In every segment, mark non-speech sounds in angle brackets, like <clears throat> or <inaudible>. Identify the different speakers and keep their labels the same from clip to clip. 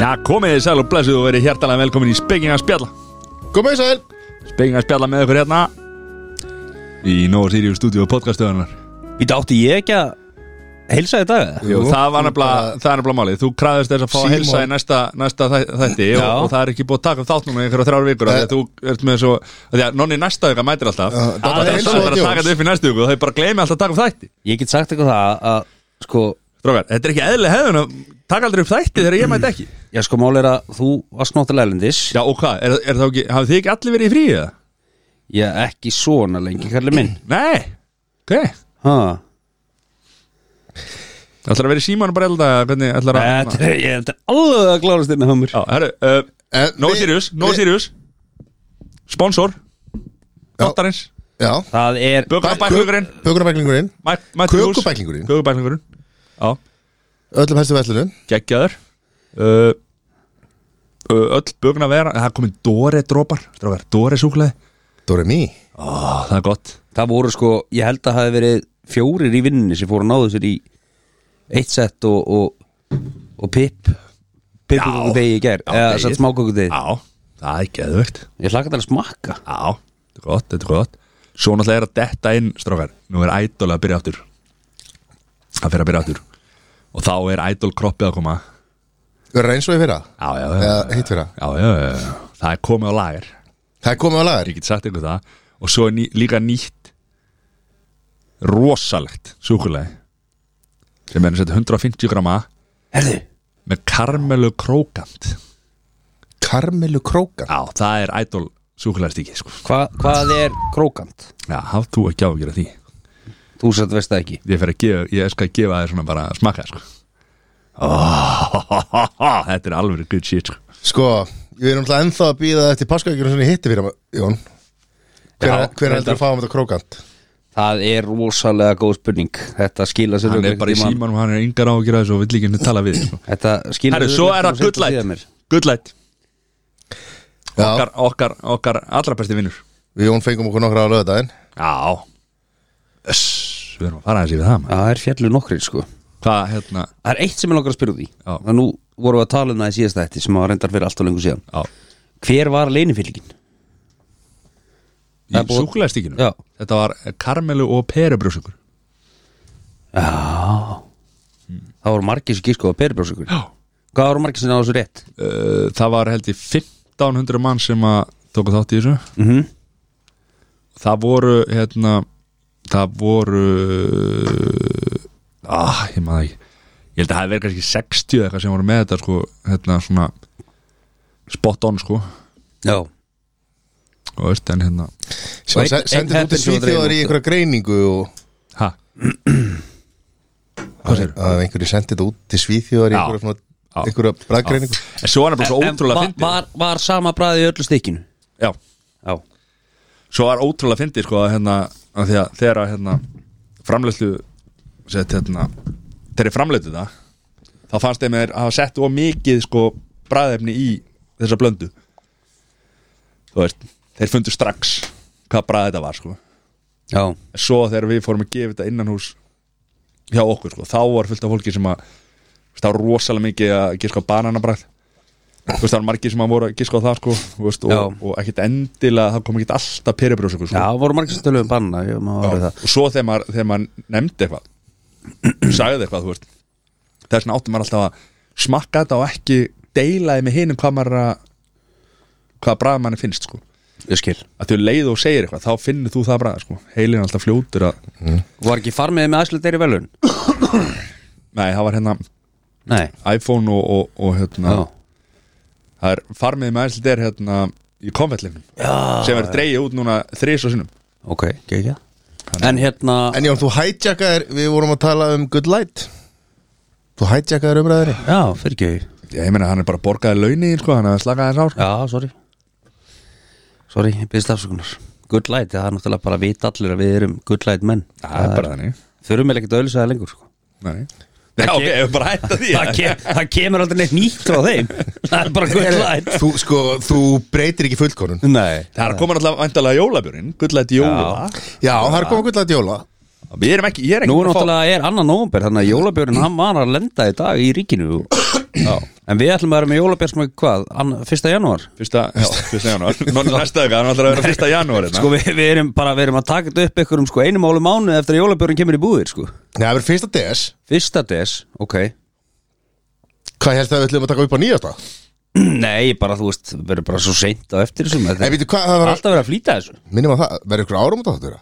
Speaker 1: Já, komið þið sæl og blessuð og verið hjertalega velkomin í Spekinga spjalla
Speaker 2: Komið sæl
Speaker 3: Eh,
Speaker 1: Spekinga spjalla með ykkur hérna Í Nova Sirius stúdíu og podcastöðunar
Speaker 3: Býta átti ég ekki að heilsa þér dag
Speaker 1: Jú, það var nefnilega, það er nefnilega málið Þú kræðist þess að fá að
Speaker 2: Símon.
Speaker 1: helsa í næsta, næsta þæ- þætti og,
Speaker 3: Já.
Speaker 1: og það er ekki búið að taka upp þátt núna í einhverja þrjár vikur af því að þú ert með svo, af því að nonni næsta vika mætir alltaf
Speaker 2: Já,
Speaker 1: Það
Speaker 2: Dadda
Speaker 1: er
Speaker 2: heilsaði
Speaker 1: alltaf að
Speaker 2: Jóns.
Speaker 1: taka þetta upp í næstu viku og þau bara gleymi alltaf að taka upp þætti
Speaker 3: Ég get sagt eitthvað það að sko,
Speaker 1: Strókar, þetta er ekki eðlileg hefðun að taka aldrei upp þætti þegar ég mæti ekki
Speaker 3: já sko mál er að þú varst náttúrulega erlendis
Speaker 1: Já og hvað, er, er þá ekki, hafið þið ekki allir verið í fríi eða?
Speaker 3: Ég ekki svona lengi kalli minn
Speaker 1: Nei, ok
Speaker 3: ha.
Speaker 1: Ætlar að vera í símanu bara elda hvernig ætlar að
Speaker 3: Þetta er, ég, þetta er alveg að klárast hérna þér með humur
Speaker 1: Já, herru, uh,
Speaker 2: En
Speaker 1: no
Speaker 2: Eh, við-
Speaker 1: serious, no
Speaker 2: við-
Speaker 1: serious Sponsor Þáttarins,
Speaker 2: Já
Speaker 3: Það er
Speaker 1: Bökunabæklingurinn
Speaker 2: Bökunabæklingurinn Kökubæklingurinn.
Speaker 1: Kökubæklingurinn Já,
Speaker 2: Öllum hæstu vellunum
Speaker 1: geggjaður uh, uh, Öll bökun að vera Það er komin Dóri drópar Strákar, Dóri súklaði
Speaker 2: Dóri mý
Speaker 1: Ó, það er gott
Speaker 3: Það voru sko, ég held að hafi verið fjórir í vinninni sem fóru að náðu sér í eitt sett og, og, og pip pippugugu degi í gær
Speaker 1: Já,
Speaker 3: eða
Speaker 1: degi.
Speaker 3: satt smákugu degi
Speaker 1: Já, það er geðvögt
Speaker 3: Ég hlaka þetta að smakka
Speaker 1: Já, þetta er gott, þetta er gott Svo náttúrulega er að detta inn, strákar Nú er ædol að byrja aftur Það fer að byrja aftur Og þá er ædol kroppið að koma
Speaker 2: Verður eins og í fyrra
Speaker 1: Já, já, já,
Speaker 2: Eða hitt fyrra
Speaker 1: já, já, já, já. Það er komið á lager
Speaker 2: Það er komið á lagar
Speaker 1: Ég get sagt ykkur það Og svo er ný, líka nýtt Rosalegt súkulegi Sem er að setja 150 grama
Speaker 3: Herðu,
Speaker 1: Með karmelu krókant
Speaker 2: Karmelu krókan
Speaker 1: Já, það er ædol súkulegi stíkið sko.
Speaker 3: hva, hvað er krókant?
Speaker 1: Já, hafð þú ekki á að gera því
Speaker 3: Þú satt veist það ekki
Speaker 1: ég fer að gefa, ég skal gefa þér svona bara að smakka sko. oh, þetta er alveg good shit sko.
Speaker 2: Sko Við erum alltaf ennþá að býða eftir páskaökjunum sem ég hitti fyrra Jón Hver,
Speaker 3: Já,
Speaker 2: hver heldur
Speaker 3: reyndar.
Speaker 2: að fá um þetta krókant?
Speaker 3: Það er rosalega góð spurning Þetta skila sér
Speaker 1: hann er
Speaker 3: örugglega
Speaker 1: bara í
Speaker 3: einhvern tímann.
Speaker 1: símanum, hann er yngar á að gera þessu og vill ekki henni tala við sko.
Speaker 3: Þetta skila
Speaker 1: Herru,
Speaker 3: sér
Speaker 1: svo er það
Speaker 3: örugglega einhvern
Speaker 1: good
Speaker 3: tímann síðar
Speaker 1: light
Speaker 3: mér.
Speaker 1: good light,
Speaker 2: Já,
Speaker 1: okkar, okkar, okkar allra besti vinnur
Speaker 2: við Jón fengum okkur nokkra á lögadaginn
Speaker 1: já Öss, við erum að fara aðeins yfir það
Speaker 3: Já,
Speaker 1: maður.
Speaker 3: Það er fjallu nokkri sko
Speaker 1: hvað hérna
Speaker 3: Það er eitt sem ég langar að spyrja út í
Speaker 1: Já.
Speaker 3: Það nú vorum við að tala um það í síðasta eftir sem var reyndar fyrir allt og lengur síðan
Speaker 1: á,
Speaker 3: Hver var leinifylgin? Það
Speaker 1: í
Speaker 3: er búið-
Speaker 1: súkulegastíkinu
Speaker 3: Já.
Speaker 1: þetta var karmelu og perubrjósugur
Speaker 3: Já
Speaker 1: Hmm.
Speaker 3: Það voru margir sem gískoða peribrósugur Hvað voru margir sem náðu þessu rétt?
Speaker 1: uh, það var held ég 1500 mann sem að tóku þátt í þessu
Speaker 3: Mm
Speaker 1: það voru hérna, það voru ah, ég maður það ekki ég held að það hafi verið kannski 60 eða eitthvað sem voru með þetta sko, hérna svona spot on sko
Speaker 3: Já
Speaker 1: og veist en hérna
Speaker 2: Sem
Speaker 3: Og einn-
Speaker 2: se- sendið
Speaker 3: einn
Speaker 2: út í
Speaker 3: heppinn sem var dreginn
Speaker 2: Svíþjóðar í
Speaker 3: út.
Speaker 2: einhverja greiningu og
Speaker 1: ha hvað segir
Speaker 2: að einhverju sendið þetta út til Svíþjóðar í
Speaker 1: Já.
Speaker 2: einhverja, svona-
Speaker 1: Já.
Speaker 2: einhverja bræðgreiningu
Speaker 1: en svo var hann bara svo ótrúlega
Speaker 3: var,
Speaker 1: fyndið
Speaker 3: var, var sama bræði í öllu stykkinu?
Speaker 1: já
Speaker 3: Já
Speaker 1: svo var ótrúlega fyndið sko að hérna að því að þegar að hérna framleyslu sett hérna þegar ég framleytu það þá fannst þeim að hafa sett of mikið sko bræðefni í þessa blöndu þú veist þeir fundu strax hvað bræði þetta var sko
Speaker 3: Já
Speaker 1: svo þegar við fórum að gefa þetta innan hús hjá okkur sko þá var fullt af fólki sem að veist, það var rosalega mikið að giska á bananabræð þú veist það var margir sem að voru að giska á það sko þú veist,
Speaker 3: Já.
Speaker 1: og, og ekkit endilega það kom ekkit alltaf peribrjósugur sko
Speaker 3: Já, voru margir sem töluðum banna Ég maður var það
Speaker 1: og svo þegar maður, þegar maður nefndi eitthvað sagði eitthvað, þú veist þess vegna átti maður alltaf að smakka þetta og ekki deilaði með hinum hvað maður er að hvað bræð manni finnst sko
Speaker 3: Ég skil
Speaker 1: að þau leið og segir eitthvað, þá finnir þú það bræð sko heilin er alltaf fljótur að
Speaker 3: Var ekki farmiðið með aðslut þeirri velun?
Speaker 1: nei, það var hérna
Speaker 3: Nei
Speaker 1: iPhone og, og, og hérna
Speaker 3: Já
Speaker 1: það er farmiðið með æsli er hérna í konfettleifnum sem er dreigið út núna þrís og sinnum
Speaker 3: Ok, gegja En hérna
Speaker 2: En Jón, þú hijackar, við vorum að tala um Good Light Þú hijackar umræðinni
Speaker 3: Já, fyrir ekki
Speaker 1: ég, ég meina hann er bara borgaði launið sko, hann er að slaka þess á sko.
Speaker 3: Já, sorry Sorry, ég byrðist afsökunar Good light, það er náttúrulega bara að vita allir að við erum good light menn
Speaker 1: það er bara þannig
Speaker 3: Þurfum við ekkert að öllu sæða lengur sko.
Speaker 1: Nei. Já, ok, við bara hætta því
Speaker 3: það, ke það kemur aldrei neitt nýtt frá <laughs> þeim það er bara gullætt
Speaker 2: Þú, sko, þú breytir ekki fullkornun
Speaker 3: Nei,
Speaker 1: Það er komin alltaf væntalega jólabjörn Gullætt jóla
Speaker 2: Já, það er komið gullætt jóla
Speaker 1: Við erum ekki, ég er ekki
Speaker 3: nú
Speaker 1: búin að fá-
Speaker 3: náttúrulega er annan nóvumber þannig að jólabjörn hann var að lenda í dag í ríkinu en við ætlum að vera með jólabjörn sem er hvað, ann- 1. janúar
Speaker 1: Fyrsta, já, fyrsta <laughs> janúar Nóni næsta auka, hann ætlar að vera fyrsta janúar hérna.
Speaker 3: sko við, við erum bara við erum að taka þetta upp ykkur um sko einu málu mánu eftir að jólabjörn kemur í búðir sko
Speaker 2: Nei, það verður fyrsta DS
Speaker 3: fyrsta des, ok <clears throat>
Speaker 2: Hvað helst það við ætlum að taka upp á nýjasta?
Speaker 3: nei, bara þú veist, verður bara svo seint á eftir þessum, þetta
Speaker 2: Nei,
Speaker 3: er
Speaker 2: veitu hvað, það var
Speaker 3: alltaf verið að flýta þessu
Speaker 2: Minnum að það, verður ykkur árum á þetta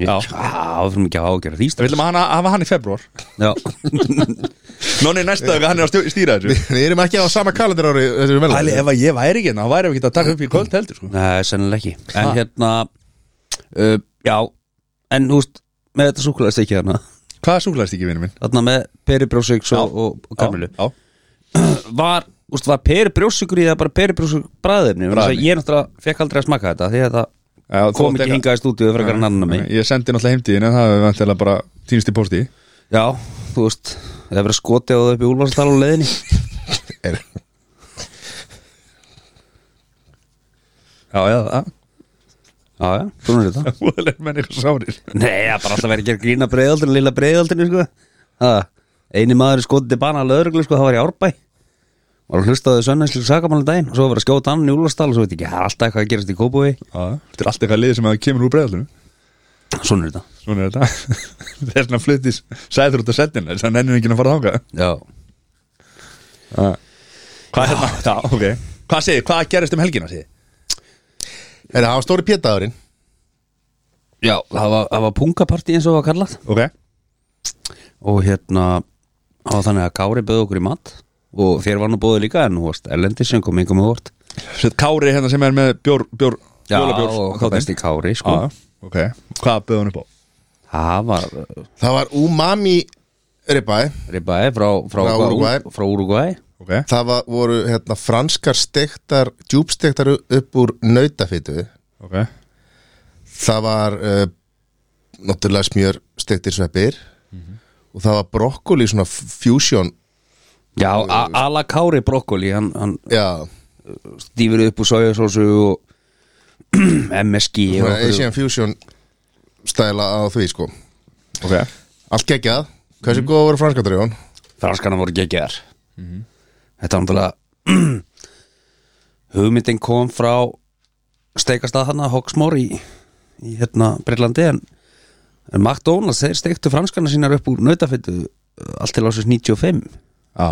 Speaker 3: já, það fyrir mikið að ágjöra því
Speaker 1: Við viljum að hana, hafa hann í februar
Speaker 3: já,
Speaker 1: Nóni næsta auka, hann er að stjó- stýra þessu
Speaker 2: Við við erum ekki á sama kalendar ári Þetta er
Speaker 1: Æli, ef að ég væri ekki hérna, þá væri við ekki að taka upp í kvöld heldur sko.
Speaker 3: <laughs> Nei, sennilega ekki En hérna uh, Já, en þú veist Með þetta súkulegast ekki þarna
Speaker 1: Hvað súklaðist ekki, vinur minn?
Speaker 3: Þarna með peri brjósíks og, og, og kamilu
Speaker 1: Já, já.
Speaker 3: Var, þú veist, var peri brjósíkur í það bara peri brjósík bræðirni
Speaker 1: Bragðefni.
Speaker 3: Ég náttúrulega fekk aldrei að smakka þetta Því að það
Speaker 1: Já, þú
Speaker 3: kom
Speaker 1: átt
Speaker 3: ekki
Speaker 1: eitthvað-
Speaker 3: hingað í stúdíu Frekar en annan mig
Speaker 1: Ég sendi náttúrulega heimtíðin en það hefur vantilega bara týnst í posti
Speaker 3: Já, þú veist Það er verið að skotið á það upp í úlfarstal á leiðinni
Speaker 2: vel
Speaker 1: Já, já, já
Speaker 3: Já, já, svona er þetta
Speaker 1: <laughs> Þú er menn eitthvað sárir
Speaker 3: Nei, það er bara alltaf verið að gera grína breiðaldinu Lilla breiðaldinu, sko ha, Einu maður er skotið til bana að lögreglu, sko Það var í árbæ Var að hlusta á þau sönnæslu sakamála daginn og Svo var að skjóta annan í Úlfarsdal og svo veit ekki Það er alltaf eitthvað að gerast í Kópói
Speaker 1: Þetta er allt eitthvað lið sem að kemur úr bregðalunum
Speaker 3: Svona er þetta
Speaker 1: Svona er þetta <laughs> Þess vegna flyttis sæður út að setjina Þess að hann ennur ekki að fara þáka
Speaker 3: Já
Speaker 1: Hvað er þetta? Já, ok Hvað segir, hvað gerist um helgina segir?
Speaker 2: Er það á stóri pétadagurinn?
Speaker 3: Já, það var, það var pungapartí eins og það var kallað
Speaker 1: Ok
Speaker 3: og hérna það var þannig að Kári bauð okkur í mat og þér var nú bóðið líka en þú varst Erlendi sem kom yngum og vort
Speaker 1: Sett Kári hérna sem er með bjór, bjór
Speaker 3: Já,
Speaker 1: jólabjór
Speaker 3: og káttist í Kári sko.
Speaker 1: Já, ok Hvað bauð hann upp á?
Speaker 3: Það var uh,
Speaker 2: Það var umami ribæ
Speaker 3: ribbaði frá, frá,
Speaker 2: Frá Úrúgvæ.
Speaker 3: frá Úrugvæ
Speaker 1: Ok
Speaker 2: Það var, voru hérna, franskar stektar, djúbstektar upp úr nautafytu
Speaker 1: Ok
Speaker 2: Það var uh, náttúrulega smjör stektir sveppir og það var brokkoli svona fusion
Speaker 3: Já, a- ala Kári brokkoli hann, hann
Speaker 2: Já,
Speaker 3: stífur upp úr sojasósu og <clears throat> MSG og
Speaker 2: svona
Speaker 3: okkur-
Speaker 2: Asian fusion stæla á því sko
Speaker 1: Ok
Speaker 2: Allt geggjað, hversu góða voru franskar Jón?
Speaker 3: franskana voru geggjar Þetta var náttúrulega <clears throat> hugmyndin kom frá steikastað hana Hogsmore í, í hérna Breitlandi en, en McDonalds þeir steiktu franskana sínar upp úr nautafittu uh, allt til ásins 95
Speaker 1: Já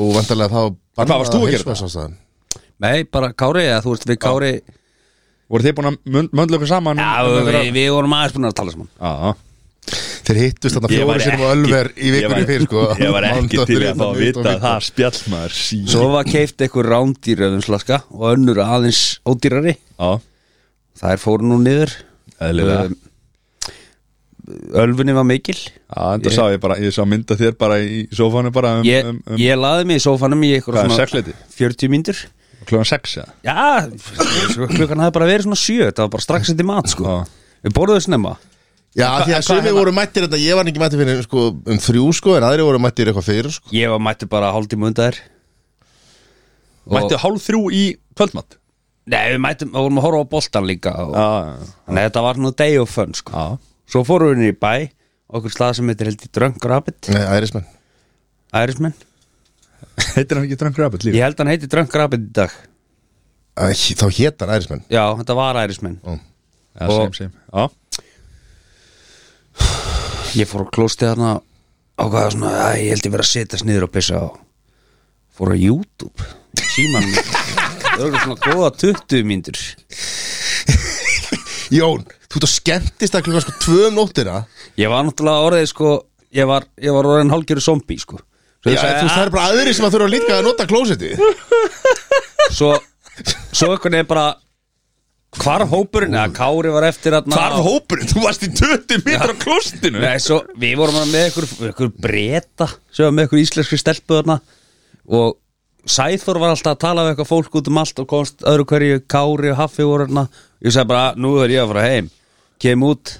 Speaker 2: Og vantarlega þá
Speaker 1: hvað varst þú að gera
Speaker 2: það?
Speaker 3: Nei, bara Kári, eða þú veist við Kári
Speaker 1: Voru þið búin að mund- möndla okkur saman
Speaker 3: Já,
Speaker 1: um- um
Speaker 3: við,
Speaker 1: einhverja-
Speaker 3: við vorum aðeins búin að tala saman
Speaker 1: Já
Speaker 2: Þeir hittust þarna
Speaker 1: Ég var
Speaker 2: fjóru sinum á
Speaker 1: ekki-
Speaker 2: Ölver í
Speaker 1: ég var-
Speaker 2: vikunni fyrir sko
Speaker 1: <laughs> Ég var ekki til
Speaker 2: Mánudagurinn
Speaker 1: að fá að
Speaker 2: mitt og
Speaker 1: vita
Speaker 2: mitt.
Speaker 1: það spjallmaður sí.
Speaker 3: Svo var keift eitthvað rándýr öðumslaska og önnur aðeins ódýrari
Speaker 1: Já,
Speaker 3: Það er fóru nú niður
Speaker 1: eðlilega
Speaker 3: Um, Ölfunni var mikil
Speaker 1: Já, þetta sá ég bara, ég sá mynda þér bara í sófánu bara um,
Speaker 3: ég,
Speaker 1: um, um
Speaker 3: ég laði mig í sófanum í
Speaker 1: Hvað,
Speaker 3: eitthvað
Speaker 1: sexleyti?
Speaker 3: 40 mínútur
Speaker 1: kljóðan sex eða
Speaker 3: Já, sko, klukkan hafði bara verið svona sjö Þetta var bara strax eftir mat sko.
Speaker 1: Já.
Speaker 3: Við borðuðu snemma
Speaker 2: Já, því að
Speaker 1: hvað
Speaker 2: sumi
Speaker 1: hérna?
Speaker 2: voru mættir þetta, ég var ekki mættir fyrir sko, um þrjú sko, en aðri voru mættir eitthvað fyrir sko.
Speaker 3: Ég var mættu bara hálftíma undar
Speaker 1: Mættu hálf þrjú í kvöldmatt
Speaker 3: Nei, við mættum, við vorum að horfa á boltan líka og,
Speaker 1: Já,
Speaker 3: Þannig að þetta var nú day of fun sko.
Speaker 1: já
Speaker 3: Svo fórum við niður í bæ Okkur stað sem heitir held í Drunk Rabbit
Speaker 2: Nei, ærismenn
Speaker 3: Ærismenn
Speaker 1: Heitir hann ekki Drunk Rabbit líka?
Speaker 3: Ég held hann heiti Drunk Rabbit í dag
Speaker 2: Æ, Þá hét hann ærismenn
Speaker 3: Já, þetta var Ærismenn
Speaker 2: Ó.
Speaker 1: Já, same,
Speaker 3: og-
Speaker 1: same Já,
Speaker 3: Ég fór á klóstið þarna ákvaða svona að ég held ég verið að setjast niður og pissa á fór á YouTube síman það eru svona góða 20 mínútur
Speaker 2: Jón, þú ert að skemmtist að klukka sko tvö um nóttina
Speaker 3: ég var náttúrulega orðið sko ég var, ég var orðin hálfgerðu zombi sko svo,
Speaker 2: Já,
Speaker 3: ég
Speaker 2: þú veist, það
Speaker 3: sagði,
Speaker 2: eru bara aðri sem að þurfa líka að nota klósetti
Speaker 3: að, svo svo eitthvað nefn bara hvarf hópurinn eða Kári var eftir þarna
Speaker 1: Hvar hópurinn? Þú varst í 20 mitra á klostinu
Speaker 3: Nei, svo við vorum með ykkur, ykkur breyta sem var með ykkur íslenskri stelpu þarna og Sæþór var alltaf að tala við eitthvað fólk út um allt og komst öðru hverju Kári og Haffi voru þarna ég sagði bara, nú er ég að fara heim kem út,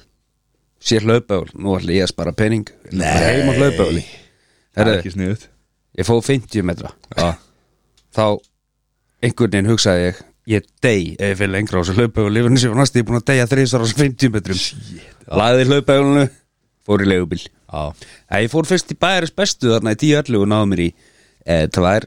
Speaker 3: sé hlaupöful nú ætla ég að spara pening Ég ætla að fara heim á hlaupöfuli
Speaker 1: Það er
Speaker 3: Herru,
Speaker 1: ekki sniðut
Speaker 3: ég fóð 50 metra
Speaker 1: Já,
Speaker 3: þá einhvern veginn hugsaði ég ég dey ef ég fyrir lengra á þessu hlaupaugu og lifinu sem var næst ég er búin að deyja þrísar á þessu 50 metrum lagði hlaupaugunum fór í leigubil
Speaker 1: já,
Speaker 3: Æ, ég fór fyrst í bæðaris bestu þarna í 10.11 og náði mér í e, tvær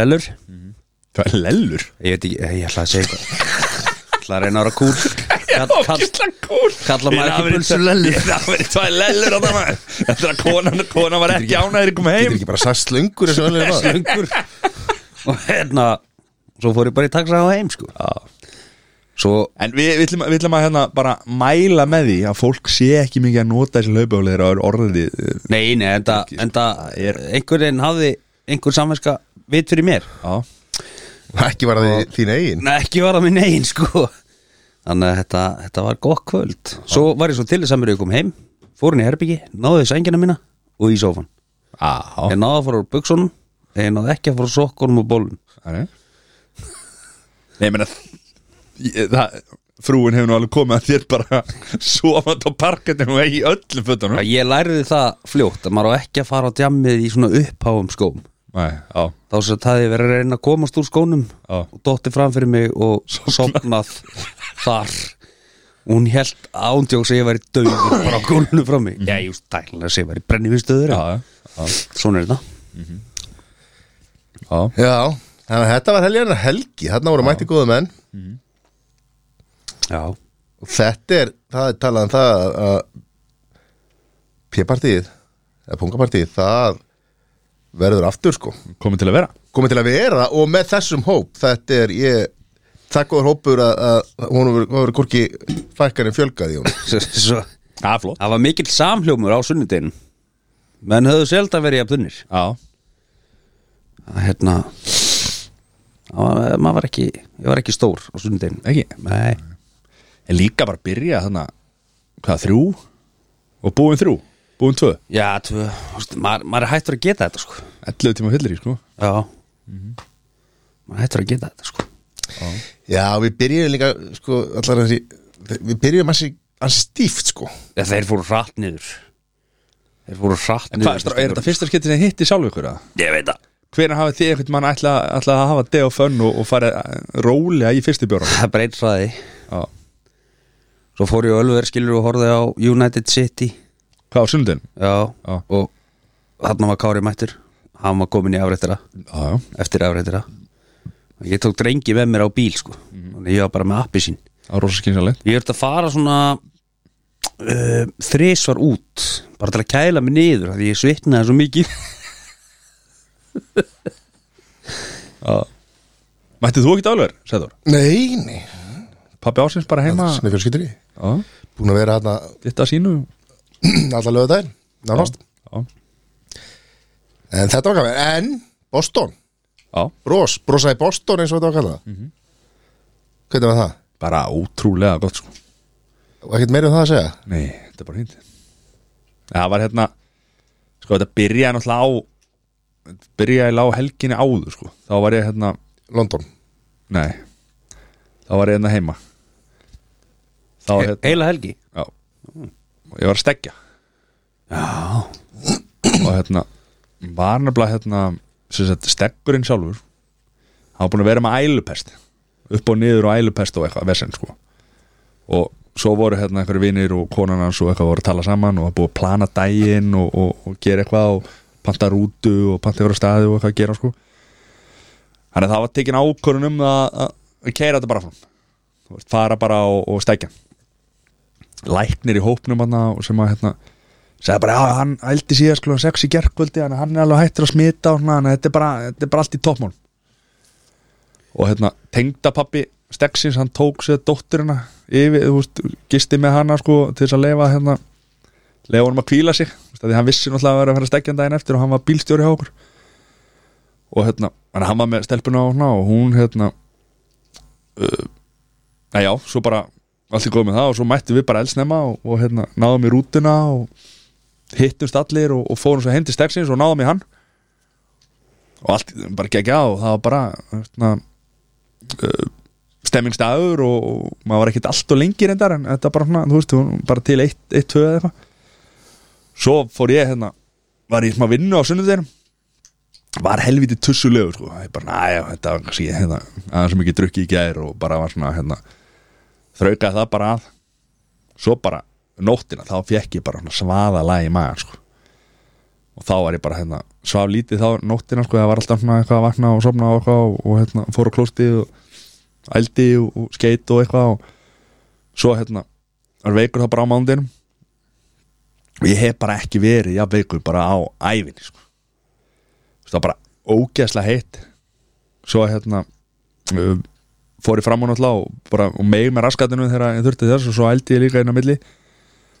Speaker 3: lellur
Speaker 1: það er lellur
Speaker 3: ég veit ekki, eh, ég ætla að segja eitthvað ætla að reyna að vera kúl kall, kall,
Speaker 1: kúl
Speaker 3: kalla maður ekki pulsu
Speaker 1: lellur Það verið tvær lellur á það maður Þetta er að konan, konan var ekki ánæður að koma
Speaker 2: Getur
Speaker 1: heim
Speaker 2: ekki bara sagt slöngur þessu öllu <laughs> maður
Speaker 3: lengur og hérna svo fór ég bara í taxa á heim sko svo
Speaker 1: En við, við, ætlum, við ætlum að hérna bara mæla með því að fólk sé ekki mikið að nota þessi hlaupáleir og er orðið uh,
Speaker 3: Nei, nei, enda, enda einhverjum hafði einhver samverska vit fyrir mér
Speaker 1: Já,
Speaker 2: Ekki var það þín eigin
Speaker 3: Nei, ekki var það minn einn, sko Þannig að þetta, þetta var gott kvöld Svo var ég svo til þess að mér ég kom heim Fór hann í herbyggi, náði sængina mína og í sófan Ég
Speaker 1: já,
Speaker 3: náði að fara úr buksunum en Ég náði ekki að fara úr sokkunum og bólum
Speaker 1: það er Nei, ég meina ég- það, Frúin hefur nú alveg komið að þér bara sofandi á parkettinu og í öllum fötunum
Speaker 3: Já, Ég læriði það fljótt að maður á ekki að fara á djammið í svona uppháum skóm
Speaker 1: Nei, já,
Speaker 3: Þá sem það ég verið að reyna að komast úr skónum
Speaker 1: Já.
Speaker 3: og dotti fram fyrir mig og sopnað þar og hún held ándjóks að ég væri döður bara á gólunu frá mig Já, ég stæla að ég væri brennivinstöður
Speaker 1: já, já,
Speaker 3: Svona er þetta
Speaker 1: já.
Speaker 2: Já, þannig að þetta var helgjarnar helgi Þarna voru mætti góðu menn
Speaker 3: Já,
Speaker 2: Og þetta er, það er talað um það að- að P-partíð eða pungapartíð, það verður aftur sko
Speaker 1: komið til að vera
Speaker 2: komið til að vera og með þessum hóp þetta er ég það góður hópur að, að hún hefur hvorki fækkar en fjölgaði hún
Speaker 3: svo, svo,
Speaker 1: Já, flott
Speaker 3: það var mikill samhljómur á sunnudegin menn höfðu sjálf að vera jafnir
Speaker 1: Já,
Speaker 3: hérna það var- maður var ekki, ég var ekki stór á sunnudegin
Speaker 1: ekki
Speaker 3: nei,
Speaker 1: En líka bara byrja þannig Hvað, þrjú? Og búin þrjú, búin tvö
Speaker 3: já, tvö veist, maður, maður er hættur að geta þetta sko
Speaker 1: 11 tíma fyllir í sko
Speaker 3: já Mhm. maður er hættur að geta þetta sko
Speaker 2: já við byrjum líka sko allar þessi við byrjum ansi, ansi stíft sko
Speaker 3: ja, þeir fóru hratt niður þeir fóru hratt
Speaker 1: En
Speaker 3: niður
Speaker 1: hvað, er þetta fyrsta skipti sem hitti sjálf ykkur að?
Speaker 3: ég veit það
Speaker 1: Hvernig hafið þið einhvern mann ætla, ætla að hafa deg og fönn og, og fara rólega í fyrstu bjóra?
Speaker 3: það breyt hraði
Speaker 1: Já
Speaker 3: svo fór ég á Ölver skilur og horfði á United City
Speaker 1: Hvað á sundin?
Speaker 3: já,
Speaker 1: Já.
Speaker 3: og þarna var Kári mættur hann var komin í afréttara
Speaker 1: Já, já
Speaker 3: eftir afréttara ég tók drengi með mér á bíl sko þannig ég var bara með appi sín
Speaker 1: Það var rosa skynsalegt
Speaker 3: ég ert að fara svona uh, þrisvar út bara til að kæla mig niður af því ég svitnaði svo mikið
Speaker 1: Mættið þú ekki álver, Sæður?
Speaker 2: nei, nei,
Speaker 1: Pappi ásins bara heima
Speaker 2: svona fjölskyldur í
Speaker 1: Já,
Speaker 2: búin að vera þarna
Speaker 1: þetta sínu
Speaker 2: allar löðu daginn, nánast
Speaker 1: Já,
Speaker 2: en þetta var gaman, en Boston,
Speaker 1: já
Speaker 2: bros, brosa í Boston eins og þetta var kallað
Speaker 1: Mhm.
Speaker 2: hvernig var það?
Speaker 1: Bara ótrúlega gott sko
Speaker 2: og ekkert meira um það að segja
Speaker 1: Nei, þetta er bara hindi Það var hérna Sko, þetta byrjaði náttúrulega á Byrjaði lág helginni áður sko Þá var ég hérna,
Speaker 2: London,
Speaker 1: nei Þá var ég hérna heima Þá
Speaker 3: <laughs>
Speaker 1: var hérna,
Speaker 3: heila helgi
Speaker 1: já Og ég var að stekja
Speaker 3: já,
Speaker 1: Og hérna, var nefnilega hérna Sem sagt, stekkurinn sjálfur Hann var búin að vera með ælupest Upp og niður og ælupest og eitthvað vesend sko Og svo voru hérna einhverju vinir og konan hans og eitthvað voru að tala saman og að búið að plana daginn og, og, og gera eitthvað og panta rútu og panta yfir á staði og eitthvað að gera sko Þannig að það var tekin ákvörun um að, að, að keira þetta bara fram Þú veist, fara bara og, og stækja Læknir í hópnum hana sem að hérna sagði bara, já, hann ældi síðan sko sex í gerkvöldi, þannig að hann er alveg hættur að smita og svona, þannig að þetta er bara, þetta er bara allt í toppmál og hérna tengdapappi Stegsins, hann tók sér dótturina yfir, þú veist, gisti með hana sko til þess að leifa hérna leifa honum að kvíla sig, þú veist, af því hann vissi náttúrulega að vera að fara stegjan daginn eftir og hann var bílstjóri hjá okkur og hérna, þannig að hann var með stelpuna og, hana, og hún hérna uh, að já, svo bara allt í góð með það og svo mættum við bara elsnemma og, og hérna, náðum í rútuna og hittumst allir og, og fórum svo heim til Stegsins og náðum í hann og allt bara gegja og það var bara hérna, uh, stemmingsdagur og, og maður var ekkert allt og lengi reyndar en þetta bara, svona, þú veist, hún- bara til eitt, eitt, tvö eða eitthvað svo fór ég hérna var ég smá vinnu á sunnudeginum var helviti tussulegur sko. ég bara, næja, þetta var kannski hérna, aðeins sem ekki drukki í gær og bara var svona hérna, þraukaði það bara að svo bara nóttina þá fekk ég bara svona svaða lag í maður sko. og þá var ég bara hérna, svaf lítið þá nóttina sko, það var alltaf svona eitthvað að vakna og sofna og, eitthvað, og, og hérna, fór á klóstið og ældi og, og skeit og eitthvað og svo hérna var veikur þá bara á mándinum og ég hef bara ekki verið já veikur bara á ævinni sko. Þú veist, það var bara ógeðslega heitt svo hérna uh, fór ég fram á náttúrulega og, bara, og meig með raskatinu þegar ég þurfti þess og svo ældi ég líka inn á milli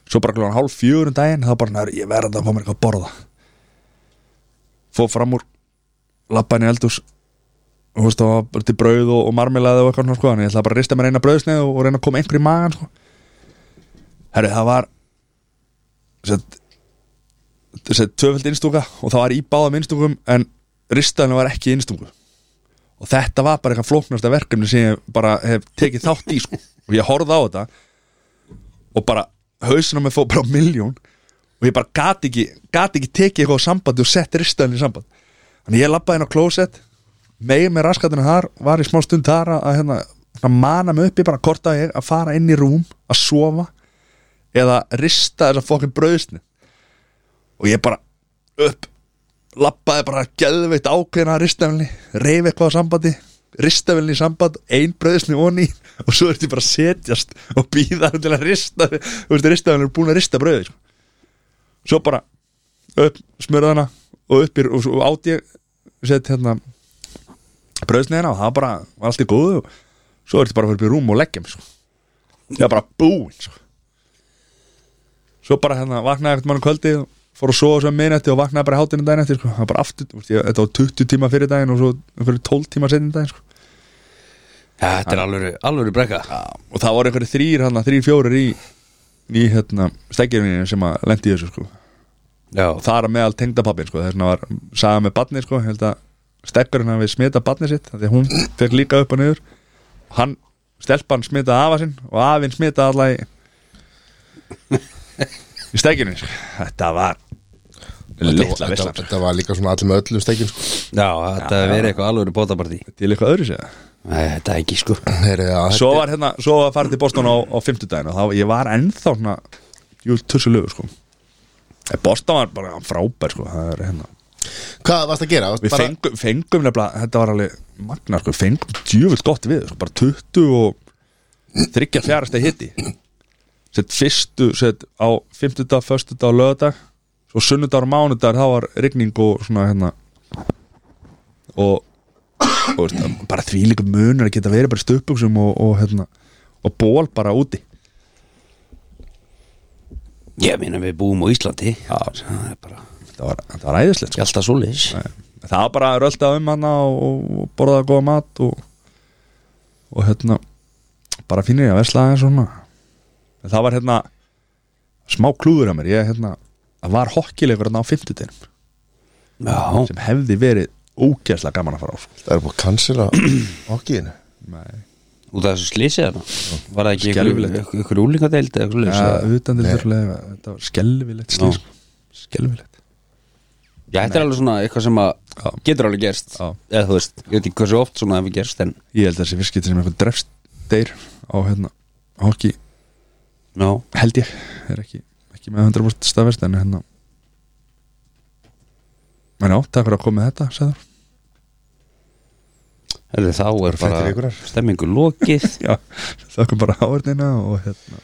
Speaker 1: svo bara klokkan hálf fjögur um daginn þá bara, "Nei, ég verði að fá mér eitthvað að borða fór fram úr lappaðin í eldús og þú veist, það var bara til brauð og, og marmelaði og eitthvað svona, sko, en ég ætlaði bara að rista mér eina brauðsneið og, og reyna að koma einhverju í magan sko. herri, það var sett, sett tvöfald innstúka og það var í báðum innstúkum en ristaðinu var ekki í innstúku og þetta var bara eitthvað flóknasta verkefni sem ég bara hef tekið þátt í sko. og ég horfði á þetta og bara hausinu með fóð bara á miljón og ég bara gati ekki, gat ekki tekið eitthvað á sambandi og sett ristaðinu í samband þannig ég labbaði inn á klósett megin með raskatinu þar, var í smá stund þar að, að hérna, að mana mig upp ég bara korta ég að fara inn í rúm að sofa eða rista þessa fokkin brauðsni og ég bara upp lappaði bara geðveitt ákveðina að ristavelni reyfi eitthvað á sambandi ristavelni í samband, ein brauðsni onni <laughs> og svo ertu bara að setjast og býða til að rista þú veist, ristavelni er búin að rista brauði sko. svo bara upp smurðana og upp í, og svo átt ég sett hérna brauðsniðina og það bara var allt í góðu og svo ertu bara að fara upp í rúm og leggja mig sko. ég var bara búinn sko svo bara hérna vaknaði eftir mann um kvöldi og fór að sofa svo um minnætti og vaknaði bara hátinu daginn eftir sko. það var bara aftur, þú veist, ég, þetta var 20 tíma fyrir daginn og svo fyrir 12 tíma setjum daginn sko.
Speaker 3: Já, þetta er alvöru, alvöru brekka
Speaker 1: og það voru einhverju þrýr, hérna, þrýr fjórir í í hérna, stekjurvinni sem að lendi í þessu sko.
Speaker 3: Já,
Speaker 1: og það er að meðal tengdapappin sko. þess vegna var saga með badni sko. Ég held að stekkurinn hann við smita badni sitt af því að hún fekk líka upp og niður hann, stelpan smitaði afa sinn og afinn smitaði allar í, í stekjurvinni sko. þetta var litla
Speaker 2: þetta,
Speaker 1: vissla
Speaker 2: þetta var líka svona allir með öllum stekin sko. <laughs>
Speaker 3: já þetta
Speaker 1: Já,
Speaker 3: er
Speaker 1: já.
Speaker 3: verið eitthvað alvöru bótapartí
Speaker 1: til eitthvað öðru segja
Speaker 3: Nei, þetta er ekki sko
Speaker 2: Heri, að,
Speaker 1: svo var hérna, svo var farið til Boston á, á fimmtudaginn og þá, ég var ennþá svona júl tussulegu sko En Boston var bara frábær sko það er hérna
Speaker 2: Hvað varst að gera? Varst
Speaker 1: við
Speaker 2: bara,
Speaker 1: fengum, fengum nefnilega, þetta var alveg magna sko, fengum djúvilt gott við sko, bara 20 og 30 fjárasta hitti sett fyrstu, sett á 50 dag, 1. dag, lögadag svo sunnudagur og mánudagur, þá var rigning og svona hérna og, og veist, bara því líka munur að geta verið bara í stöpuksum og, og hérna og ból bara úti
Speaker 3: Ég meina við búum á Íslandi Já, það er bara
Speaker 1: það var, það var æðislegt sko.
Speaker 3: Ekki alltaf svoleiðis
Speaker 1: það var bara rölda um hana og, og borðaða góða mat og, og hérna bara finnir ég að vesla aðeins svona en það var hérna smá klúður að mér, ég hérna það var hokkilegur hérna á 50
Speaker 3: Já,
Speaker 1: sem hefði verið ógeðslega gaman að fara á sko.
Speaker 2: það er búið að <clears throat> cancela okkiðinu
Speaker 3: út af þessu slýsið hana Var það ekki
Speaker 1: Skelfilegt.
Speaker 3: ykkur, ykkur úlingadeild eða eitthvað
Speaker 1: ja,
Speaker 3: svoleiðis?
Speaker 1: utan til þurrlega, þetta var skelvilegt slið,
Speaker 3: Já.
Speaker 1: sko. skelvilegt
Speaker 3: Já, þetta er alveg svona eitthvað sem að
Speaker 1: Já.
Speaker 3: getur alveg gerst
Speaker 1: Já.
Speaker 3: eða þú veist, ég veit ekki hversu oft svona hefur gerst en
Speaker 1: ég held að þessi fyrskipti sem eitthvað drefst deyr á hérna hokki
Speaker 3: Já,
Speaker 1: held ég, er ekki, ekki með 100% staðverst en hérna en já, takk fyrir að koma með þetta sagður.
Speaker 3: Herðu, þá er
Speaker 2: Þetta er
Speaker 3: bara
Speaker 2: ykkurar.
Speaker 3: stemmingu lokið <laughs>
Speaker 1: já, <laughs> þakkum bara áverðina og hérna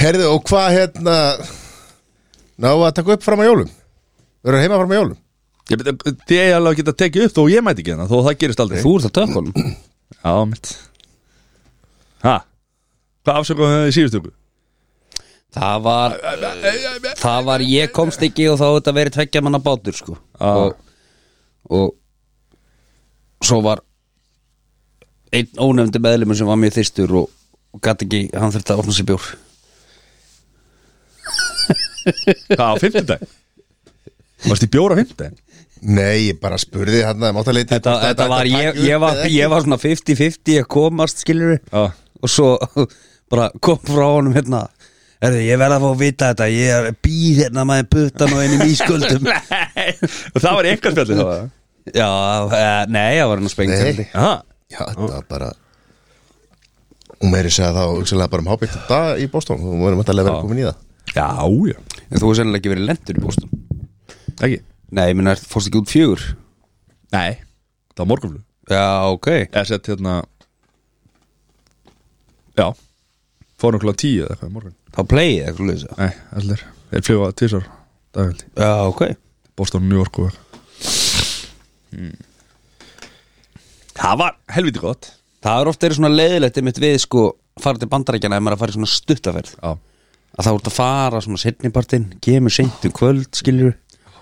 Speaker 2: Herðu, og hvað hérna Ná að taka upp fram að jólum Við erum heima fram að jólum
Speaker 1: ég beti, því ég alveg að geta tekið upp þó ég mæti ekki hérna, þó það gerist aldrei
Speaker 3: Þú ert að tökunum
Speaker 1: já, mitt ha, hvað afsökum við í síðustöku?
Speaker 3: Það var Það var ég komst ekki og þá hefði þetta verið tveggja manna bátur sko
Speaker 1: Já.
Speaker 3: og, og svo var einn ónefndi meðlum sem var mjög þyrstur og, og gæti ekki, hann þurfti að opna sér bjór
Speaker 1: hvað, á fimmtudag? varst í bjóra fimmtudag?
Speaker 2: Nei, ég bara spurði hérna Mátt að leita
Speaker 3: Þetta, þetta var, ég, ég, var, ég var svona 50-50 að komast skilur
Speaker 1: já,
Speaker 3: <laughs> og svo bara kom frá honum hérna Erðu, ég verð að fá að vita þetta Ég er býð hérna maður puttan og einum ísköldum <laughs>
Speaker 1: og það var í einhverspjallið þá
Speaker 3: Já, eh, nei, það var hann að spengja
Speaker 2: Nei.
Speaker 1: Aha,
Speaker 2: Já, þetta var bara Og meiri segja þá hugsaðlega bara um hábyggt dag í Boston Þú verðum alltaf að vera komin í það
Speaker 1: Já, já,
Speaker 3: En þú er sennilega ekki verið lendur í bóstum
Speaker 1: ekki
Speaker 3: Nei, ég minna, fórst ekki út fjögur
Speaker 1: Nei, það var morgunflug
Speaker 3: Já, ok
Speaker 1: eða sett hérna já fórum klá tíu eða eitthvað í morgun
Speaker 3: Þá playið eitthvað leysa
Speaker 1: nei, allir, þeir fljúa tísar dagveldi,
Speaker 3: Já, ok
Speaker 1: Boston, New York og eitthvað Hmm. það var helviti gott
Speaker 3: Það er ofta eru svona leiðilegt einmitt við sko fara til bandarækjana ef maður er að fara í svona stuttaferð
Speaker 1: já,
Speaker 3: að það voru að fara svona setnipartin kemur seint um kvöld, skilur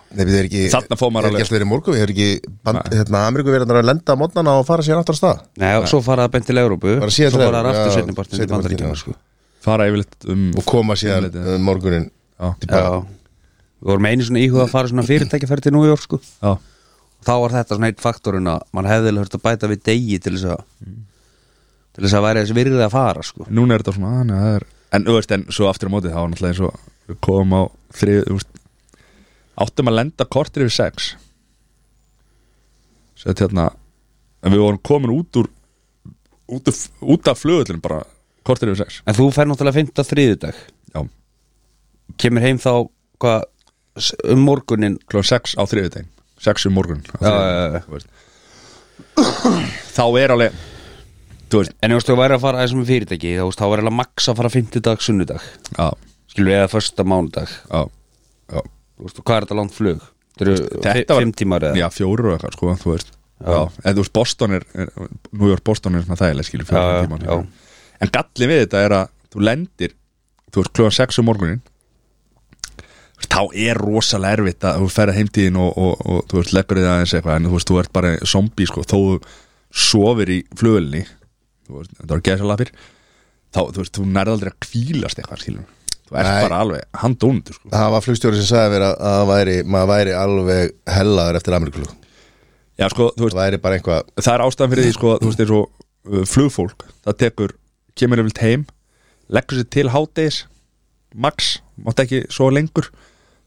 Speaker 2: Nei, við erum ekki
Speaker 1: Þarna fór maður
Speaker 2: er
Speaker 1: alveg-
Speaker 2: ekki alltaf verið í morgun Við erum ekki band, hérna, Ameríku verið að lenda á mótnana og fara sér aftur á stað
Speaker 3: Nei, og svo fara það beint til Európu
Speaker 2: Bara
Speaker 3: svo
Speaker 2: síðan til
Speaker 3: fara það
Speaker 2: Evrópu,
Speaker 3: aftur
Speaker 2: já,
Speaker 3: setnipartin til
Speaker 2: seinni partinn,
Speaker 3: bandarækjana
Speaker 2: já.
Speaker 3: sko.
Speaker 1: fara yfirleitt um
Speaker 2: Og koma síðan
Speaker 1: Einleitið.
Speaker 2: uh, morgunin
Speaker 1: já,
Speaker 3: Já, við vorum einu svona íhuga að fara svona fyrirtækjaferð til New York sko
Speaker 1: já,
Speaker 3: þá var þetta svona eitt faktorinn að mann hefði hört að bæta við degi til þess að til þess að væri þess virðið að fara sko
Speaker 1: núna er þetta svona að, neða, er, en auðvist, en svo aftur á mótið þá var náttúrulega eins og við komum á þrið, þú veist áttum að lenda kortir yfir sex sett hérna en við vorum komin út úr út, úr, út af flugullin bara kortir yfir sex
Speaker 3: En þú fer náttúrulega 5. þriðudag
Speaker 1: já,
Speaker 3: kemur heim þá hvað, s- um morgunin
Speaker 1: klóð sex á þriðutegn sex um morgun á
Speaker 3: Já,
Speaker 1: þriðjudaginn,
Speaker 3: já, já.
Speaker 1: þú veist. þá er alveg þú veist
Speaker 3: En ef þú veist, þú væri að fara aðeins með fyrirtæki þá, veist, þá væri alveg max að fara 50 dag, sunnudag
Speaker 1: já,
Speaker 3: skilur við eða första mánudag
Speaker 1: já, já.
Speaker 3: Þú veist, og hvað er þetta langt flug? Þetta eru
Speaker 1: Þetta var-
Speaker 3: 5 tímar eða?
Speaker 1: já, fjóru og eitthvað sko, þú veist já. en þú veist, Boston er, er New York Boston er svona þægileg skilur
Speaker 3: Já, já,
Speaker 1: fjóru tíma
Speaker 3: já.
Speaker 1: en gallin við þetta er að þú lendir, þú veist, kljóðan 6 um morgunin þú veist, þá er rosalega erfitt að þú ferða heimtíðin og, og, og, þú veist, leggur þið aðeins eitthvað en þú veist, þú ert bara zombi sko, þó þú sofir í flugulni þú veist, þetta var gesalapir þá, þú veist, þú nærði aldrei að kvílast eitthvað skilur, þú ert
Speaker 2: Nei.
Speaker 1: bara alveg handónundur sko,
Speaker 2: Það var flugstjóri sem sagði mér að, að það væri, maður væri alveg hellaður eftir Ameríkulug
Speaker 1: já sko, þú veist
Speaker 2: Það væri bara eitthvað
Speaker 1: það er ástæðan fyrir því sko, þú veist eins og uh, flugfólk, það tekur kemur yfirleitt heim, leggur sér til hádegis, max mátt ekki svo lengur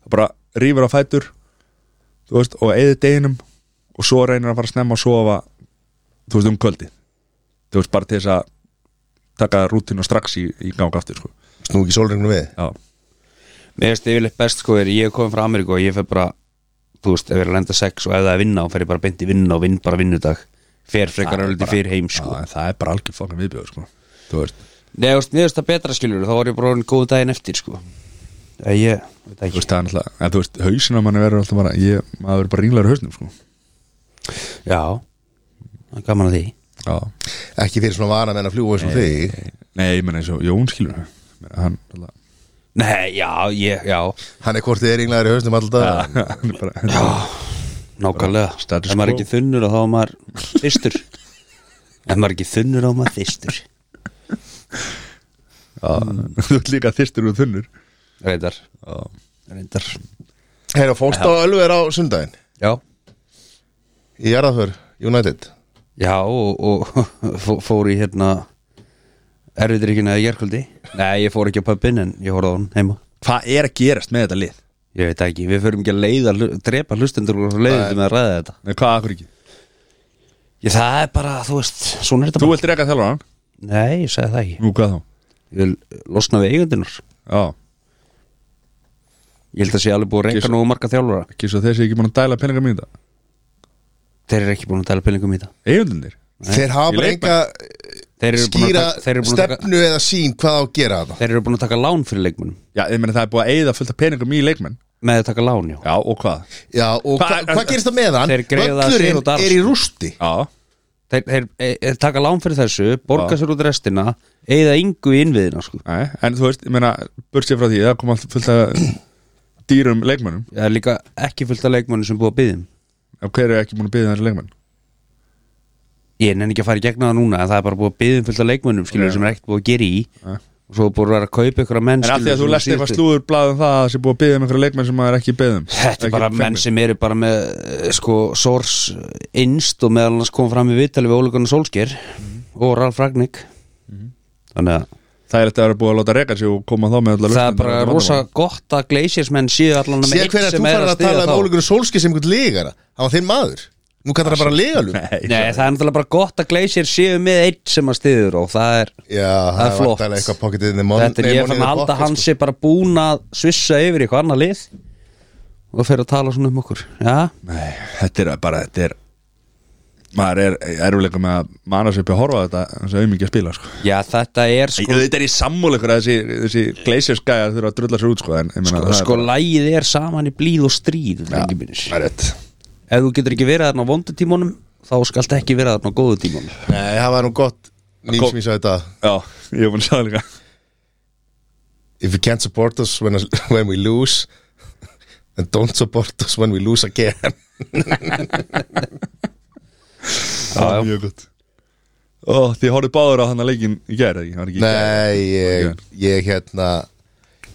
Speaker 1: það bara rýfur á fætur þú veist, og eður deginum og svo reynir að fara snemma að sofa þú veist, um kvöldi þú veist, bara til þess að taka rútinu strax í, í gang aftur sko.
Speaker 2: Snú ekki sólringunum við
Speaker 1: já,
Speaker 3: Mér veist yfirleitt best sko er ég er komin frá Ameríku og ég fer bara þú veist, ef ég er að lenda sex og ef það er vinna og fer ég bara beint í vinna og vinn bara vinnudag fer frekar
Speaker 1: Það er
Speaker 3: ölliti
Speaker 1: bara-
Speaker 3: fyrir heim
Speaker 1: já,
Speaker 3: sko
Speaker 1: en það er bara algjör fangin viðbjöð sko. þú veist,
Speaker 3: Nei, þú veist, mér veist það betra skilur þá var ég bara orðin góð daginn eftir sko Eða ég, veit
Speaker 1: þú
Speaker 3: ekki
Speaker 1: veist, það er náttúrulega en þú veist, hausina manni verður alltaf bara ég, maður verður bara ringlaður í hausnum sko.
Speaker 3: Já, það er gaman að því
Speaker 1: já,
Speaker 2: Ekki fyrir svona vana menn að fljúa eins og þig
Speaker 1: Nei, ég menna eins og Jón skilur ég meina, hann, alltaf,
Speaker 3: Nei, já, ég, já,
Speaker 2: Hann er hvort þið er ynglaður í hausnum alltaf
Speaker 1: hann er bara
Speaker 3: nákvæmlega
Speaker 1: Status
Speaker 3: Ef maður
Speaker 1: quo.
Speaker 3: er ekki þunnur þá er maður þystur Ef maður er ekki þunnur þá er maður þystur
Speaker 1: já, þú ert líka þyrstur og þunnur
Speaker 3: Reyndar,
Speaker 1: já,
Speaker 3: reyndar
Speaker 2: Herra, fórst á Ölver á sundaginn
Speaker 3: Já,
Speaker 2: Í Jarðaför, United
Speaker 3: Já og, og <laughs> fó- fór í hérna erfiðrykkina í gerkvöldi Nei, ég fór ekki á pöppin en ég horfði á hann heima
Speaker 1: hvað er að gerast með þetta lið?
Speaker 3: Ég veit ekki, við förum ekki að leiða hlu- drepa hlustendur og leiðum með að ræða þetta
Speaker 1: Nei, hvað akkur ekki?
Speaker 3: ég, Það er bara, þú veist, svona er þetta
Speaker 1: Þú
Speaker 3: bara
Speaker 1: vilt reka þjálfur hann?
Speaker 3: Nei, ég segi það ekki
Speaker 1: Nú, hvað þá?
Speaker 3: Ég vil losna við eigundinar
Speaker 1: Já,
Speaker 3: Ég held að sé alveg búið að
Speaker 1: Ekki
Speaker 3: reyka
Speaker 1: svo-
Speaker 3: nógu marga þjálfara
Speaker 1: ekki svo þessi ekki búin að dæla peningar mínu þetta
Speaker 3: Þeir eru ekki búin að tala pillingum í þetta
Speaker 1: Eigundunir?
Speaker 2: Þeir hafa
Speaker 1: Í
Speaker 2: bara enga
Speaker 3: Þeir eru búin að
Speaker 2: skýra
Speaker 3: taka- þeir eru búin að taka-
Speaker 2: stefnu eða sín hvað á að gera þetta
Speaker 3: Þeir eru búin að taka lán fyrir leikmunum
Speaker 1: Já, ég meina það er búið að eigða fullt af peningum í leikmenn
Speaker 3: Með að taka lán, já
Speaker 1: Já, og hvað?
Speaker 2: Já, og
Speaker 1: Hva-
Speaker 2: hva, hvað gerist það með hann?
Speaker 3: Þeir greiða sér út
Speaker 2: Öllurinn
Speaker 3: arð.
Speaker 2: er í rústi
Speaker 1: Já,
Speaker 3: Þeir, þeir e, e, taka lán fyrir þessu, borga
Speaker 1: Já.
Speaker 3: sér út restina Eða yngu í innviðina, sko
Speaker 1: nei, en þú veist, ég meina burtsið frá því, það kom allt fullt af dýrum leikmennum
Speaker 3: Það er líka ekki fullt af leikmönnum sem búið að byggðum
Speaker 1: og hver er ekki búin að byggja þessi leikmenn?
Speaker 3: Ég nenni ekki að fara í gegna það núna en það er bara búið að byggðum fullt af leikmönnum skilur sem er ekkert búið að gera í
Speaker 1: Nei.
Speaker 3: og svo er búið að vera að kaupa ykkur að menn
Speaker 1: En af því að
Speaker 3: skilurðu,
Speaker 1: þú
Speaker 3: sem
Speaker 1: lest eitthvað
Speaker 3: síðustu-
Speaker 1: slúðurblað um það að það sé búið að byggja um einhverja leikmenn sem maður er ekki beðið um
Speaker 3: Þetta er
Speaker 1: Ekki
Speaker 3: bara
Speaker 1: fengnir.
Speaker 3: menn sem eru bara með eh, sko source innst og
Speaker 1: Mhm.
Speaker 3: meðal annars kom fram í vitali við Óleikana Solskir og Ralf Ragnik þannig að
Speaker 1: Það er þetta að vera búið að láta reka sig og koma þá með allar
Speaker 3: það er
Speaker 1: lausnirnar
Speaker 3: bara
Speaker 1: á þetta
Speaker 3: rosa
Speaker 1: vandamál.
Speaker 3: gott að Glaciers-menn séu allan um
Speaker 2: Sér
Speaker 3: einn
Speaker 2: hver að
Speaker 3: sem
Speaker 2: þú
Speaker 3: er
Speaker 2: farir að
Speaker 3: styðja
Speaker 2: tala um
Speaker 3: þá.
Speaker 2: ólíkur sólskið sem einhvern legara Það var þinn maður Nú kallar það bara legalum Já,
Speaker 1: Nei,
Speaker 3: Nei, það er náttúrulega bara gott að Glaciers séu með einn sem að stiður og það er
Speaker 2: það
Speaker 3: er
Speaker 2: er
Speaker 3: flott.
Speaker 2: vantarlega eitthvað pocketið in the mon-
Speaker 3: þetta er
Speaker 2: nei, money
Speaker 3: ég fann
Speaker 2: in
Speaker 3: að
Speaker 2: the
Speaker 3: halda
Speaker 2: pocket,
Speaker 3: hann
Speaker 2: sko.
Speaker 3: sé bara búin að svissa yfir í eitthvað annað lið og fer að tala svona um okkur já,
Speaker 1: Nei, þetta er bara, þetta er maður er erfilega með að manna sér upp í að horfa á þetta eins og auðmikið að spila sko.
Speaker 3: já þetta er
Speaker 1: Sko,
Speaker 3: sko
Speaker 1: þetta er í sammúl ykkur að þessi, þessi gleisjaskæja þurfa að drulla sér út sko, en, ég meina,
Speaker 3: sko,
Speaker 1: það er
Speaker 3: sko
Speaker 1: bara-
Speaker 3: lægið er saman í blíð og stríð ja.
Speaker 1: Það er rétt
Speaker 3: ef þú getur ekki verið þarna á vondutímunum þá skalt ekki vera þarna á góðu tímunum
Speaker 2: Nei, það var nú gott Mím sem ég sagði þetta
Speaker 1: Já, ég er búin að segja það líka
Speaker 2: If you can't support us when, <laughs> when we lose Then don't support us when we
Speaker 1: <laughs>
Speaker 2: lose again
Speaker 1: Það er mjög gott Ó, þið horfðu báður á hann að leikin í gær, eða ekki? Var ekki í gær?
Speaker 2: Nei, ég, ég hérna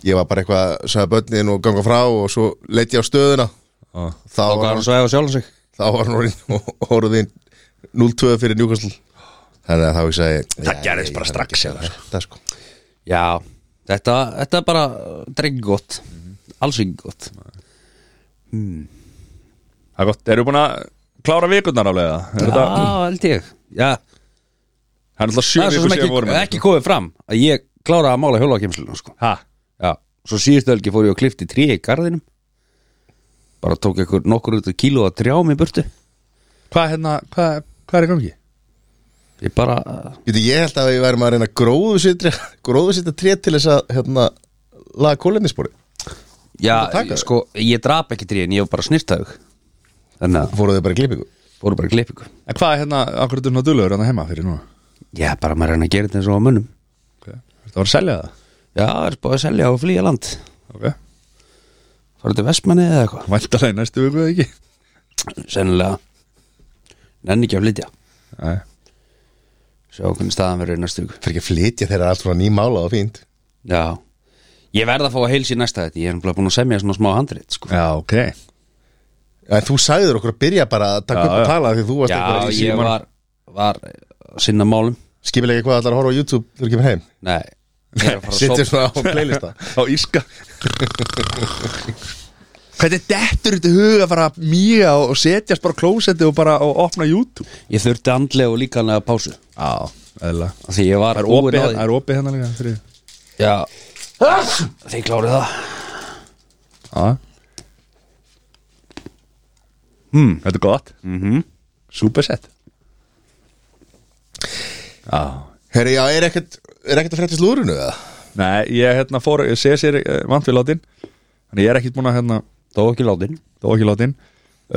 Speaker 2: Ég var bara eitthvað, sagði börnin og ganga frá og svo leitt ég á stöðuna
Speaker 1: Ó,
Speaker 2: Þá
Speaker 3: þá
Speaker 2: var
Speaker 3: var hann
Speaker 2: hann,
Speaker 3: svo eða sjálf sig
Speaker 2: þá var hann orðin, orðin 0-2 fyrir Newcastle Þannig að þá ég sagði
Speaker 1: Það
Speaker 2: já,
Speaker 1: gerðist
Speaker 2: ég-
Speaker 1: bara
Speaker 2: ég þarf
Speaker 1: strax,
Speaker 2: ekki að
Speaker 1: eða,
Speaker 2: gera Þetta sko
Speaker 3: já, þetta, þetta er bara drengi gott, alls ekki gott
Speaker 1: Það er gott, eru búin að klára vikurnar aflega? Er
Speaker 3: já,
Speaker 1: þetta,
Speaker 3: held ég já,
Speaker 1: það er alltaf sjö
Speaker 3: það er svo
Speaker 1: vikur
Speaker 3: sem
Speaker 1: sem vorum
Speaker 3: ekki, ekki komið fram að ég kláraði að mála hjólakemsluna sko.
Speaker 1: Hæ?
Speaker 3: já, svo síðustu helgi fór ég og klifti trí í garðinum bara tók ykkur nokkur út kíló að trjám í burtu
Speaker 1: Hvað hérna, hvað, hvað er í gangi?
Speaker 3: ég bara,
Speaker 2: Viti, ég held að við værum að reyna gróðusýttra gróðusýttra tré til þess að hérna, laga kólendispori
Speaker 3: já,
Speaker 2: taka þau?
Speaker 3: sko ég drap ekki trí en ég var bara snirtaug þannig að
Speaker 2: fóruðu þið bara í klippingu
Speaker 3: fóru bara að klipa ykkur
Speaker 1: En hvað er hérna, akkur er þetta duðlegur hérna heima fyrir núna?
Speaker 3: já, bara maður er hann að gera þetta eins og á mönnum
Speaker 1: Okay. Þetta var að selja það?
Speaker 3: já, er búið að selja og flýja land
Speaker 1: Ok,
Speaker 3: farið til Vestmanni eða eitthvað
Speaker 1: væntalega í næstu viku eða ekki?
Speaker 3: sennilega, nenni ekki að flytja
Speaker 1: Nei,
Speaker 3: sjá hvernig staðan verður í næstu ykkur
Speaker 2: fyrir ekki að flytja þeirra allt frá nýmála og fínt
Speaker 3: já, ég verð að fá að heilsa í næsta þetta ég er nefnilega búin að semja svona smá handrit sko.
Speaker 1: já, ok
Speaker 2: En þú sagðir okkur að byrja bara að taka
Speaker 1: Já,
Speaker 2: upp
Speaker 1: já.
Speaker 2: að tala því þú varst
Speaker 3: já,
Speaker 2: eitthvað í
Speaker 3: ég
Speaker 2: síman
Speaker 3: var, var að sinna málum
Speaker 2: skipilega hvað allar að horfa á YouTube þegar þú kemur heim
Speaker 3: Nei, ég er að fara að
Speaker 2: Sittir
Speaker 3: sopna
Speaker 2: svona á playlista
Speaker 1: <laughs> Á íska Hvernig dettur þetta hug að fara mýja og setjast bara á klósetti og bara og opna YouTube?
Speaker 3: Ég þurfti andlega og líkanlega pásu
Speaker 1: Já, eðla
Speaker 3: af Því ég var
Speaker 1: Það er
Speaker 3: búinn
Speaker 1: opið
Speaker 3: á
Speaker 1: hérna,
Speaker 3: því
Speaker 1: er opið hérna líka fyrir
Speaker 3: Já Þið klárið það
Speaker 1: Já
Speaker 3: hmm.
Speaker 1: Þetta er gott
Speaker 3: mm -hmm.
Speaker 1: Superset Já
Speaker 2: <laughs> Herri, já, er ekkert, er ekkert að frétta í slúrinu eða?
Speaker 1: Nei, ég hérna fór, ég sé sér uh, vant við látin Þannig ég er ekkit búin að hérna
Speaker 3: Þó ekki látin
Speaker 1: þó ekki látin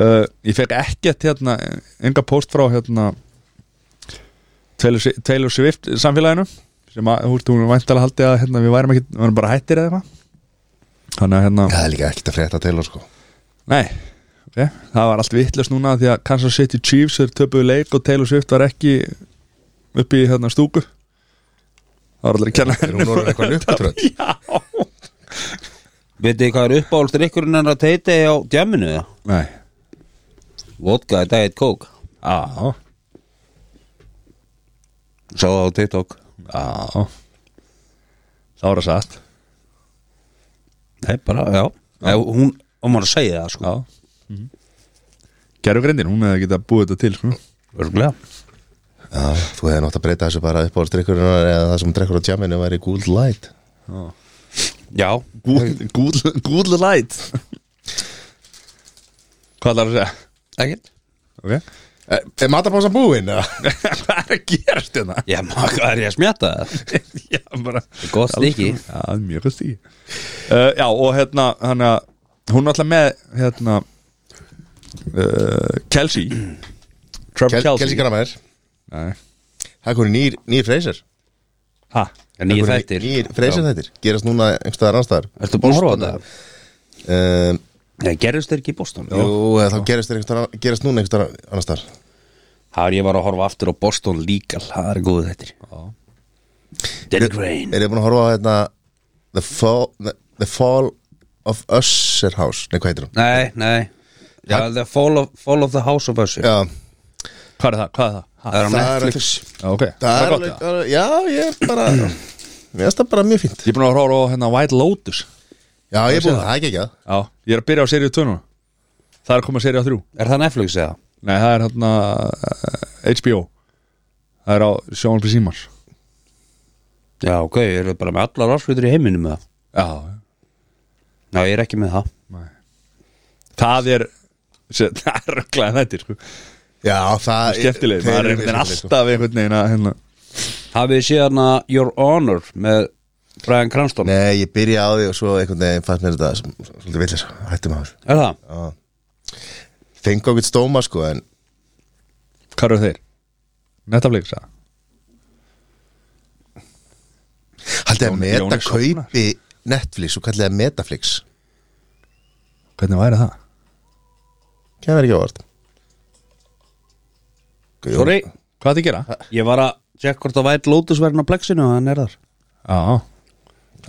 Speaker 1: uh, ég fekk ekkert hérna enga post frá hérna Taylor Swi- Taylor Swift samfélaginu sem að, hú veist, hún væntalega haldi að hérna, við værum ekki, við værum bara hættir eða eitthvað þannig að hérna,
Speaker 2: Já, það er líka ekkert að frétta til og sko
Speaker 1: nei okay. það var allt vittlust núna því að Kansas City Chiefs er töpuðu leik og Taylor Swift var ekki upp í hérna stúku það var allir að kenna
Speaker 2: Er hún
Speaker 1: <laughs>
Speaker 2: orðin eitthvað lukkutrönd?
Speaker 1: já,
Speaker 3: Vitið þið hvað er uppáhaldur ykkurinn en að teiti á djaminu það?
Speaker 1: nei,
Speaker 3: Vodka, Diet Coke
Speaker 1: á,
Speaker 3: Sá það á TikTok
Speaker 1: á það var að satt
Speaker 3: Nei, bara, já, já. Ef, Hún, og maður að segja það sko
Speaker 1: Já Gerfugrindin, hún hefði getað búið þetta til sko.
Speaker 3: Örgulega
Speaker 2: Já, þú hefði nátt að breyta þessu bara upp á strikkurinn eða það sem drekkur á tjáminu væri Good Light
Speaker 3: Já,
Speaker 1: Gúdlu light Hvað ætlar að segja?
Speaker 3: ekkert
Speaker 1: Okay.
Speaker 2: Er, Eh, er matapásan búinn? eða?
Speaker 1: <laughs> Hvað er að gerast þetta?
Speaker 3: Já, maður, hvað <laughs> er ég að smjata það? <laughs>
Speaker 1: já, bara
Speaker 3: Gott stykki
Speaker 1: Já, mjög gott stíki uh, Já, og hérna hana, Hún er alltaf með hérna, uh, Kelsey Trevor
Speaker 2: Kel-
Speaker 1: Kelsey,
Speaker 2: Kelsey Grammer
Speaker 1: Nei.
Speaker 2: Það er konið nýr, nýr freysir
Speaker 1: Ha,
Speaker 3: Nýja þættir
Speaker 2: Nýr freysir þættir Gerast núna einhverstaðar anstaðar
Speaker 3: Ertu búin að horfa á það?
Speaker 2: Um,
Speaker 3: Nei, gerðust þeir ekki í Boston?
Speaker 2: jú, eða þá gerist, þeir einhvers staðar- gerist núna einhverstaðar annarstar
Speaker 3: Það er ég var að horfa aftur á Boston Legal Það er góð þetta Dead Grain
Speaker 2: Er þið búin að horfa á hérna The Fall, the, the fall of Usher House Nei, hvað heitir hún?
Speaker 3: Nei, nei Já, The fall of, fall of the House of Usher
Speaker 2: Já,
Speaker 1: hvað er það? Hvað er það? Ha,
Speaker 3: Það er á
Speaker 2: það er
Speaker 3: Netflix
Speaker 1: já, okay.
Speaker 2: það er
Speaker 1: gott,
Speaker 2: <clears throat> alveg Já, ég er bara mér finnst það bara mjög fínt
Speaker 1: Ég er búin að horfa á hérna White Lotus
Speaker 2: Já, ég er búin að það ekki ekki að
Speaker 1: Já, ég er að byrja á seríu 2 núna Það er að koma seríu 3
Speaker 3: Er það Netflix eða?
Speaker 1: Nei, það er hérna eh, HBO Það er á sjónarpið símars
Speaker 3: Já, ok, eru bara með allar áslutur í heiminum með það
Speaker 1: Já,
Speaker 3: Já, ég er ekki með það
Speaker 1: það er sé- <laughs> Það er rögglega þetta, sko
Speaker 2: Já, það
Speaker 1: Skeptileg,
Speaker 2: þeir
Speaker 1: maður er
Speaker 2: eru
Speaker 1: einhvern veginn
Speaker 2: skemmtilegir, sko.
Speaker 1: alltaf einhvern veginn að hérna
Speaker 3: Hafið þið séð hana Your Honor með Brian Cranston
Speaker 2: Nei, ég byrja á því og svo einhvern veginn fannst mér þetta sem- svolítið villis, hættum að þessu
Speaker 3: Er það?
Speaker 2: Fengu okkur stóma sko, en
Speaker 1: Hvað eru þeir? Netaflix, að?
Speaker 2: haldið að
Speaker 1: Jón-
Speaker 2: meta
Speaker 1: Jónas
Speaker 2: kaupi Netflix og kallið að Metaflix
Speaker 1: Hvernig væri það?
Speaker 2: Kæmur ekki ávart
Speaker 3: Sorry,
Speaker 1: Hvað þið gera?
Speaker 3: ég var að tjekka hvort að væri Lotus verðin á plexinu og hann er þar
Speaker 1: Já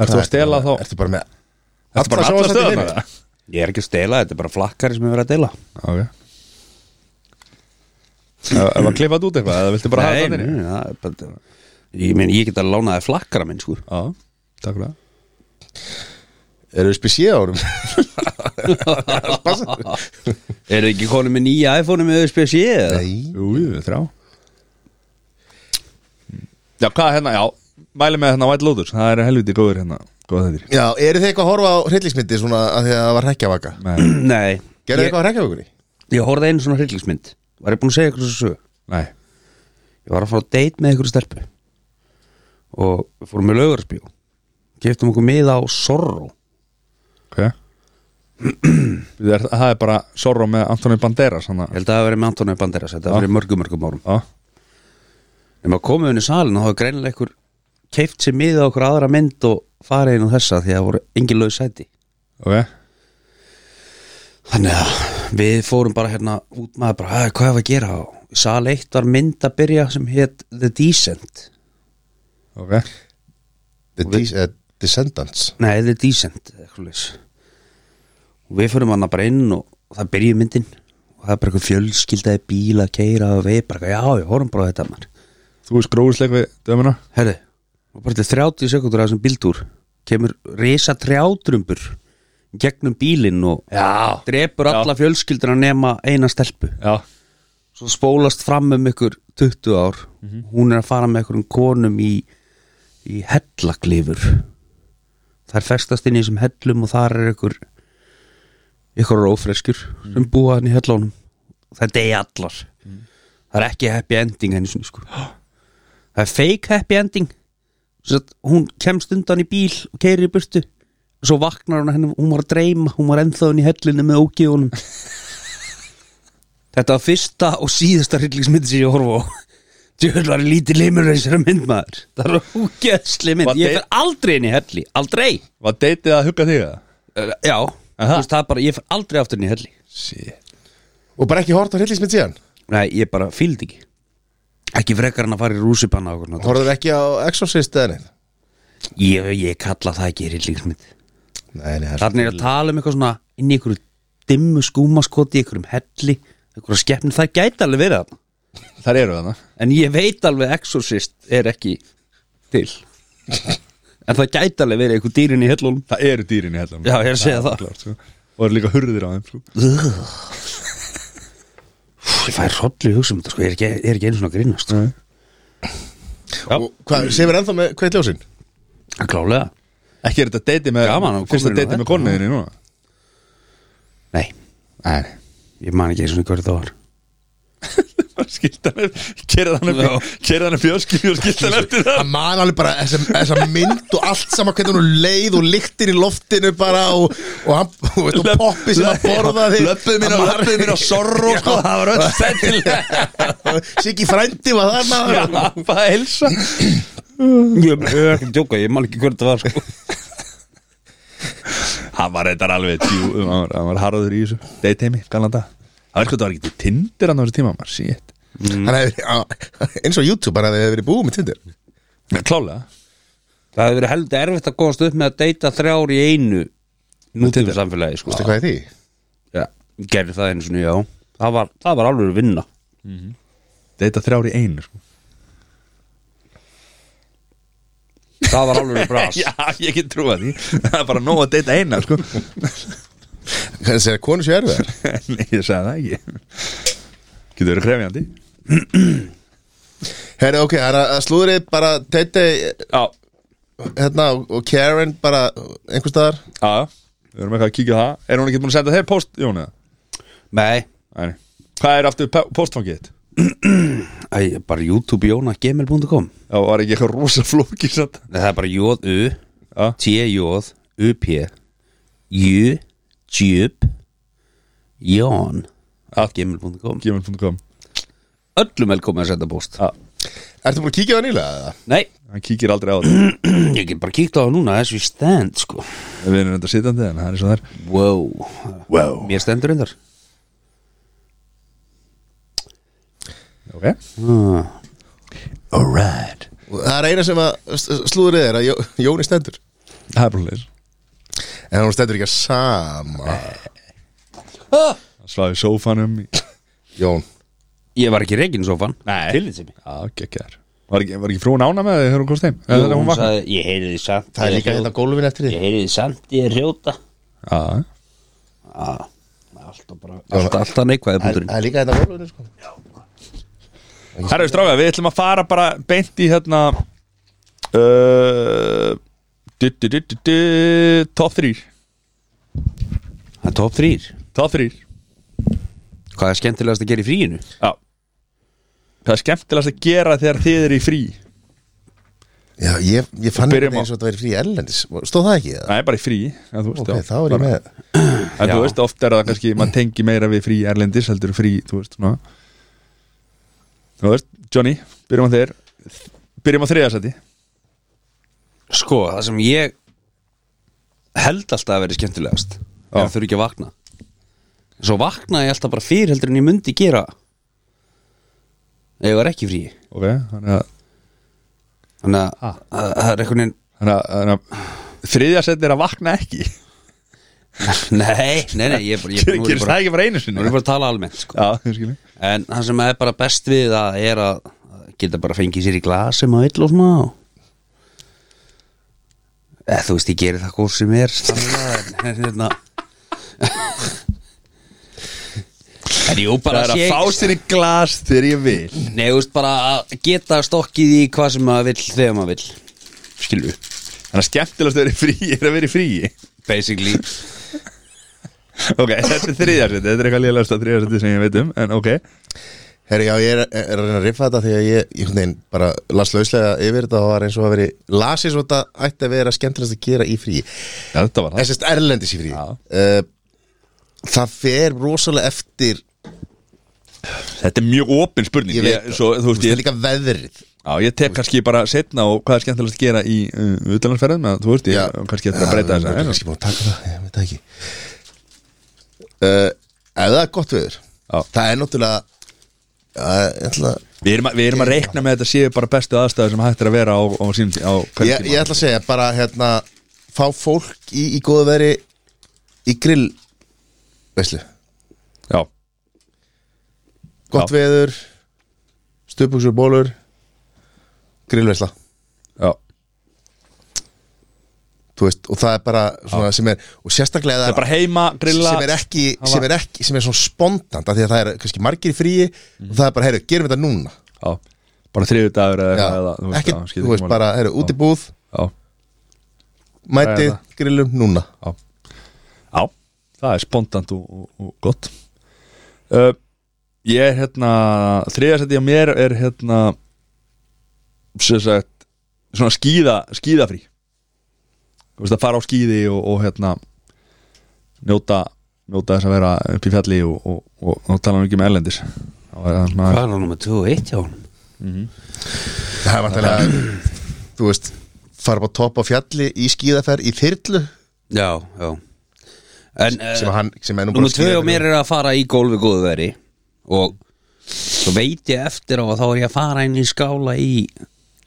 Speaker 1: Ertu að stela þá?
Speaker 2: Ertu bara með
Speaker 1: Ertu bara
Speaker 2: Alla
Speaker 1: alla
Speaker 2: sjónvarpsþætti
Speaker 1: stöðum?
Speaker 2: fyrir?
Speaker 3: Ég er ekki að stela, þetta er bara flakkari sem ég verið að deila
Speaker 1: Ok Það var klippað út eitthvað eða viltu bara hafa
Speaker 3: nei,
Speaker 1: þetta inn í?
Speaker 3: nei, það er bara- Ég meina, ég get að lána þið flakkara minn, sko
Speaker 1: Já, takk fyrir það
Speaker 2: Eru við spesíða árum? <laughs>
Speaker 3: Er ekki konum með nýja iPhone með USB-C eða?
Speaker 2: Nei
Speaker 1: Jú, jú, þrjá Já, hvað hérna, já Mæli með hérna White Lotus, það er helviti góður hérna Góð þetta
Speaker 2: Já, eru þið eitthvað að horfa á hryllingsmyndi svona að því að það var rekjavaka?
Speaker 1: Nei,
Speaker 3: Nei
Speaker 2: Gerðu þið
Speaker 3: ég,
Speaker 2: eitthvað á rekjavakunni?
Speaker 3: ég horfði einu svona hryllingsmynd Var ég búin að segja ykkur þessu sögu?
Speaker 1: nei,
Speaker 3: Ég var að fara á date með ykkur stelpu Og við fórum með laugarspjó Giftum okkur miða á Sorro
Speaker 1: ok Það er, það er bara Sorro með Antoni Banderas hann
Speaker 3: Ég
Speaker 1: að-
Speaker 3: held að það hafi verið með Antonio Banderas Þetta var fyrir mörgum mörgum árum
Speaker 1: Já,
Speaker 3: En maður komið inn í salin og það var greinilega ykkur Keift sér miða á okkur aðra mynd og farið inn á þessa Því að það voru engin laus sæti
Speaker 1: ok
Speaker 3: Þannig að við fórum bara hérna út maður bara, "Æ, hvað er að gera á? Sal 1 var mynd að byrja sem hétt The Descent
Speaker 1: Ok,
Speaker 2: The Des- eh, Descendants
Speaker 3: Nei, The Descent eitthvað leys. Og við fórum hann bara inn og það byrjuði myndin og það er bara eitthvað fjölskyldaði bíla að keira og við bara, já, við horfum bara á þetta maður
Speaker 1: þú er skróðisleik við dömuna
Speaker 3: Herðu, og bara til 30 sekundur af þessum bíltúr kemur risa trjádrumbur í gegnum bílinn og
Speaker 1: Já
Speaker 3: drepur alla fjölskylduna nema eina stelpu
Speaker 1: Já,
Speaker 3: svo spólast fram um ykkur 20 ár hún er að fara með einhverjum konum í, í hellaglifur þær festast inn í þessum hellum og þar er ykkur ykkur ófreskjur sem búa hann í hellunum það degi allar það er ekki happy ending henni sinni sko það er fake happy ending Svo að hún kemst undan í bíl og keiri í burtu svo vaknar hún að henni, hún var að dreyma hún var ennþá henni í hellinu með ógeðunum Þetta var fyrsta og síðasta hryllingsmynd sem ég horfa á Djöðlar lítið limur þessari mynd maður Það var úgeðsli mynd
Speaker 1: Var
Speaker 3: Ég
Speaker 1: date-
Speaker 3: fer aldrei inn í helli, aldrei
Speaker 1: var deytið að hugga þig að
Speaker 3: Uh, Já, þú veist það er bara, ég fer aldrei aftur inn í helli
Speaker 1: Shit
Speaker 2: Og bara ekki hort á hryllingsmynd síðan?
Speaker 3: Nei, ég bara fíldi ekki Ekki frekar en að fara í rúsipanna og okkur
Speaker 2: Horður ekki á Exorcist eða neitt?
Speaker 3: ég, ég kalla það ekki hryllingsmynd
Speaker 2: Nei, nei, það er
Speaker 3: Þannig er að tala um eitthvað svona inn í einhverju dimmu skúmaskoti, í einhverjum helli einhverju skeppni, það gæti alveg verið þarna.
Speaker 1: Þar eru þarna
Speaker 3: En ég veit alveg Exorcist er ekki til En það gæti alveg verið einhver dýrin í hellunum
Speaker 1: Það eru dýrin í hellan
Speaker 3: Já, ég er að segja það
Speaker 1: Klart, sko. Og eru líka hurðir á þeim sko.
Speaker 3: Úff, Ég fæ hrollu í hugsa um þetta sko Ég er ekki, ég er ekki einu svona að grínast sko.
Speaker 2: Og hvað, sefur ennþá með hvað er ljósin?
Speaker 3: En Klálega
Speaker 1: Ekki er þetta deytið með
Speaker 3: Gaman, hann kom
Speaker 1: Fyrsta
Speaker 3: inn á
Speaker 1: deytið með
Speaker 3: þetta.
Speaker 1: konniðinni núna
Speaker 3: Nei,
Speaker 1: Nei
Speaker 3: ég man ekki einu svona hverju það var
Speaker 1: Skilt hann upp Kerið hann upp Kerið hann upp fjóskipjó Skilt hann eftir það
Speaker 2: Það man alveg bara þessa, þessa mynd og allt saman hvernig hún er leið og lyktir í loftinu bara og, og, hann, og, veit, og poppi sem að borða þig
Speaker 1: Löppuð mín á Löppuð mín á sorro sko Það var öll sættilega
Speaker 2: <laughs> Siggi frændi var það maður
Speaker 1: Hvað helsa
Speaker 3: Ég ég er ekki að djóka, ég man ekki hverju það var sko
Speaker 1: Hann var reyndar alveg tjú um, Hann var, hann var harður í þessu Deyteimi Gallan dag Það er hvað það var ekki til tindir Hann á þessu tíma maður Shit
Speaker 2: Hann
Speaker 1: Mm.
Speaker 2: hefði, á, eins og YouTube, hann hefði verið búið með Tinder
Speaker 1: Klálega
Speaker 3: Það hefur verið heldur erfitt að komast upp með að deyta þrjár í einu Nútíðum samfélagi sko
Speaker 2: Veistu hvað er því?
Speaker 3: Já, ég gerði það einu svona, já Það var, það var alveg vinna
Speaker 1: Deyta þrjár í einu sko
Speaker 3: það var alveg bras
Speaker 1: <laughs> Já, ég get trúa því Það er bara nóg að deyta eina sko. <laughs>
Speaker 2: Hvernig segir að konur séu erfiðar?
Speaker 1: Nei, ég sagði það ekki Getur verið krefjandi
Speaker 2: Herri, ok, það er að slúðrið bara Tete
Speaker 1: Já,
Speaker 2: hérna, og- og Karen bara einhvers staðar
Speaker 1: já, við erum eitthvað að kíkja á það Er hún ekki búin að senda þeir post, Jónu?
Speaker 3: nei,
Speaker 1: Nei Hvað er aftur pe- postfangið þitt?
Speaker 3: Æ, bara youtube.gmail.com
Speaker 1: Já, var ekki eitthvað rosa flóki satt
Speaker 3: Nei, það er bara jóð u
Speaker 1: Já.
Speaker 3: t-jóð u-p jú djúb jón
Speaker 1: Allt.
Speaker 3: gmail.com
Speaker 1: Gmail.com
Speaker 3: öllum velkomin að senda post
Speaker 1: Já,
Speaker 2: Ertu búin að kíkja á það nýlega? eða?
Speaker 3: nei, <clears throat>
Speaker 1: hann kíkir aldrei á þetta
Speaker 3: ég get bara kíkt á það núna þessu stend sko
Speaker 1: Við erum þetta sitjandi en það er svo þar
Speaker 3: wow,
Speaker 1: Wow
Speaker 3: mér stendur reyndar
Speaker 1: Ok
Speaker 3: ah.
Speaker 1: Alright
Speaker 2: Og Það er eina sem að s- slúðrið er að Jó- Jóni stendur
Speaker 1: Það er bara leir
Speaker 2: En hún stendur ekki að sama
Speaker 1: Svaði sófanum í...
Speaker 2: Jón
Speaker 3: ég var ekki reygin í sofan
Speaker 1: Nei.
Speaker 3: Tillitsemi.
Speaker 1: Já, geggjær var ekki, var ekki frún ána með þig þegar hún komst heim? Eða þegar
Speaker 3: Jú,
Speaker 1: hún
Speaker 3: hún
Speaker 1: vaknaði?
Speaker 3: sagði, ég heyri því samt
Speaker 2: Það er líka hérna gólfin eftir
Speaker 3: ég
Speaker 2: því
Speaker 3: heyri því samt ég er hrjóta
Speaker 1: Já,
Speaker 3: ah. alltaf bara alltaf, alltaf neikvæði
Speaker 2: Það er-
Speaker 3: punkturinn
Speaker 2: það er líka hérna gólfin sko.
Speaker 1: Herra, stráka, við ætlum að fara bara beint í hérna uh, du, du, du, du, du, Top 3
Speaker 3: það er top 3
Speaker 1: Top 3
Speaker 3: hvað er skemmtilegast að gera í fríinu
Speaker 1: Já Hvað er skemmtilegast að gera þegar þið er í frí?
Speaker 2: Já, ég, ég fann
Speaker 1: Byrjum
Speaker 2: ekki
Speaker 1: á-
Speaker 2: eins og þetta væri frí erlendis Stóð það ekki? eða?
Speaker 1: Nei, bara í frí en þú veist,
Speaker 2: Ok,
Speaker 1: já,
Speaker 2: þá er ég
Speaker 1: bara-
Speaker 2: með
Speaker 1: En þú
Speaker 3: Já.
Speaker 1: veist, oft er það kannski, maður tengi meira við frí erlendis heldur en frí, þú veist, svona Þú veist, Johnny, byrjum á þeir Byrjum á þriðasæti
Speaker 3: sko, það sem ég held alltaf að vera skemmtilegast er að þurfa ekki að vakna svo vakna ég alltaf bara fyrir heldur en ég myndi gera ef ég var ekki frí
Speaker 1: Ok, þannig að
Speaker 3: þannig að að- það er einhvern veginn <laughs>
Speaker 1: Þannig að- þannig að þriðja setni er að vakna ekki
Speaker 3: nei, nei, nei, ég er bara, ég, nú er ég
Speaker 1: Gerist
Speaker 3: bara,
Speaker 1: það ekki bara einu
Speaker 3: nú er
Speaker 1: sinni
Speaker 3: ég bara að tala almennt sko.
Speaker 1: Já, þú skilur
Speaker 3: en það sem er bara best við að er að að geta bara fengið sér í glas sem að vill og svona og- eða þú veist, ég geri það hvort sem er sannlega, en, en, hérna. en jú, bara
Speaker 1: Það er að
Speaker 3: sé-
Speaker 1: fá sér í glas þegar ég vil
Speaker 3: Nei, þú veist, bara að geta stokkið í hvað sem maður vill þegar maður vill Skilu
Speaker 1: Þannig að skemmtilegast að vera í frí er að vera í frí
Speaker 3: Basically
Speaker 1: Ok, þetta er þriðja setni, þetta er eitthvað lélegasta þriðja setni sem ég veit um En ok,
Speaker 2: Herri, já, ég er, er að reyna að riffa þetta því að ég, ég hvernig, bara las lauslega yfir þetta og var eins og að veri lasið svo þetta ætti að vera skemmtilegast að gera í frí
Speaker 1: já, þetta var það
Speaker 2: Þessast erlendis í frí
Speaker 1: Já.
Speaker 2: uh, Það fer rosalega eftir
Speaker 1: Þetta er mjög opin spurning
Speaker 2: Ég veit
Speaker 1: svo, Þú veist,
Speaker 2: Það er
Speaker 1: ég,
Speaker 2: líka veðrið
Speaker 1: já, ég tek kannski bara setna og hvað er skemmtilegast að gera í uh, utlandsferðum eða Þú veist, ég
Speaker 2: Já.
Speaker 1: kannski eftir að breyta
Speaker 2: Já,
Speaker 1: þess
Speaker 2: ég er kannski búin að taka það, ég veit það ekki uh, Ef það er gott veður
Speaker 1: Já.
Speaker 2: Það er náttúrulega eh, Það er náttúrulega
Speaker 1: Við erum, að- við erum að reikna með að þetta séu bara bestu aðstæður sem hægt er að vera á, á, sín, á hverjum
Speaker 2: ég, ég ætla að segja bara hérna fá fólk í, í góðu veri í grill veislu,
Speaker 1: Já,
Speaker 2: gott
Speaker 1: Já.
Speaker 2: veður stupuksur bólur grillveisla
Speaker 1: já
Speaker 2: þú veist, og það er bara svona sem er, og sérstaklega
Speaker 1: Það er bara heima, grilla
Speaker 2: sem er ekki,
Speaker 1: hafa-
Speaker 2: sem er ekki, sem er svona spontant af því að það er kannski margir í fríi og það er bara, heyrðu, gerum þetta núna
Speaker 1: Já, bara þriðu dagur eða
Speaker 2: Já,
Speaker 1: eitthvað eða, þú veist,
Speaker 2: ekki,
Speaker 1: já, skiptir
Speaker 2: þú veist,
Speaker 1: máli.
Speaker 2: bara, heyrðu, út í búð
Speaker 1: Já,
Speaker 2: mætið, grillum núna
Speaker 1: já, það er spontant og, og, og gott uh, Ég er hérna þriðasætti á mér er hérna sem sagt svona skíða, skíðafrí Þú veist að fara á skíði og, og hérna njóta, njóta þess að vera upp í fjalli og, og, og, og, tala nú ekki með erlendis Þá er það svona-
Speaker 3: Hvað er hann nummer 2 og 1 hjá hann?
Speaker 2: það er vantilega, þú veist fara bara topp á fjalli í skíðaferð í þyrlu
Speaker 3: Já, já En
Speaker 2: sem,
Speaker 3: uh,
Speaker 2: að hann, sem er nú bara
Speaker 3: nummer 2 og mér er að fara í gólfi góðu veri Og Svo veit ég eftir á að þá er ég að fara inn í skála í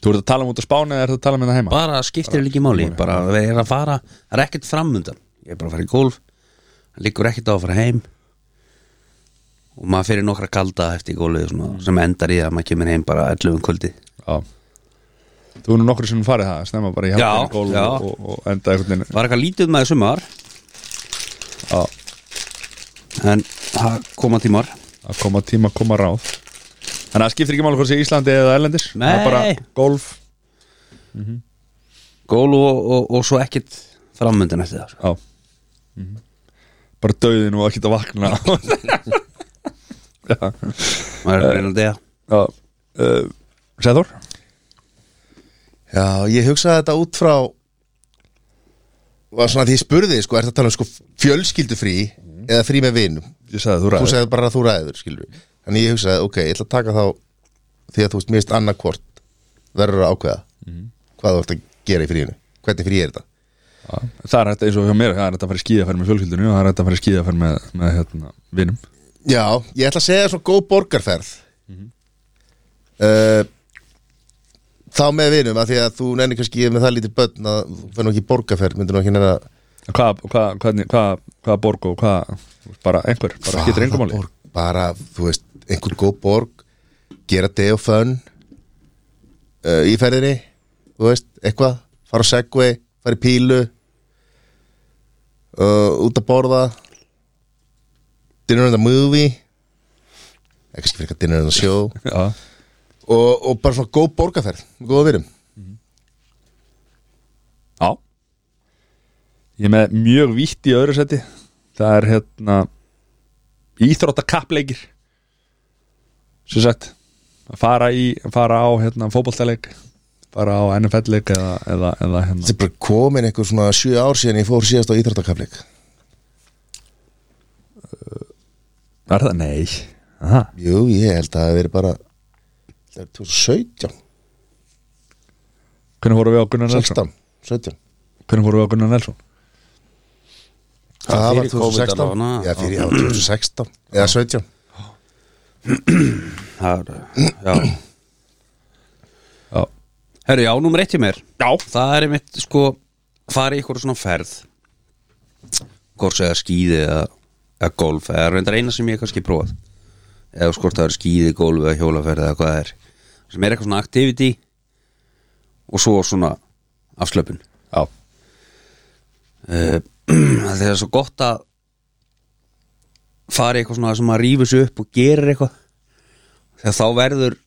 Speaker 1: Þú ert að tala um út á Spáni eða ert að tala um þetta heima?
Speaker 3: Bara skiptir ekki máli Bara að vera að fara Það er ekkert framundan Ég er bara að fara í gólf Það liggur ekkert á að fara heim Og maður fyrir nokkra kalda eftir gólfið og svona, Sem endar í að maður kemur heim bara 11 um kvöldi
Speaker 1: Já Þú er nú nokkru sinnum farið það, snemma bara í
Speaker 3: Já,
Speaker 1: hálfdeginu gól
Speaker 3: já.
Speaker 1: og, og, og enda einhvern veginn
Speaker 3: Var eitthvað lítið með í sumar
Speaker 1: Já.
Speaker 3: En það koma tímar
Speaker 1: að koma tíma, koma ráð Þannig að það skiptir ekki máli hvort sé Íslandi eða Erlendis Það
Speaker 3: Nei.
Speaker 1: er bara golf
Speaker 3: Gól og, og, og svo ekkit framöndin eftir það sko.
Speaker 1: Já Mhm. Bara döðin og ekkert að vakna <laughs> Já,
Speaker 3: Maður er reynandi að
Speaker 1: já. Uh, Sæður?
Speaker 2: Já, ég hugsaði þetta út frá var svona því ég spurði sko, er þetta tala um sko fjölskyldufrí eða frí með vinum
Speaker 1: Ég sagði þú
Speaker 2: þú
Speaker 1: ræður
Speaker 2: segði bara að þú ræður skilur við. þannig ég hugsaði, ok, ég ætla að taka þá því að þú veist, mér veist annarkvort verður að ákveða
Speaker 1: Mhm.
Speaker 2: hvað þú ert að gera í fríinu, hvernig frí er þetta
Speaker 1: Já. Það er þetta eins og hjá mér, það er þetta að fara í skíðaferð með fjölskyldinu og það er þetta að fara í skíðaferð með, með hérna, vinum
Speaker 2: já, ég ætla að segja svona góð borgarferð
Speaker 1: Mhm.
Speaker 2: uh, þá með vinum að því að þú nennir kannski með það lítið börn að þú fennu ekki í borgarferð, myndir nú ekki nenni að
Speaker 1: Hvað, hvað, hvernig, hvað, hvað borg og hvað bara einhver, bara
Speaker 2: Hvaða
Speaker 1: skiptir engum máli
Speaker 2: borg? bara, þú veist, einhver góð borg gera day of fun uh, í ferðinni þú veist, eitthvað, fara á segway fara í pílu uh, út að borða dinner in the movie ekki skil fyrir eitthvað dinner in the show
Speaker 1: Já,
Speaker 2: og, og bara svona góð borgarferð, góða virum
Speaker 1: Já Ég er með mjög vítt í öðru seti Það er hérna Íþróttakappleikir Svo sagt að fara, í, að fara á hérna, fótboltaleik fara á NFL-leik eða, eða, eða hérna
Speaker 2: þetta er bara komin einhver svona sjö ár síðan ég fór síðast á íþróttakafleik
Speaker 1: Er það? Nei Aha.
Speaker 2: jú, ég held að það hafi verið bara það er 2017
Speaker 1: Hvernig voru við á Gunnar Nelson?
Speaker 2: 16, 17
Speaker 1: Hvernig voru við á Gunnar Nelson?
Speaker 2: Það,
Speaker 3: Það
Speaker 2: var
Speaker 3: fyrir COVID
Speaker 2: 2016
Speaker 3: allavega, na?
Speaker 2: Já, fyrir já,
Speaker 3: <clears throat>
Speaker 2: 2016 Eða 17
Speaker 3: það er, Já
Speaker 1: Já,
Speaker 3: Herri, já, númer eitt hjá mér
Speaker 1: já.
Speaker 3: Það er einmitt, sko, fara í ykkur svona ferð Hvort sem það er skíði eða, eða golf eða reyndar eina sem ég hef kannski prófað eða skort það er skíði, golf eða hjólaferð eða hvað það er sem er eitthvað svona activity og svo svona afslöpun
Speaker 1: já.
Speaker 3: uh, Það er svo gott <clears throat> að fara í eitthvað svona sem maður rífur sig upp og gerir eitthvað þegar þá verður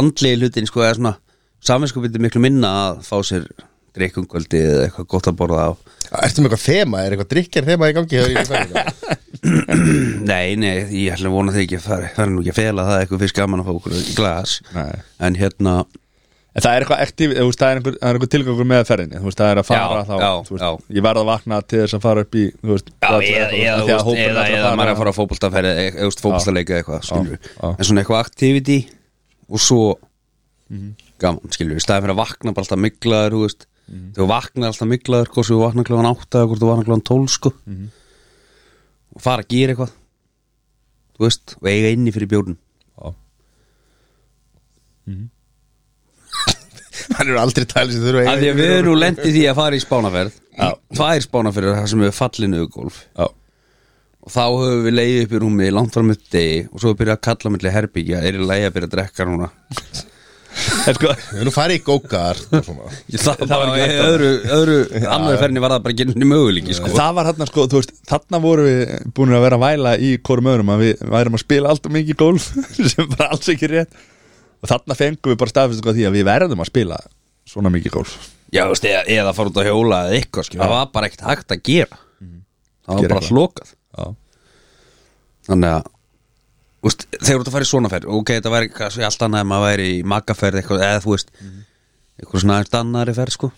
Speaker 3: andlegi hlutin sko eða svona saminskupið miklu minna að fá sér drikkungöldi eða eitthvað gott að borða á <clears throat>
Speaker 2: Ertu með eitthvað þema? Er eitthvað drikkjar þema í gangi? hjá þér í ferðinni?
Speaker 3: <laughs> Nei, nei, ég ætla að vona þig ekki að fara það er nú ekki að fela það eitthvað fyrst gaman að fá okkur í glas
Speaker 1: Nei.
Speaker 3: en hérna
Speaker 1: En það er eitthvað aktiv, þú veist, það er einhver, það er einhver tilgangur með ferðinni, þú veist, það er að fara
Speaker 3: Já,
Speaker 1: þá,
Speaker 3: já,
Speaker 1: þú veist,
Speaker 3: já.
Speaker 1: ég verð að vakna til þess að fara upp í, þú veist,
Speaker 3: Já,
Speaker 1: það-
Speaker 3: eða,
Speaker 1: það-
Speaker 3: eða,
Speaker 1: af því
Speaker 3: eða,
Speaker 1: að hópurinn
Speaker 3: eða,
Speaker 1: ætlar
Speaker 3: eða maður er að
Speaker 1: fara-
Speaker 3: fara á fótboltaferð eða eða, þú veist, fótboltaleika eða eitthvað skilur við.
Speaker 1: já.
Speaker 3: en svona eitthvað activity og svo
Speaker 1: Mhm.
Speaker 3: gaman skilur við, í staðið fyrir að vakna bara alltaf miklaður þú veist,
Speaker 1: Mhm.
Speaker 3: þú vaknar alltaf miklaður hvort þú vaknar klokkan 8 eða hvort þú vaknar klokkan 12 sko
Speaker 1: Mhm.
Speaker 3: og fara að gera eitthvað þú veist, og eiga inni fyrir bjórn
Speaker 1: Já.
Speaker 2: Hann er aldrei talið sem þurfa
Speaker 3: af því að við erum nú lendið því að fara í spánaferð tvær spánaferðir þar sem við fallinu golf
Speaker 1: Já,
Speaker 3: og þá höfum við leiðið upp í rúmi langt fram með degi og svo við byrjað að kalla milli herbyggja er í leiði að byrja að drekka núna
Speaker 1: en sko,
Speaker 2: Við erum nú farið í gókar Þetta
Speaker 3: <laughs> það, það var ekki öðru, <laughs> öðru annar ferni var það bara ekki ennig möguleiki sko.
Speaker 1: það var þarna, sko, þú veist, þarna vorum við búin að vera að væla í hvorum öðrum að við værum að spila alltaf mikið golf <laughs> sem bara alls ekki rétt og þarna fengum við bara staðfist sko því að við verðum að spila svona mikið golf
Speaker 3: já, þú veist, eða, eða fara út að hjóla eða eitthvað sko. Mhm. það var bara ekkert hægt að gera það var
Speaker 1: Gera
Speaker 3: bara
Speaker 1: eitthvað.
Speaker 3: hlokað
Speaker 1: Já,
Speaker 3: þannig að þú veist, þegar þú ert að fara í svona ferð ok, þetta væri kannski allt annað ef maður væri í magaferð eitthvað, eða þú veist eitthvað svona aðeins annari ferð sko.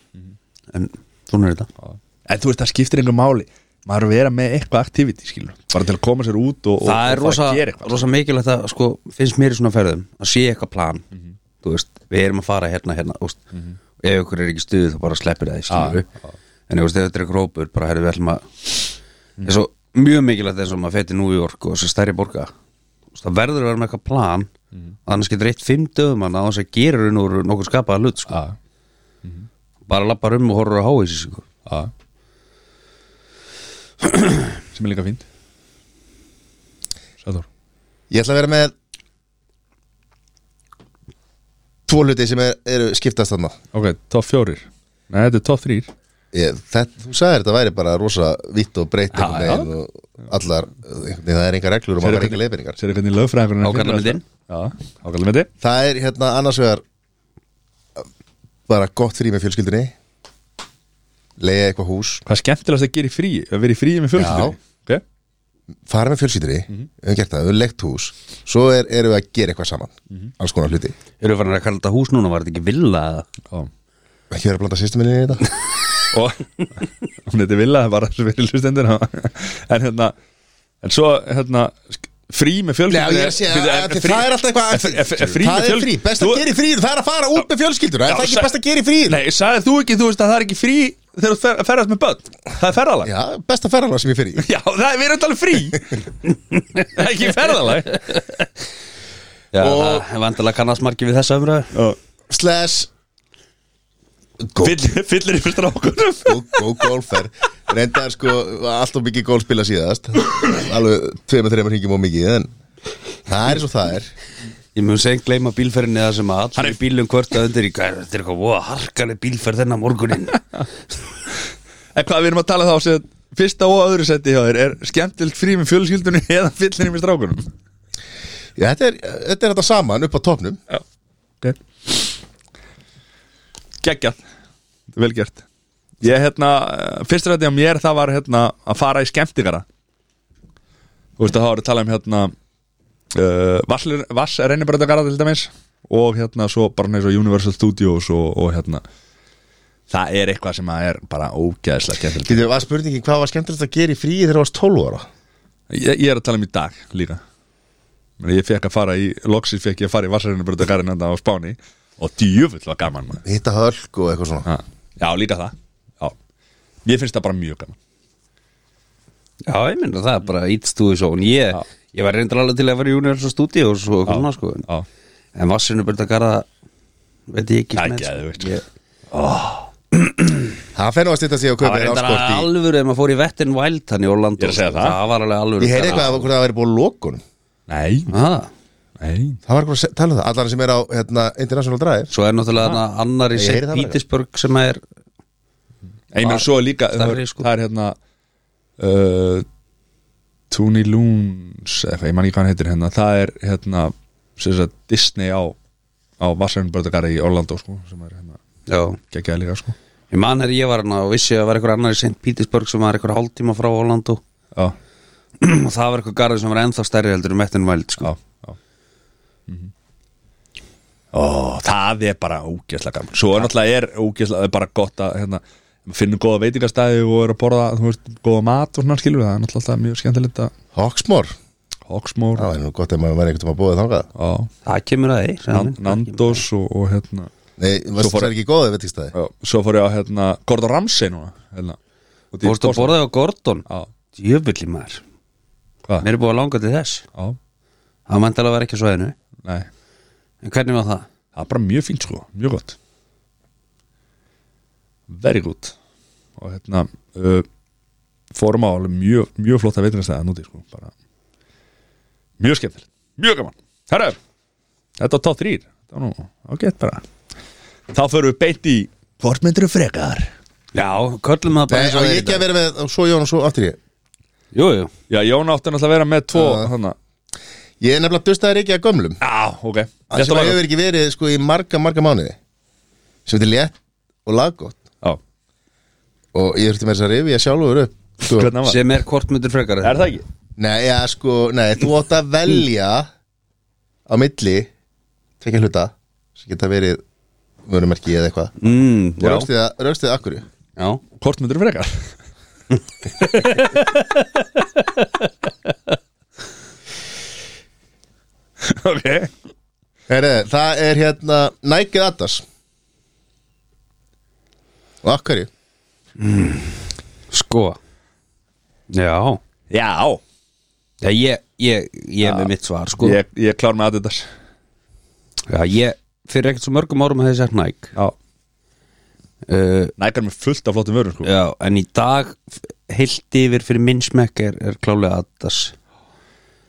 Speaker 3: en svona er þetta
Speaker 1: já. en þú veist, það skiptir einhver máli maður er að vera með eitthvað aktiviti, skilur bara til að koma sér út og, og,
Speaker 3: það er
Speaker 1: og
Speaker 3: rosa,
Speaker 1: fara að gera eitthvað
Speaker 3: rosa mikilvægt að sko, finnst mér í svona ferðum að sé eitthvað plan
Speaker 1: Mhm.
Speaker 3: þú veist, við erum að fara hérna hérna þú veist, ef ykkur er ekki í stuði þá bara sleppir það í skilju
Speaker 1: Já, já.
Speaker 3: en ef þú veist, ef þetta er grópur bara herri við ætlum að
Speaker 1: Mhm.
Speaker 3: mm. svo, mjög mikilvægt eins og maður fætti New York og þessi stærri borga Þú veist, það verður að vera með eitthvað plan
Speaker 1: Mhm.
Speaker 3: annars getur eitt fimm döfum að þess að gera raun og veru nokkuð skapaða hlut sko.
Speaker 1: Já,
Speaker 3: bara lappar um og horfur að háa þessi sko.
Speaker 1: já <clears throat> sem er líka fínt Sæður
Speaker 2: Ég ætla að vera með tvo hluti sem er, eru skiptast þarna
Speaker 1: Ok, top fjórir Nei, þetta er top þrýr
Speaker 2: ég, þetta, Þú sagðir þetta væri bara rosa vitt og breytt
Speaker 1: Já, já.
Speaker 2: einhvern veginn og allar, einhvern veginn, það er engar reglur og maður fær engar leiðbeiningar
Speaker 1: Sér hvernig lögfræðingurinn er
Speaker 3: Ákalla
Speaker 1: að finna
Speaker 3: myndin.
Speaker 1: þetta. Já, ákalla myndin
Speaker 2: Það er hérna annars vegar bara gott frí með fjölskyldunni leiða eitthvað hús
Speaker 1: Hvað er skemmtilegast að gera í frí? Að vera í frí með fjölskyldunni okay.
Speaker 2: fara með fjölskyldunni,
Speaker 1: Mhm.
Speaker 2: við höfum gert það, við höfum leikt hús svo er, erum við að gera eitthvað saman
Speaker 1: Mhm.
Speaker 2: alls konar hluti,
Speaker 3: Eru við farin að kalla þetta hús núna, var þetta ekki villa eða?
Speaker 1: Ó.
Speaker 2: ekki vera að blanda sýstuminni í
Speaker 1: <laughs>
Speaker 2: þetta
Speaker 1: og hún heiti Villa það er bara sem fyrir hlustendur <laughs> en hérna en svo hérna sk- frí með
Speaker 2: Já,
Speaker 1: fjölskyldunni
Speaker 2: ég er að segja
Speaker 1: Bíddu, en
Speaker 2: að því það er alltaf eitthvað
Speaker 1: en- en- en- en frí
Speaker 2: Það
Speaker 1: með
Speaker 2: er
Speaker 1: fjölsky-
Speaker 2: frí, best að
Speaker 1: Þú-
Speaker 2: gera í fríinu Það er að fara út með fjölskyldur Það er
Speaker 1: Já,
Speaker 2: það ekki
Speaker 1: sa-
Speaker 2: best að gera í fríinu
Speaker 1: Nei, sagðið þú ekki, þú veist að það er ekki frí þegar þú fer- ferðast með börn, það er ferðalag
Speaker 2: Já, besta ferðalag sem ég fer í
Speaker 1: <laughs> Já, það er, við erum allir
Speaker 2: <laughs>
Speaker 1: frí <laughs> Það er ekki ferðalag
Speaker 3: Já,
Speaker 2: Og-
Speaker 3: það er vandilega kannast margir við þessa umræðu
Speaker 2: Slash
Speaker 1: Fyll- Fyllir yfir strákunum
Speaker 2: Go golfer Reyndar sko alltaf mikið golf spila síðast Alveg tveimur, þreimur hringjum og mikið En það er svo það er
Speaker 3: Ég mun segja gleyma bílferðinni það sem að
Speaker 1: Hann
Speaker 3: allir
Speaker 1: er-
Speaker 3: í bílum kvörta undir í gær Þetta er eitthvað, wow, harkaleg bílferð þennan <laughs> morguninn
Speaker 1: En hvað við erum að tala þá sem fyrsta og öðru seti hjá þér er skemmtilegt frí með fjölskyldunni <laughs> eða fyllir yfir strákunum
Speaker 2: Já, þetta er þetta er þetta saman upp á topnum
Speaker 1: Já, ok Geggjað Vel gert Ég hérna, eh, fyrst rætti á mér það var hérna að fara í skemmtikara Þú veist að það var að tala um hérna uh, Vass er reynibröndagara til dæmis og hérna svo bara neins og Universal Studios og, og hérna það er eitthvað sem að er bara ógeðslega skemmtilegt
Speaker 2: Getur, var spurningin hvað var skemmtilegt að gera í fríi þegar það varst 12 ára
Speaker 1: ég, ég er að tala um í dag líka Men ég fekk að fara í, loksins fekk ég að fara í vassarinnbröndagarin enda á Spáni og djöfull var gaman maður
Speaker 2: Hitta hölk og eitthvað svona
Speaker 1: Ha. Já, líka það Já, ég finnst það bara mjög gaman
Speaker 3: Já, ég minna það er bara ítstúi svo ég,
Speaker 1: Já.
Speaker 3: ég var reyndar alveg til að vera í Universal Studios og svona sko
Speaker 1: Já,
Speaker 3: En vassinu byrja að garða veit ég ekki
Speaker 1: Það er
Speaker 3: með, sko.
Speaker 1: geðveikt.
Speaker 3: Ég-
Speaker 2: Það fer nú að stýta sig og
Speaker 3: Það
Speaker 2: kaupa
Speaker 3: var
Speaker 2: þér
Speaker 3: reyndar
Speaker 2: áskort í
Speaker 3: alvöru ef maður fór í Vettin Wild þannig í Orlando
Speaker 1: Ég er að segja
Speaker 3: sko.
Speaker 1: það.
Speaker 3: var alveg alvöru
Speaker 2: Ég heyri eitthvað að það væri búið að lókun
Speaker 1: nei,
Speaker 3: Ah,
Speaker 1: nei
Speaker 2: Það var eitthvað að se- tala um það Allar sem er á hérna, International Drive
Speaker 3: Svo er náttúrulega ah. annar í
Speaker 2: Ég heyri
Speaker 3: St.
Speaker 2: það bara.
Speaker 3: Petersburg sem er
Speaker 1: Ég meina svo er líka,
Speaker 3: Stærri,
Speaker 1: það-
Speaker 3: sko.
Speaker 1: það er hérna uh, Tony Loons eitthvað, ég man ekki hvað hann heitir hérna það er hérna, sem sagt Disney á, á vassarinnbröndagari í Orlando sko, sem er hérna
Speaker 3: Já,
Speaker 1: geggjaði líka sko
Speaker 3: ég man er ég var hann og vissi að vera eitthvað annar í St. Petersburg sem var eitthvað hálftíma frá Orlando
Speaker 1: Já,
Speaker 3: og það var eitthvað garður sem var ennþá stærri heldur um Vettin Wild sko.
Speaker 1: já, já Ó, það er bara ógeðslega gaman Svo er náttúrulega er ógeðslega er bara gott að hérna, finnum góða veitingastæði og er að borða, þú veist, góða mat og svona skilur við, það er náttúrulega alltaf mjög skemmtilegt að
Speaker 2: Hawksmore
Speaker 1: Hogsmór,
Speaker 2: Það er nú gott ef maður verið einhvern veginn að búið þangað
Speaker 1: á,
Speaker 3: Það kemur að þeir sagði
Speaker 1: Nan-
Speaker 3: hann.
Speaker 1: Nandos og, og hérna
Speaker 2: Nei, varst
Speaker 1: fór-
Speaker 2: það ekki góð ef þetta stæði
Speaker 1: já, Svo fór ég á hérna Gordon Ramsay núna hérna, út í
Speaker 3: Fórstu að
Speaker 1: Boston.
Speaker 3: borðaði á Gordon
Speaker 1: Já,
Speaker 3: Jöfulli maður
Speaker 1: hvað?
Speaker 3: Mér er búið að langa til þess
Speaker 1: Já,
Speaker 3: Það mænti alveg að vera ekki svo einu
Speaker 1: nei,
Speaker 3: En hvernig var það?
Speaker 1: það er bara mjög fínt sko, mjög gott Very good Og hérna uh, Fórum á alveg mjög, mjög flotta veitingastæða núti sko, bara Mjög skemmtileg, mjög gaman Herra, þetta var top 3 Það var nú, ágætt bara Þá förum við beint í Hvort myndir þú frekar?
Speaker 3: Já, köllum það bara
Speaker 2: Nei,
Speaker 3: eins og
Speaker 2: og
Speaker 3: það er
Speaker 2: ég
Speaker 3: í
Speaker 2: ekki
Speaker 3: dag.
Speaker 2: að vera með og Svo Jón og svo aftur ég
Speaker 3: Jú, jú
Speaker 1: Já, Jón átti náttúrulega að vera með tvo
Speaker 2: Já.
Speaker 1: hana.
Speaker 2: Ég er nefnilega dustaður ekki að gömlum
Speaker 1: Já, ok
Speaker 2: Það
Speaker 1: Þetta
Speaker 2: sem
Speaker 1: var
Speaker 2: hefur ekki verið sko í marga, marga mánuði Sem þetta er létt og laggótt
Speaker 1: Já,
Speaker 2: Og ég þurfti með þess að rifja sjálfur upp sko.
Speaker 1: hvernig hann var
Speaker 3: Sem er kortmyndur frekar
Speaker 1: Er það ekki?
Speaker 2: Nei, já, sko, nei, þú átt að velja Á milli Tvekja hluta Sem geta verið vörumerki eða eitthvað
Speaker 3: Mm,
Speaker 2: Og
Speaker 3: já,
Speaker 2: raukstuðið að, raukstuðið að hverju
Speaker 3: já
Speaker 1: Hvort myndir frekar? ok
Speaker 2: Heri, Það er hérna Nike eða Adidas Og að hverju
Speaker 3: Sko Já
Speaker 1: Já
Speaker 3: Já, ég, ég, ég er með mitt svar sko
Speaker 1: Ég, ég klár með Adidas
Speaker 3: Já, ég Fyrir ekkert svo mörgum árum hefði sagt Nike
Speaker 1: Já
Speaker 3: uh,
Speaker 1: Nike er með fullt af flottum vörum sko
Speaker 3: Já, en í dag heilt yfir fyrir minn smekk er, er klálega Adidas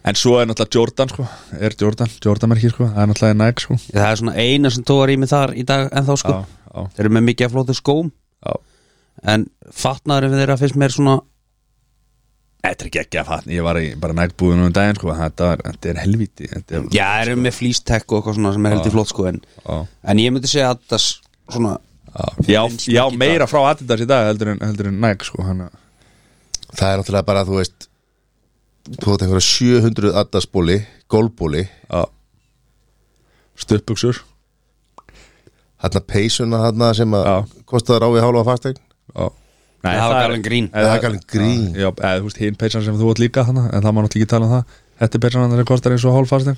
Speaker 1: En svo er náttúrulega Jordan sko Er Jordan, Jordan merkir sko Það er náttúrulega Nike sko
Speaker 3: Ég, það er svona eina sem tóar í mig þar í dag en þá sko
Speaker 1: Já, já,
Speaker 3: þeir eru með mikið af flóttum skóm
Speaker 1: já
Speaker 3: en fatnaðurinn þeirra finnst mér svona
Speaker 1: Þetta er ekki ekki að fatna Ég var í bara Nike búðinu um daginn sko Þetta er, þetta er helvíti Þetta er,
Speaker 3: já, þeir eru með flýstekk og eitthvað svona sem er heldur flott sko en,
Speaker 1: Já.
Speaker 3: en ég myndi segja að það s- svona
Speaker 1: Já, já, meira frá Adidas í dag heldur en, heldur en Nike sko hana.
Speaker 2: það er náttúrulega bara, þú veist þú átt einhverja 700 addasbóli gólbóli,
Speaker 1: Já Stöpbuksur
Speaker 2: hann að peysuna hann sem að
Speaker 1: Já.
Speaker 2: kostaður á við hálfa fastegn
Speaker 1: Já Nei,
Speaker 3: Það var galinn grín.
Speaker 1: eða-
Speaker 2: Það var galinn grín.
Speaker 1: Já, eða þú veist, hinn peysan sem þú átt líka þannig En það má náttúrulega ekki tala um það Þetta er peysan hann sem kostar eins og hálfastin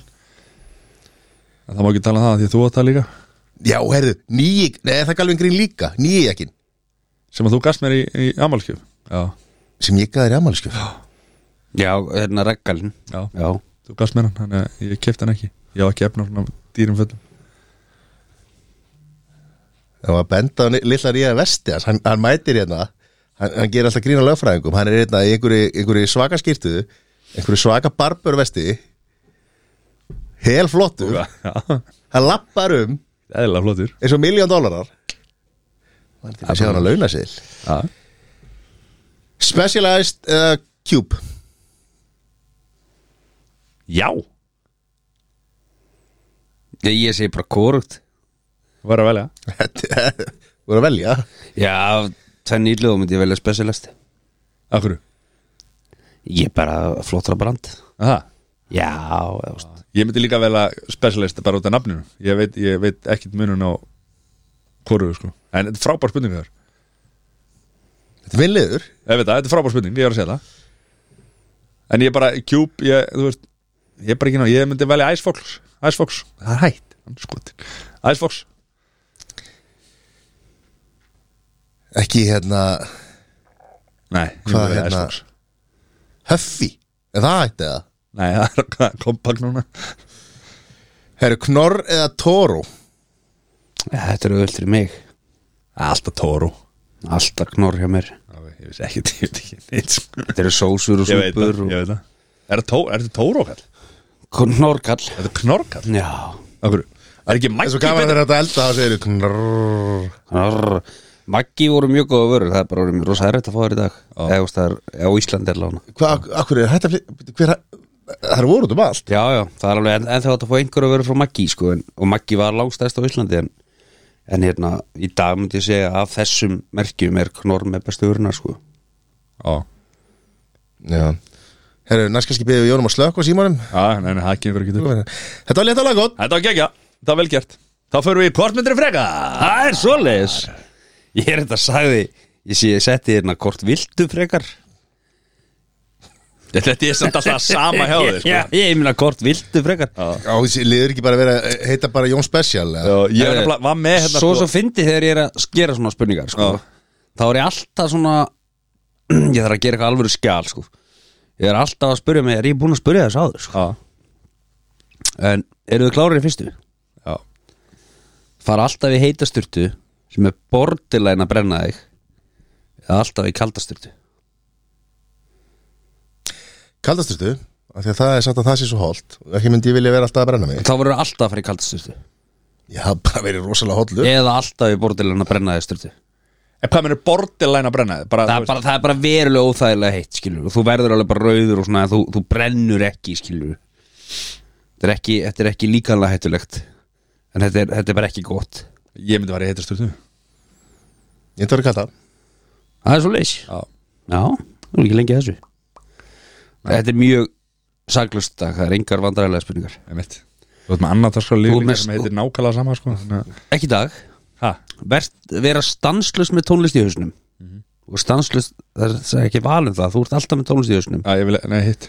Speaker 1: En það má ekki tala um það því þú átt það líka
Speaker 2: já, herðu, nýi, nei, er það er galvin grín líka nýi jakkin,
Speaker 1: Sem að þú gast mér í, í amalskjöf Já,
Speaker 2: sem ég gaði þér í ammælisku
Speaker 3: já, hérna reggalinn
Speaker 1: já,
Speaker 3: já,
Speaker 1: þú gast mér hann Þannig að ég kefti hann ekki Ég var ekki efna svona dýrum föllum
Speaker 2: það var að benda á ni- litla ríða vesti hans, hann, hann mætir hérna hann, hann gerir alltaf grína lögfræðingum hann er hérna í einhverju, einhverju svaka skýrtu einhverju svaka barbur vesti hel flottur
Speaker 1: Já, <laughs>
Speaker 2: hann lappar um
Speaker 1: eðlilega flottur
Speaker 2: eins og miljón dólarar hann er til að sjá hann að launa sér
Speaker 1: Já,
Speaker 2: Specialized uh, Cube <laughs>
Speaker 1: já
Speaker 3: ég, ég segi bara korugt
Speaker 1: Var að velja
Speaker 2: voru að velja
Speaker 3: já, tvenn íllu og myndi ég velja specialist
Speaker 1: Akkur
Speaker 3: ég bara flottra brand
Speaker 1: Aha.
Speaker 3: já, já, veist.
Speaker 1: Ég myndi líka velja specialist bara út af nafninu Ég veit, ég veit ekkit munun á Hvoru sko En þetta er frábær spurning þar
Speaker 2: þetta er vinnliður
Speaker 1: Ég veit það, þetta er frábær spurning, ég er að segja það En ég bara, Cube, ég, þú veist Ég er bara ekki ná, ég myndi velja Ice Fox Ice Fox, það er hætt, hann er skotin Ice Fox,
Speaker 2: ekki hérna
Speaker 1: nei, ég
Speaker 2: Hvað
Speaker 1: myndi velja Ice
Speaker 2: hérna?
Speaker 1: Fox
Speaker 2: Huffy er það hætti það
Speaker 1: Nei, <laughs> það er hvað, kompakt núna
Speaker 2: herru Knorr eða Toro
Speaker 3: Já, þetta eru öll fyrir mig
Speaker 1: Alltaf Toro
Speaker 3: alltaf knorr hjá mér
Speaker 1: Ég veist ekki, <laughs> ég veit ekki neitt sko.
Speaker 3: þetta eru sósur og
Speaker 1: Ég veit
Speaker 3: súpur
Speaker 1: það,
Speaker 3: og
Speaker 1: ég veit það Er þetta Tó- er þetta Toro kall?
Speaker 3: knorrkall
Speaker 1: Er þetta Knorkall?
Speaker 3: já,
Speaker 1: Akkur, er ekki
Speaker 2: það er
Speaker 1: Maggi
Speaker 2: svo gaman að
Speaker 1: betri?
Speaker 2: vera þetta elda þá segir þú Knorr
Speaker 3: Arr, Maggi voru mjög góða vörur Það er bara orðið mjög rosa erfitt að fá þér í dag Eða þú veist, það er á Íslandi er lána
Speaker 2: Hvað, akkur er þetta hver, Það er voruð um allt
Speaker 3: Já, já, það er alveg en, en þá að fá einhverju vörur frá Maggi sko, en, Og Maggi var langstæðst á Íslandi en, en hérna, í dag myndi ég segja Af þessum merkjum er knorr með bestu vöruna sko.
Speaker 1: Já,
Speaker 2: Já Herru, næst kannski beðið við Jónum að slökk og símanum
Speaker 1: Já, nei, nei, það kemur ekki til
Speaker 2: Þetta var létt alveg gott
Speaker 1: Þetta var gegja, það var vel gert Þá förum við í kortmyndri freka
Speaker 3: Það er svoleiðis Ég er þetta sagði Ég sé ég setti hérna hvort viltu frekar
Speaker 1: Þetta er samt alltaf sama hjá <laughs> þig sko.
Speaker 3: <laughs> Já, ég meina hvort viltu frekar
Speaker 2: Já, þessi liður ekki bara að vera, eh, heita bara Jón Special eða?
Speaker 1: Já, ég
Speaker 3: Herri,
Speaker 1: nefnilega var með hérna
Speaker 3: Svo
Speaker 1: sko-
Speaker 3: svo fyndi þegar ég er að gera svona spurningar sko.
Speaker 1: Já.
Speaker 3: Þá er ég alltaf svona <clears throat> Ég þarf að gera eitthvað alvöru skjál sko. Ég er alltaf að spurja mig Er ég búinn að spurja þess áður sko.
Speaker 1: Já,
Speaker 3: En eru þið klárir í fyrstu?
Speaker 1: já,
Speaker 3: Fara alltaf í heitasturtu Sem er bordilegin að brenna þig Eða alltaf í kaldasturtu
Speaker 2: Kaldasturtu af Því að það er satt að það sé svo holt Ekki myndi ég vilja vera alltaf að brenna mig
Speaker 3: Þá voru alltaf að fara í kaldasturtu
Speaker 2: Ég haf bara verið rosalega hotlur
Speaker 3: Eða alltaf í bordilegin að brenna þig sturtu
Speaker 1: En hvað mennur borderline að brenna þig? Bara,
Speaker 3: það er, bara, það er bara verulega óþægilega heitt skilur og þú verður alveg bara rauður og svona þú, þú brennur ekki skilur þetta er ekki, þetta er ekki líkanlega hættulegt en þetta er, þetta er bara ekki gott
Speaker 1: bara Ég myndi vera í heitasturtu
Speaker 2: Ég myndi vera kalda
Speaker 3: það er svo leys já,
Speaker 1: Já,
Speaker 3: þú er ekki lengi að þessu þetta er mjög saglust dag, það er engar vandarælega spurningar
Speaker 1: einmitt Þú veit með annað það sko
Speaker 3: Þú
Speaker 1: líka
Speaker 3: með-
Speaker 1: sem heitir nákvæmlega sama sko Þannig að-
Speaker 3: ekki í dag,
Speaker 1: Ha,
Speaker 3: Verst, vera stanslust með tónlist í hausnum og stanslust, það er það er ekki valum það þú ert alltaf með tónlist í hausnum
Speaker 1: já, ég vil, nei, hitt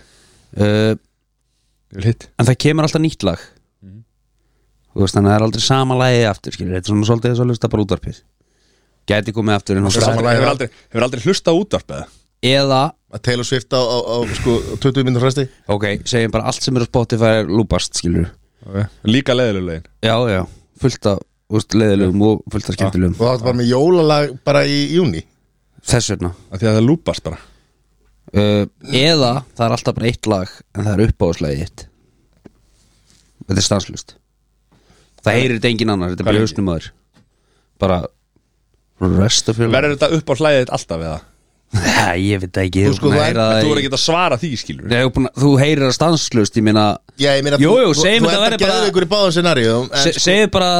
Speaker 3: uh,
Speaker 1: Ég vil hitt
Speaker 3: en það kemur alltaf nýtt lag Mhm. þú veist þannig að það er aldrei sama lagi aftur skilur, þetta er svona svolítið þess að hlusta bara útvarpið gæti komið aftur en hún
Speaker 2: Sama
Speaker 1: Hefur
Speaker 2: lagið
Speaker 1: hefur
Speaker 2: það.
Speaker 1: aldrei, hefur aldrei hlusta útvarp eða
Speaker 3: eða,
Speaker 2: Að Taylor Swift á, á, á sko, 20 minnur fresti
Speaker 3: ok, segjum bara allt sem er á Spotify er lúpast, skilur
Speaker 1: okay. Líka leðilulegin
Speaker 3: já, já, fullt af þú veist, leiðilegum og fullt af skemmtilegum
Speaker 2: Og það var bara með jólalag bara í júni
Speaker 3: þess vegna,
Speaker 1: Því að það lúpast bara
Speaker 3: uh, eða það er alltaf bara eitt lag en það er uppáðslegið hitt þetta er stanslust það heyrir þetta engin annar, þetta er
Speaker 1: Hvað
Speaker 3: bara
Speaker 1: lengi?
Speaker 3: hausnum aður bara rest of your life
Speaker 1: Verður þetta upp á hlæðið alltaf eða?
Speaker 3: <laughs> Nei, ég veit það ekki
Speaker 2: Þú sko, þú er-
Speaker 1: Þú
Speaker 3: þú,
Speaker 1: voru ekki að svara því skilur
Speaker 3: er búin, að- þú heyrir það stanslust ég meina,
Speaker 2: Já, ég meina
Speaker 3: Jú, jú,
Speaker 2: þú- þú-
Speaker 3: segjum
Speaker 2: Þú
Speaker 3: þetta
Speaker 2: enda
Speaker 3: væri bara-
Speaker 2: geðu ykkur í báðum scenaríum en
Speaker 3: se,
Speaker 2: sko,
Speaker 3: segir bara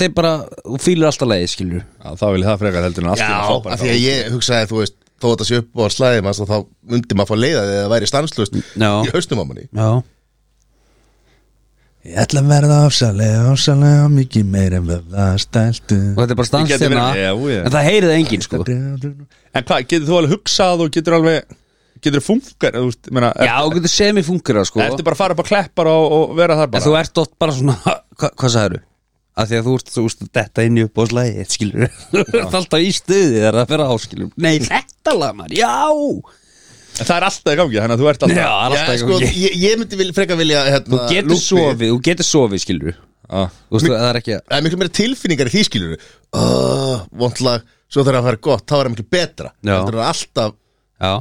Speaker 3: þeir bara, þú fýlir alltaf legið skilur
Speaker 1: Já, þá vil ég það frekar heldur en allt í einu að fá bara
Speaker 2: af því að
Speaker 1: þá.
Speaker 2: ég hugsaði, þú veist þó að það sé upp á slæðum manns, þá myndi maður að fá leiða þegar það væri stanslust
Speaker 3: Já.
Speaker 2: í haustum á manni
Speaker 3: já,
Speaker 4: Ég ætla að verða ofsalega, ofsalega mikið meira en verða stæltu
Speaker 3: og þetta er
Speaker 1: Ég geti
Speaker 3: bara stanstina
Speaker 1: verið- Já, já.
Speaker 3: en það heyrir það engin sko
Speaker 1: En hvað, getur þú alveg hugsað og getur alveg Getur funkar, þú veist, ég meina
Speaker 3: já, þú getur semifungurað sko
Speaker 1: Ertu bara að fara upp á kleppar og, og vera þar
Speaker 3: En
Speaker 1: bara
Speaker 3: þú ert dott bara svona <laughs> hva, Hvað sagður þú? Að því að þú ert, þú ert detta inn í uppbóðslagi Þetta skilur <laughs> Þú ert alltaf í stuði þegar það fyrir áskilur Nei, þetta lag maður, já
Speaker 1: En það er alltaf í gangi, þannig að þú ert
Speaker 3: Já,
Speaker 1: alltaf
Speaker 3: það er
Speaker 2: Já,
Speaker 3: alltaf
Speaker 2: sko,
Speaker 3: sko,
Speaker 2: ég, ég myndi vil, frekar vilja hérna,
Speaker 3: Þú getur
Speaker 2: lúppi.
Speaker 3: sofið, þú getur sofið skilur
Speaker 1: Já.
Speaker 3: Þú veist, það er ekki að
Speaker 2: Það er miklu meira tilfinningar í því skilur oh, Vondlag, svo þegar það fær gott þá er það miklu betra
Speaker 3: Já.
Speaker 2: Það er alltaf,
Speaker 3: Já,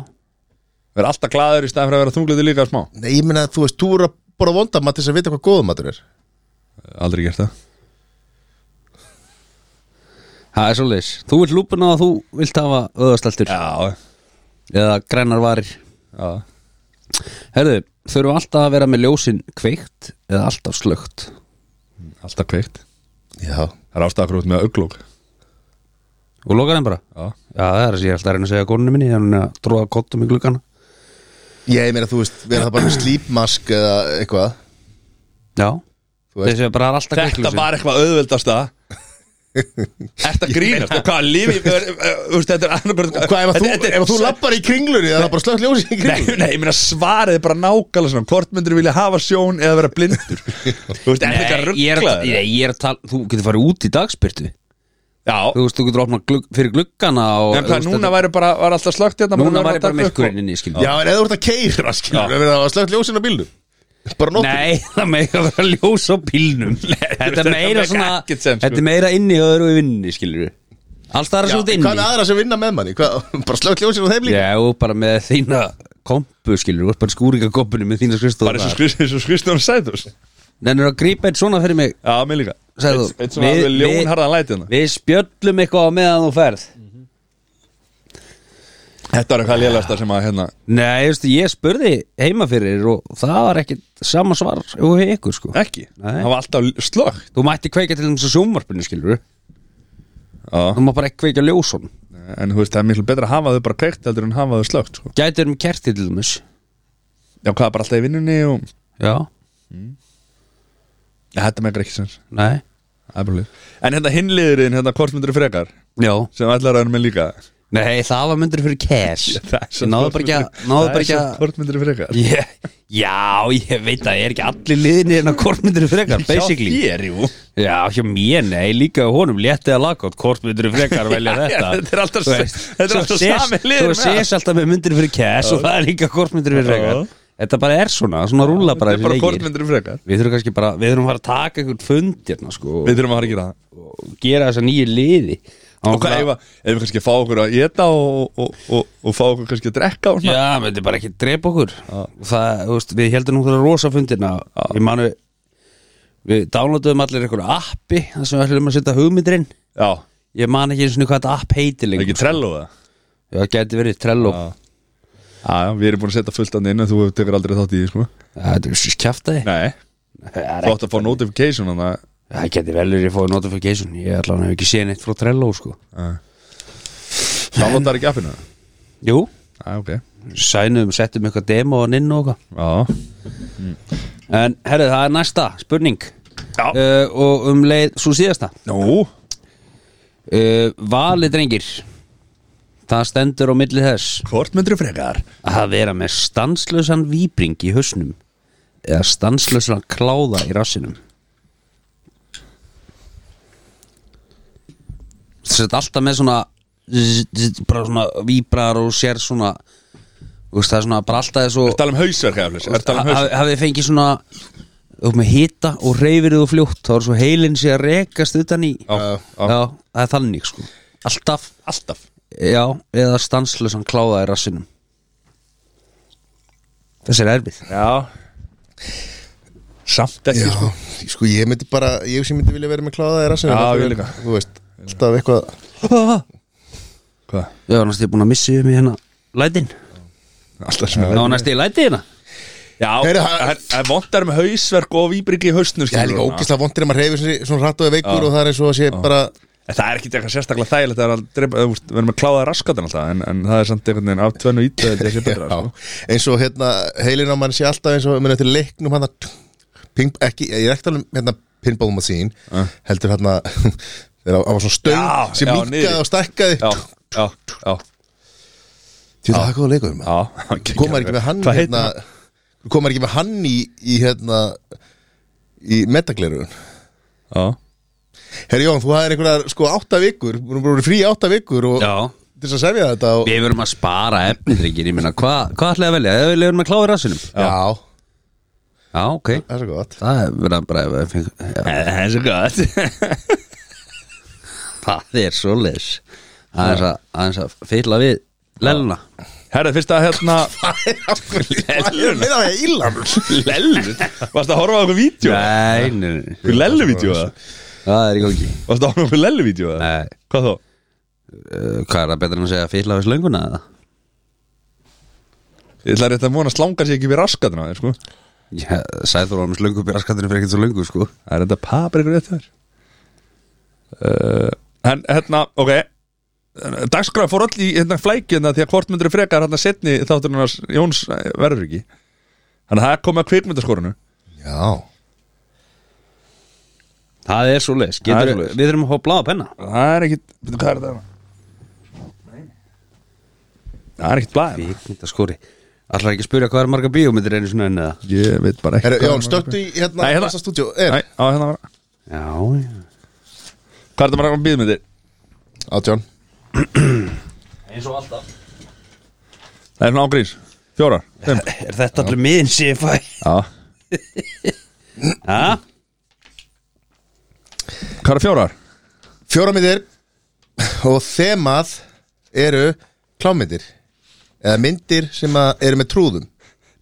Speaker 1: Verður alltaf glaður í staðan fyrir að vera þungliti líka smá
Speaker 2: nei, ég meina, þú veist, þú eru að bora vondamat til þess að vita hvað góðum matur er
Speaker 1: Aldrei gert það
Speaker 3: það er svolítið Þú vilt lúpuna og þú vilt hafa öðastaltur
Speaker 1: Já,
Speaker 3: Eða grænar varir
Speaker 1: já
Speaker 3: Herðu, þurfum alltaf að vera með ljósin kveikt Eða alltaf slögt
Speaker 1: Alltaf kveikt
Speaker 2: Já,
Speaker 1: Það er ástæðakrútt með auglók
Speaker 3: Og loka þeim bara
Speaker 1: Já,
Speaker 3: Já, það er að ég er alltaf að reyna að segja konunni minni En hún er að tróða kottum í gluggana
Speaker 2: ég meina, þú veist, vera það bara með slípmask eða eitthvað
Speaker 3: Já,
Speaker 2: Þú veist-
Speaker 3: þessi er bara alltaf kveikt
Speaker 1: Þetta
Speaker 3: ljósin.
Speaker 1: var eitthvað auðveldasta Ertu að grínast og hvað lífi Úrst, þetta er annarkvörð
Speaker 2: Og Hvað ef að þú,
Speaker 1: þetta
Speaker 2: ef að þú lappar í kringlunni það er bara slögt ljósi í
Speaker 1: Nei,
Speaker 2: kringlunni
Speaker 1: nei, ég meina svarið er bara nákvæmlega svona Hvort myndir vilja hafa sjón eða vera blindur Þú veist, er þetta
Speaker 3: Nei, ég er,
Speaker 1: rugglaður?
Speaker 3: nei, ég er að tala Þú getur farið út í dagspyrtu
Speaker 1: Já,
Speaker 3: Þú veist, þú getur opnað glugg, fyrir gluggana og,
Speaker 1: en hvað,
Speaker 3: þú veist,
Speaker 1: núna
Speaker 3: þetta-
Speaker 1: væri bara, var alltaf slögt hérna
Speaker 3: núna
Speaker 1: maður
Speaker 3: væri
Speaker 1: að
Speaker 3: bara
Speaker 1: taka upp
Speaker 3: myrkurinn inni, skilur
Speaker 2: Já, en eða þú ert að keira, skilur við það var slögt ljósin á bílnum Bara nóttum
Speaker 3: Nei, það meika vera ljós á bílnum Þetta er
Speaker 1: þetta
Speaker 3: meira
Speaker 1: meikar
Speaker 3: svona
Speaker 1: ekkert sem, sko.
Speaker 3: Þetta er meira inni og öðru í vinninni, skilur Alls það er
Speaker 2: Já,
Speaker 3: svo
Speaker 2: Hvað er
Speaker 3: inni
Speaker 2: aðra sem vinna með manni? Hvað, <laughs> bara slögt ljósin á þeim líka?
Speaker 3: Já, og bara með þína kompu, skilur Þú ert bara skúringakoppinu með þína skristofa
Speaker 1: Bara eins og skrist- eins og Kristján Sæðurs
Speaker 3: Nennir að grípa eitt svona fyrir mig
Speaker 1: Já, mér líka
Speaker 3: Sæður,
Speaker 1: Eitt- Eitt svona
Speaker 3: við-
Speaker 1: alveg
Speaker 3: við-
Speaker 1: ljónharðan læti hérna
Speaker 3: Við spjöllum eitthvað á meðan þú ferð
Speaker 1: Þetta var eitthvað lélasta sem að hérna
Speaker 3: Nei, veistu, ég spurði heima fyrir og það var ekkit sama svar og hjá ykkur, sko
Speaker 1: Ekki,
Speaker 3: Nei.
Speaker 1: það var alltaf slögt
Speaker 3: Þú mætti kveika til þessu sjónvarpinu, skilur
Speaker 1: Já,
Speaker 3: Þú má bara ekki kveika ljósun
Speaker 1: en þú veist, það er miklu betra að hafa þau bara kveikt heldur en hafa þau slögt sko.
Speaker 3: Gætir um kerti til dæmis
Speaker 1: Já, hvað, bara alltaf í vinnunni og
Speaker 3: Já,
Speaker 1: Já, þetta megar ekki sens
Speaker 3: nei
Speaker 1: Það er bara lið. En hérna hinliðurinn, hérna kortmyndur frekar
Speaker 3: Já,
Speaker 1: sem allar að vera með líka
Speaker 3: nei, það var myndur fyrir cash
Speaker 1: <laughs>
Speaker 3: Ég náðu bara ekki að náðu bara ekki að-
Speaker 1: kortmyndur frekar
Speaker 3: Ég- Já, ég veit að ég er ekki allir liðinni en að kortmyndur frekar,
Speaker 1: <laughs>
Speaker 3: basically
Speaker 1: Hjá þér, jú
Speaker 3: Já, hjá mér, nei, líka hjá honum léttið að laga kortmyndur frekar
Speaker 1: <laughs>
Speaker 3: velja þetta
Speaker 1: þetta er alltaf-
Speaker 3: Þú veist,
Speaker 1: þetta er
Speaker 3: svo
Speaker 1: alltaf
Speaker 3: sést-
Speaker 1: sami liður
Speaker 3: Þú
Speaker 1: með
Speaker 3: sést alltaf með myndir fyrir cash og það er líka kortmyndur fyrir frekar
Speaker 1: Já.
Speaker 3: Þetta bara er svona, svona rúla
Speaker 1: Þetta
Speaker 3: bara
Speaker 1: er
Speaker 3: þessi
Speaker 1: bara
Speaker 3: leikir.
Speaker 1: kortmyndur frekar
Speaker 3: Við þurfum kannski bara, við þurfum að fara að taka einhvern fund hérna sko og-
Speaker 1: Við þurfum að fara að gera það
Speaker 3: og gera þessa nýju liði
Speaker 1: Og hvað, ef, að- ef við kannski fá okkur að geta og, og, og, og fá okkur kannski að drekka og svona
Speaker 3: Já, menn, þetta er bara ekki að drepa okkur Og það, þú veist, við heldum nú þeirra rosa fundina Við manu Við downloaduðum allir einhverju appi þar sem við ætlum að setja hugmyndirinn
Speaker 1: Já,
Speaker 3: Ég man ekki einu sinni hvað þetta app
Speaker 1: það
Speaker 3: heitir
Speaker 1: er
Speaker 3: lengur
Speaker 1: ekki trello það
Speaker 3: Já, það gæti verið Trello Já,
Speaker 1: Já, já, við erum búin að setja fullt annað inn en þú tekur aldrei þátt í því, sko
Speaker 3: þetta er svo kjaftaði
Speaker 1: Nei, þú átt að fá notification þannig að
Speaker 3: Það gæti vel verið að fóða notification Ég ætla hann hef ekki séð neitt frá Trello, sko
Speaker 1: Downloadar ekki appinu
Speaker 3: Jú,
Speaker 1: Já, ok
Speaker 3: sænuðum, settum eitthvað demo og ninn og okkar
Speaker 1: Já,
Speaker 3: En herrið, það er næsta spurning
Speaker 1: Já.
Speaker 3: uh, Og um leið, svo síðasta
Speaker 1: nú
Speaker 3: uh, Valið drengir Það stendur á milli þess
Speaker 1: Hvort myndir frekar
Speaker 3: Að vera með stanslösan víbring í hausnum Eða stanslösan kláða í rassinum Sett alltaf með svona zzz, zzz, Bara svona víbrar og sér svona þú veist, Það er svona bara alltaf þessu
Speaker 1: Er tala um hausverk eða flessi? Er tala um hausverk?
Speaker 3: hafið fengið svona upp með hita og reyfir þú fljótt þá er svo heilin sé að rekast utan í já, það er þannig sko alltaf,
Speaker 1: Alltaf
Speaker 3: já, eða stanslösan kláða í rassinum Þessi er erfið
Speaker 1: Já Samt ekki
Speaker 2: Já,
Speaker 1: sko.
Speaker 2: sko ég myndi bara ég sem myndi vilja vera með kláða í
Speaker 1: Já,
Speaker 2: rassinu Þetta
Speaker 1: ég
Speaker 2: er,
Speaker 1: líka.
Speaker 2: Þú veist, alltaf eitthvað
Speaker 3: Ég
Speaker 1: Hvað?
Speaker 3: var næstu búin að missa um í hérna Lætin
Speaker 1: Alltaf sem
Speaker 3: Ná
Speaker 1: er
Speaker 3: næstu í læti hérna
Speaker 1: Já,
Speaker 2: Heyrðu,
Speaker 1: það
Speaker 2: hann-
Speaker 1: er- það er vondar með hausverk og výbringi í hausnum
Speaker 2: Ég er
Speaker 1: skilur
Speaker 2: líka
Speaker 1: við,
Speaker 2: ógislega vondir ef maður reyfir sér svona hratt og er veikur og það er eins og að sé bara
Speaker 1: En það er ekki eitthvað sérstaklega þægilegt að drepa, þú veist, við erum að kláða raskatan alltaf en, en það er samt einhvern veginn af tvennu ítöð þetta sé betra
Speaker 2: Já,
Speaker 1: sko.
Speaker 2: eins og hérna heilin á mann sé alltaf eins og minn eftir leiknum hann ping, ekki, ég er ekki talað um hérna pinball machine, heldur hérna <laughs> þegar hann var svona stöng
Speaker 1: Já,
Speaker 2: sem
Speaker 1: já,
Speaker 2: minkaði
Speaker 1: niður.
Speaker 2: og stækkaði
Speaker 1: Já, já, já,
Speaker 2: Þú veit að það er góða leikur maður.
Speaker 1: já
Speaker 2: komar ekki með hann
Speaker 1: Hvað heitir
Speaker 2: hérna,
Speaker 1: hann?
Speaker 2: komar ekki með hann í, í hérna í metaglerun
Speaker 1: Já,
Speaker 2: Herri Jón, þú hafðir einhverjar sko átta vikur Þú erum bara frí í átta vikur og
Speaker 3: Já
Speaker 2: til þess að semja þetta og,
Speaker 3: Við verum að spara efnidryggir Ég meina, hvað hva ætlaði að velja? Ef Við verum að kláða í rassinum
Speaker 2: já.
Speaker 3: Já, ok
Speaker 2: það er svo gott
Speaker 3: Það er verið að bara feng, já,
Speaker 1: Eh, það er svo gott
Speaker 3: <laughs> Það er svo leis Aðeins að, aðeins að fylla við Lelluna
Speaker 1: Herra, fyrst að
Speaker 2: <laughs>
Speaker 1: hérna
Speaker 2: Það er meira að íla
Speaker 1: Lellu Varst að horfa á okkur vídeo?
Speaker 3: Nei, nei, nei
Speaker 1: Okkur Lellu-vídeó það?
Speaker 3: Það er í gangi
Speaker 1: Varst að horfa á okkur Lellu-vídeó það?
Speaker 3: Nei,
Speaker 1: Hvað þó?
Speaker 3: uh, hvað er það betra en að segja fylla við slönguna eða?
Speaker 1: Ég ætla rétt að vona að slangar sér ekki við raskatuna þér sko
Speaker 3: Já, Sæður var með slöngu byrja skattinu fyrir ekkert svo löngu sko
Speaker 1: Það er þetta paprikur rétt þar uh, En hérna, ok Dagskráð fór öll í hérna flækjuna því að hvort myndur frekar hérna setni þáttur hann Jóns eh, verður ekki Þannig að það er komið að kvikmyndaskorunu
Speaker 2: Já
Speaker 3: Það er svo leis,
Speaker 1: Það er
Speaker 3: Getur,
Speaker 1: svoleiðis.
Speaker 3: við þurfum að fá bláða penna
Speaker 1: Það er ekkit, veitum hvað er þetta? Það er ekkit blæðin
Speaker 3: Fíkmynda skori Allar ekki að spyrja hvað er marga bíómyndir einu svona enn eða
Speaker 1: Ég veit bara ekki
Speaker 2: Herra,
Speaker 1: hvað
Speaker 2: Jón,
Speaker 1: er
Speaker 2: stöttu í hérna
Speaker 1: Nei, hérna.
Speaker 2: Þessa stúdíu
Speaker 1: margar-
Speaker 2: Er
Speaker 1: Nei, á, hérna var
Speaker 3: Já, já
Speaker 1: Hvað er þetta bara að býða með þér?
Speaker 2: Átjón
Speaker 3: Eins og alltaf
Speaker 1: Það er svona ágrís, fjórar, fimm
Speaker 3: Er þetta allir miðin sem ég fæ?
Speaker 1: Já,
Speaker 3: Já,
Speaker 1: hvað er fjórar?
Speaker 2: Fjóra myndir Og þemað eru klámyndir Eða myndir sem að eru með trúðum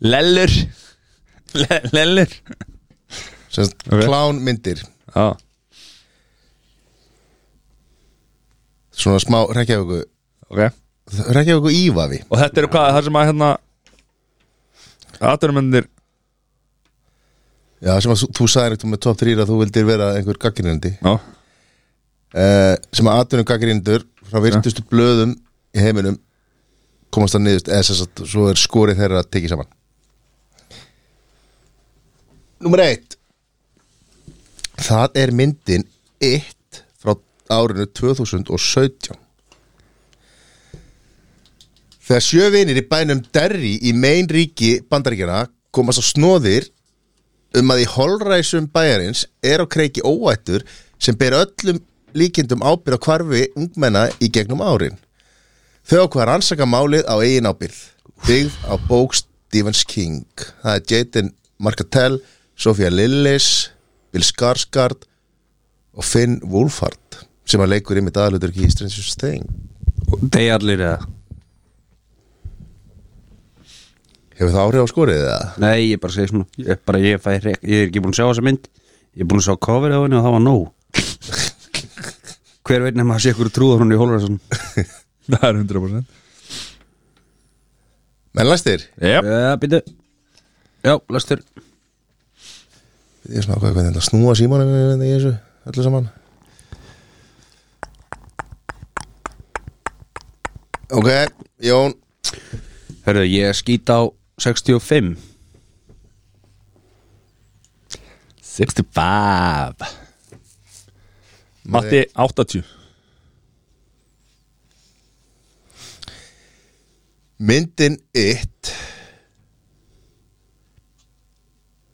Speaker 1: Lellur Le Lellur
Speaker 2: Sem
Speaker 1: Ok.
Speaker 2: okay. klánmyndir
Speaker 1: Já,
Speaker 2: Svona smá Reykjavíku
Speaker 1: ok
Speaker 2: Reykjavíku ívafi
Speaker 1: Og þetta eru hvað, það sem að hérna Aturumöndir
Speaker 2: Já, sem að þú- þú sagðir eitthvað með top 3 að þú vildir vera einhver gaggrinandi
Speaker 1: Já,
Speaker 2: uh, Sem að atvinnum gaggrindur frá virtustu blöðum í heiminum komast að niðurst eða sem sagt svo er skorið þeirra að tekið saman Númer eitt Það er myndin It frá árinu 2017 Þegar sjövinir í bænum Derry í megin ríki bandaríkjana komast á snóðir um að í holræsum bæjarins er á kreiki óvættur sem ber öllum líkindum ábyrð á hvarfi ungmenna í gegnum árin. Þau ákvaða rannsaka málið á eigin ábyrð, byggð á bók Stephens King. Það er Jaden Markatell, Sofía Lillis, Bill Skarsgård og Finn Wolfhard sem að leikur yfir dagalutur ekki í Stranger Things.
Speaker 3: degi allir eða
Speaker 2: Hefur það áhrif á skorið eða?
Speaker 3: Nei, ég bara segi svona Ég, bara, ég, fæ, hrek- ég er ekki búin að sjá þessa mynd Ég er búin að sjá cover á henni og það var <laughs> nóg Hver veit nema að sé ykkur trúður hún í Hólfarsson
Speaker 1: <laughs> það er 100%
Speaker 2: Menn læstir?
Speaker 1: Jep,
Speaker 3: Já, býtu Já, lastur
Speaker 2: Ég er svona ákveð hvernig þetta snúa símanum í þessu öllu saman Ok, Jón
Speaker 3: Hörðu, ég skýt á 65
Speaker 1: 65 Matti 80
Speaker 2: Myndin It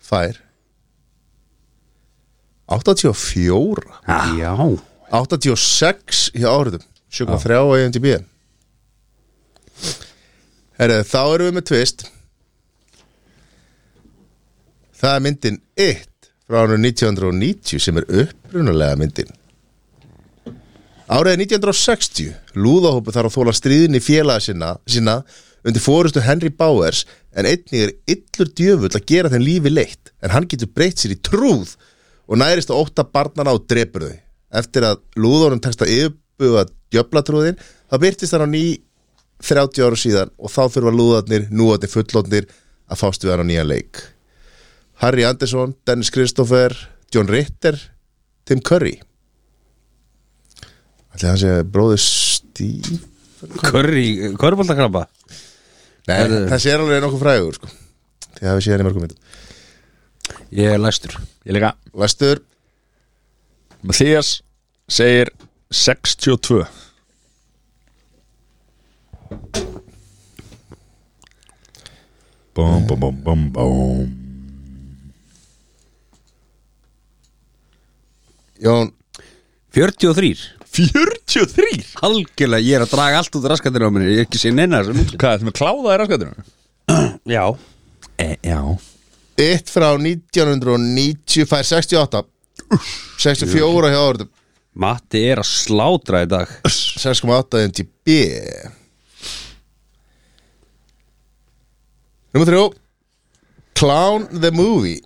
Speaker 2: Fær 84
Speaker 3: Já
Speaker 2: 86 hjá áhritum 7.3 á IMDb Herra, þá erum við með twist Það er myndin It frá árið 1990 sem er upprunalega myndin Árið er 1960 Lúðahópu þarf að þóla stríðin í félaga sinna, sinna undir fórustu Henry Bowers en einnig er illur djöfull að gera þeim lífi leitt en hann getur breytt sér í trúð og nærist á ótta barnana og drepur þau eftir að lúðunum tekst að yfirbuga djöflatrúðin þá byrtist hann á ný 30 ára síðan og þá þurfa lúðarnir núandi fullotnir að fást við hann á nýja leik Harry Anderson, Dennis Christopher John Ritter, Tim Curry Ætli hann sé bróður Steve
Speaker 3: Curry, körfaldakrabba
Speaker 2: Nei,
Speaker 3: Herðu.
Speaker 2: þessi er alveg nokkuð frægur sko. Þið hafið séð hann í mörgum myndum
Speaker 3: Ég er læstur
Speaker 1: Ég líka
Speaker 2: Vestur,
Speaker 1: Mathias segir 62 Bum, bum, bum, bum, bum
Speaker 2: Jón
Speaker 3: 43
Speaker 1: 43?
Speaker 3: Algjörlega, ég er að draga allt út raskatinn á minni Ég er ekki sér neina þessum
Speaker 1: Hvað, þetta með kláða er að skatinu?
Speaker 3: Já
Speaker 1: E, já
Speaker 2: Eitt frá 1990 fær 68 64 hjá orðum
Speaker 3: Matti er að slátra í dag
Speaker 2: 6,8 MTB Númer 3 Clown the Movie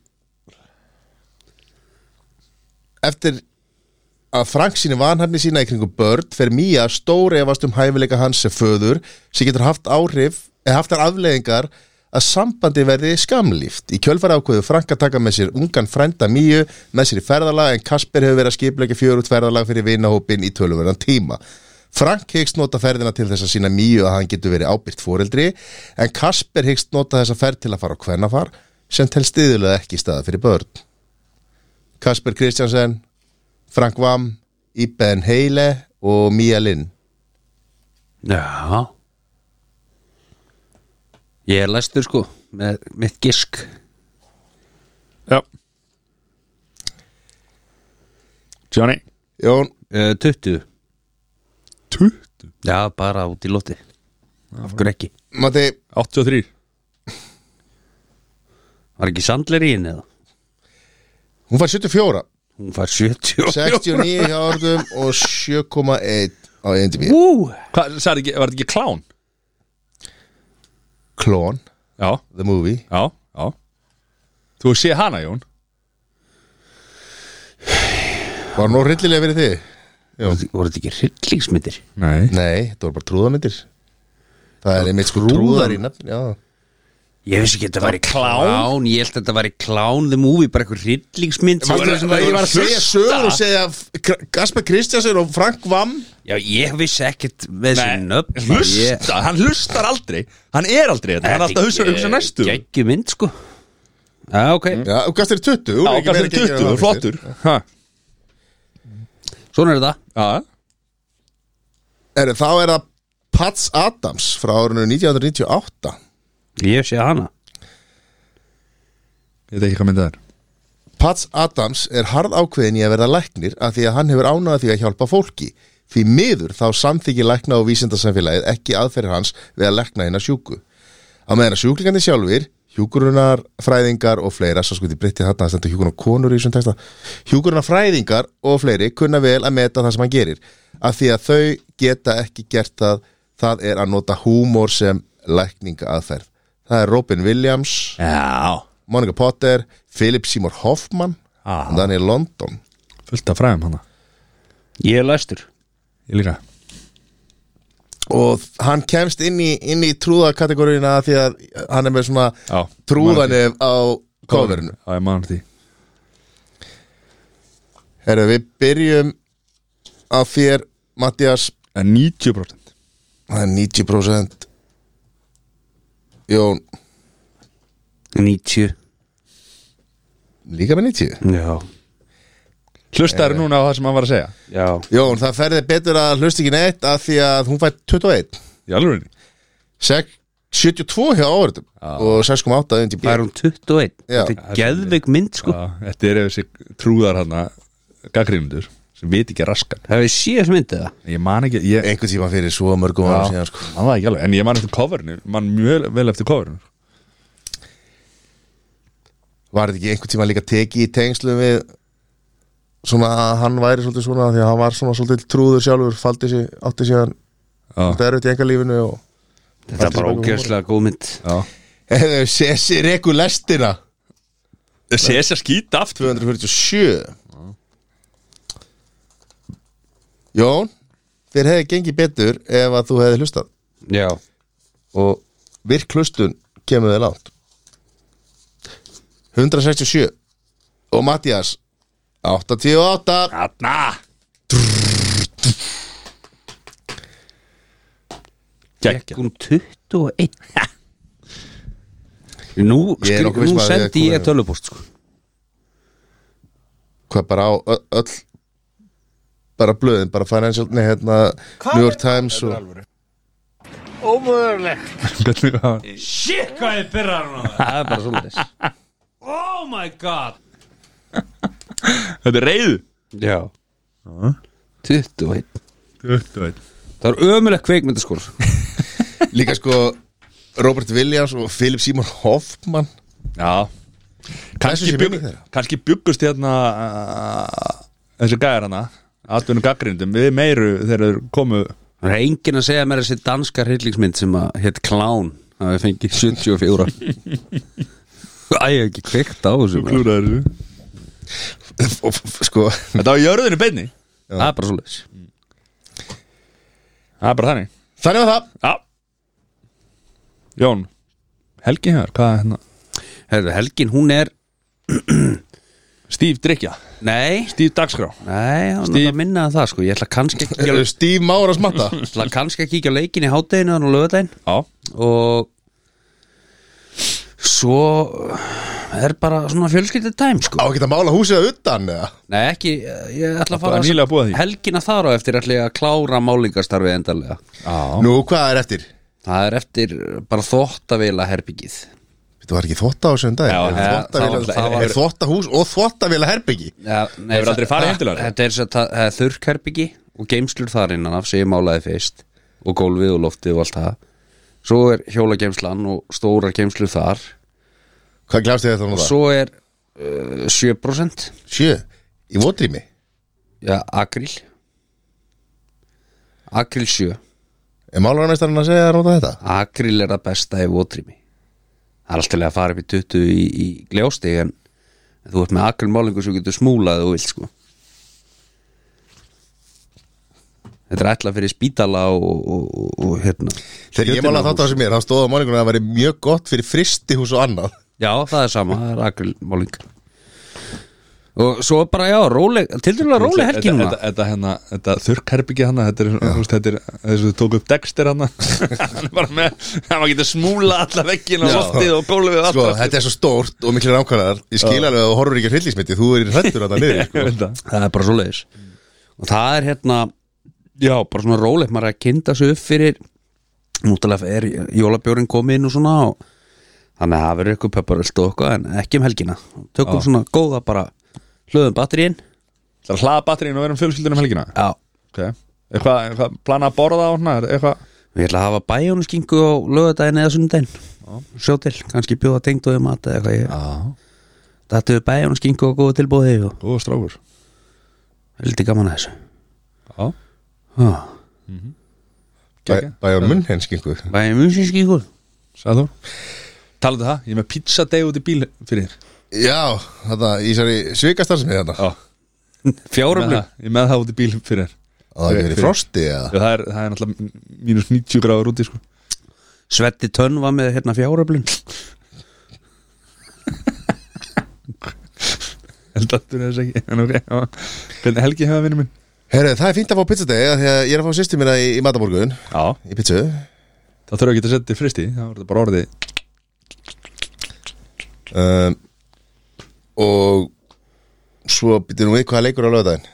Speaker 2: Eftir að Frank síni vanhæfni sína í kringum börn fer Mía stóri efast um hæfileika hans sem föður sem getur haft áhrif eða haft þar afleðingar að sambandi verði skamlíft. Í kjölfari ákveðu Frank að taka með sér ungan frænda Míu með sér í ferðalag en Kasper hefur verið að skipleika fjörut ferðalag fyrir vinahópin í töluverðan tíma. Frank hyggst nota ferðina til þess að sína Míu að hann getur verið ábyrgt foreldri en Kasper hyggst nota þessa ferð til að fara á kvennafar sem tel stiðulega ekki staða fyrir börn. Kasper Kristjansen, Frank Vam, Iben Heile og Mia Linn
Speaker 3: Já Ég er læstur sko með mitt gisk
Speaker 1: Já Johnny
Speaker 2: Jón,
Speaker 3: uh, 20
Speaker 1: 20
Speaker 3: Já, bara út í lóti Af hverju ekki?
Speaker 2: Matti
Speaker 1: 83
Speaker 3: Var ekki sandler í henni eða?
Speaker 2: hún fær <laughs> 74
Speaker 3: Hún fær 70
Speaker 2: 69 hjá orðum og 7,1 á E IMDb
Speaker 3: Ú,
Speaker 1: Hvað, sagði ekki, var þetta ekki klán?
Speaker 2: Klón,
Speaker 1: Já,
Speaker 2: the movie
Speaker 1: já, já Þú sé hana, Jón
Speaker 2: Var nú rillilega verið þig? Jón.
Speaker 3: voru þetta ekki hryllingsmyndir?
Speaker 1: Nei
Speaker 2: Nei, þetta voru bara trúðamyndir Það er einmitt sko trúðar í nafn Já,
Speaker 3: Ég vissi ekki að þetta væri
Speaker 1: klán?
Speaker 3: klán Ég held að þetta væri klán the movie Bara eitthvað hryllingsmynd sem
Speaker 1: Varstu-
Speaker 3: var- sem var-
Speaker 1: ég var að
Speaker 2: segja sögur og segja K- Gaspar Kristjánsson og Frank Vam
Speaker 3: Já, ég vissi ekkert með þessi nöfn
Speaker 1: hlusta, hann hlustar aldrei Hann er aldrei þetta, hann er alltaf að hugsa- hugsa næstu
Speaker 3: Gekki mynd sko Já, ok
Speaker 2: Já, og Gaspar er 20
Speaker 1: Já,
Speaker 2: hún er ekki
Speaker 1: kannski
Speaker 2: meira gengin
Speaker 1: 20,
Speaker 2: en hann
Speaker 1: flottur Ha,
Speaker 3: Svona er þetta
Speaker 1: Já,
Speaker 2: Herru, Þá er það Pats Adams frá árinu 1998
Speaker 3: Ég sé hana
Speaker 1: ég veit ekki hvað myndið er
Speaker 2: Pats Adams er harð ákveðin í að verða læknir af því að hann hefur ánaða því að hjálpa fólki. Því miður þá samþykir lækna og vísindasamfélagið ekki aðferðir hans við að lækna hennar sjúku. Á meðan að sjúklingandi sjálfur, hjúkurunar, fræðingar og fleira, svo sko þið breytið þarna að stenda hjúkurunar konur í þessum texta, hjúkurunar fræðingar og fleiri kunna vel að meta það sem hann gerir. Af því að þau geta ekki gert það, það er að nota húmor sem lækninga aðferð. Það er Robin Williams,
Speaker 1: Já,
Speaker 2: Monica Potter, Philip Seymour Hoffman
Speaker 1: Ah.
Speaker 2: ah. Daniel London
Speaker 1: fullt af fræðum hana
Speaker 3: Ég er læstur
Speaker 1: Ég líka
Speaker 2: og hann kemst inn í, inn í trúðakategóriina því að hann er með svona
Speaker 1: Já,
Speaker 2: trúðanef á coverinu
Speaker 1: Já, ég mann því
Speaker 2: Herra, við byrjum á þér, Mattias
Speaker 1: En 90%
Speaker 2: það er 90% Jón,
Speaker 3: 90
Speaker 2: líka með 90
Speaker 3: Já
Speaker 1: Hlustaður núna á það sem hann var að segja
Speaker 3: Já
Speaker 2: Jón, það ferði betur að hlust ekki neitt af því að hún fætt 21
Speaker 1: Í alveg
Speaker 2: Sek- 72 hjá áverðum og 6,8 undir
Speaker 3: Það er
Speaker 2: bíl
Speaker 3: hún 21
Speaker 2: Já.
Speaker 3: Þetta er geðveik mynd sko
Speaker 1: Þetta er þessi trúðar hana Gagrínundur sem veit ekki raskan
Speaker 3: Það hefur síðast myndið það
Speaker 1: Ég man ekki, ég
Speaker 2: einhvern tíma fyrir svo mörgum ára síðan sko.
Speaker 1: man það ekki alveg En ég man eftir coverinu, man mjög vel eftir coverinu
Speaker 2: var þetta ekki einhvern tíma líka tekið í tengslu við svona að hann væri svolítið svona því að hann var svona svolítið trúður sjálfur faldi sér, átti sér hann
Speaker 1: Já,
Speaker 2: <laughs> derfitt í enga lífinu og
Speaker 3: Þetta er bara ógeðslega góð mynd
Speaker 1: já
Speaker 2: Hefðu, Sessi rekur lestina
Speaker 1: Cæsar skýt <laughs> aft
Speaker 2: 247 Jón Þér hefði gengið betur ef að þú hefði hlustað
Speaker 3: Já,
Speaker 2: og virk hlustun kemur þér langt 167 og Mattias 88
Speaker 1: Þarna Gekk
Speaker 3: hún 21 Nú,
Speaker 2: Ég er
Speaker 3: skil,
Speaker 2: nokkuð viss
Speaker 3: nú
Speaker 2: maður að ég
Speaker 3: sendi
Speaker 2: er
Speaker 3: ég tölvupúst sko.
Speaker 2: hvað bara á ö- öll bara blöðin, bara financial nei, hérna, New York Times og,
Speaker 5: Shit, hvað ég byrjar núna
Speaker 3: Það er bara svolítið
Speaker 5: Oh my god
Speaker 1: Þetta er reyðu
Speaker 3: Já 21
Speaker 1: Þetta
Speaker 3: Það er ömuleg kveikmyndaskór
Speaker 2: líka sko Robert Williams og Philip Seymour Hoffman <laughs>
Speaker 1: Já
Speaker 2: Þessu
Speaker 1: Kanski,
Speaker 2: sé
Speaker 1: bjugg,
Speaker 2: minning þeirra.
Speaker 1: kannski bjuggust hérna uh, þessi gæjar hana atvinnum gaggrindum við meiru þegar þeir komu
Speaker 3: Það er enginn að segja mér þessi danska hryllingsmynd sem að hétt Clown að við fengið 74 Æ, ég hef ekki kveikt á þessu maður.
Speaker 1: klúraður
Speaker 2: og f- f- sko,
Speaker 1: Þetta var í jörðinu beinni
Speaker 3: Það er bara svolítið
Speaker 1: Það er bara þannig
Speaker 2: þannig var það
Speaker 1: Já Jón Helgi hér, hvað er hérna?
Speaker 3: Herðu, Helgin, hún er
Speaker 1: Stíf drikja
Speaker 3: Nei,
Speaker 1: Stíf dagskrá
Speaker 3: nei, hún er að minna að það sko Ég ætla kannski ekki að,
Speaker 2: Eru Steve Mára
Speaker 3: <laughs>
Speaker 2: smatta
Speaker 3: ætla kannski að kíkja á leikin í hátæðinu og lögadæn
Speaker 1: Já
Speaker 3: og svo er bara svona fjölskyldu tæm
Speaker 2: á
Speaker 3: sko
Speaker 2: ekki að mála húsið að utan eða?
Speaker 3: Nei, ekki, ég ætla að
Speaker 1: Það
Speaker 3: fara
Speaker 1: er nýlega búið að því
Speaker 3: Helgina þar á eftir ætla ég að klára málingastarfið endarlega
Speaker 1: Já
Speaker 2: nú hvað er eftir?
Speaker 3: Það er eftir bara þvóttavila herbyggið
Speaker 2: Þetta var ekki þvotta á söndag
Speaker 1: Já,
Speaker 2: er,
Speaker 3: ja,
Speaker 2: þvottavél-
Speaker 3: það var-
Speaker 2: er þvottahús og þvottavila herbyggi
Speaker 3: ja, Ah,
Speaker 1: Hefur aldrei farið heim til þar?
Speaker 3: Þetta er svo- það- það er þurrkherbyggi og geimslur þar innan af sem ég málaði fyrst og gólfið og loftið og allt það Svo er hjólageimslan og stóra geimslur þar
Speaker 2: Hvað glást þið þetta nú
Speaker 3: og
Speaker 2: það?
Speaker 3: svo er uh, 7%
Speaker 2: Sjö, í mótrými
Speaker 3: ja, agril Agril 7
Speaker 2: Er málararmestarinn að segja að nota þetta?
Speaker 3: Agril er það besta í votrými Það er alltaf að fara upp í 20 í, í gljóstig en þú ert með agril málingu sem getur smúlað og vilt sko Þetta er ætla fyrir spítala og, og, og, og hérna
Speaker 2: Þegar ég málaði þátt á sem mér, þá stóð á málingunum að það væri mjög gott fyrir fristihús og annað
Speaker 3: Já, það er sama, það er agril máling Og svo er bara, já, róleg Tildurlega róleg helgi núna
Speaker 1: Þetta- Þetta hérna, þetta þurrkherbyggi hana Þetta er, svona, þú veist, þetta er þess að þú tók upp Dexter hana Hann er <laughs> bara með, hann var getur smúla alla veggina og loftið og gólfið og allt
Speaker 2: Sko, þetta er svo stórt og miklu rámkvæðar Ég skil alveg að þú horfur ekki að hryllismitti, þú er hrættur að það <laughs> niður sko.
Speaker 1: Ég veit það.
Speaker 3: það er bara svo leiðis og það er hérna já, bara svona rólegt, maður er að kynna sig upp fyrir núttalega er jólabjórin komið inn og svona og þannig að það verður eitthvað pepparöld og eitthvað en ekki um helgina, tökum svona góða bara hlöðum batteríin
Speaker 1: Það er að hlaða batterín og vera um fjölskyldunum helgina
Speaker 3: já,
Speaker 1: Ok Eitthvað, eitthvað, plana að borða á hana er Eitthvað
Speaker 3: við ætla að hafa bæjónuskingu á lögadaginn eða sunnudaginn sjó til, kannski bjóða tengd og mat eða eitthvað ég
Speaker 1: Já
Speaker 3: dættu bæjónuskingu og góða tilbúði og
Speaker 1: Góða strákur
Speaker 3: heldur gaman að þessu
Speaker 1: Já
Speaker 3: já,
Speaker 2: Bæ- Bæjón munnhenskingu
Speaker 3: bæjónuskingu
Speaker 1: Sæður Talaðu það, ég er með pizza day út í bíl fyrir þér
Speaker 2: Já, þetta, í sari svikastar sem ég þetta
Speaker 1: Já Ég er með
Speaker 3: fjáröflug
Speaker 1: það- ég er með það út í bíl fyrir þér
Speaker 2: Og það er í frosti eða
Speaker 1: Já, það er, það er náttúrulega mínus 90 gráður úti sko.
Speaker 3: Svetti Tönn var með hérna fjáröflun
Speaker 1: Held að þú nefnir ekki En ok, já. Hvernig helgi hefa vinnu minn?
Speaker 2: Herru, það er fínt að fá pizzadegi af Því að ég er að fá sýstum mína í, í matamorgun
Speaker 1: Já
Speaker 2: Í pizzu
Speaker 1: Það þurfa ekki að setja í fristi Það var þetta bara orðið
Speaker 2: um, Og Svo býtum við hvað leikur á lögðaðin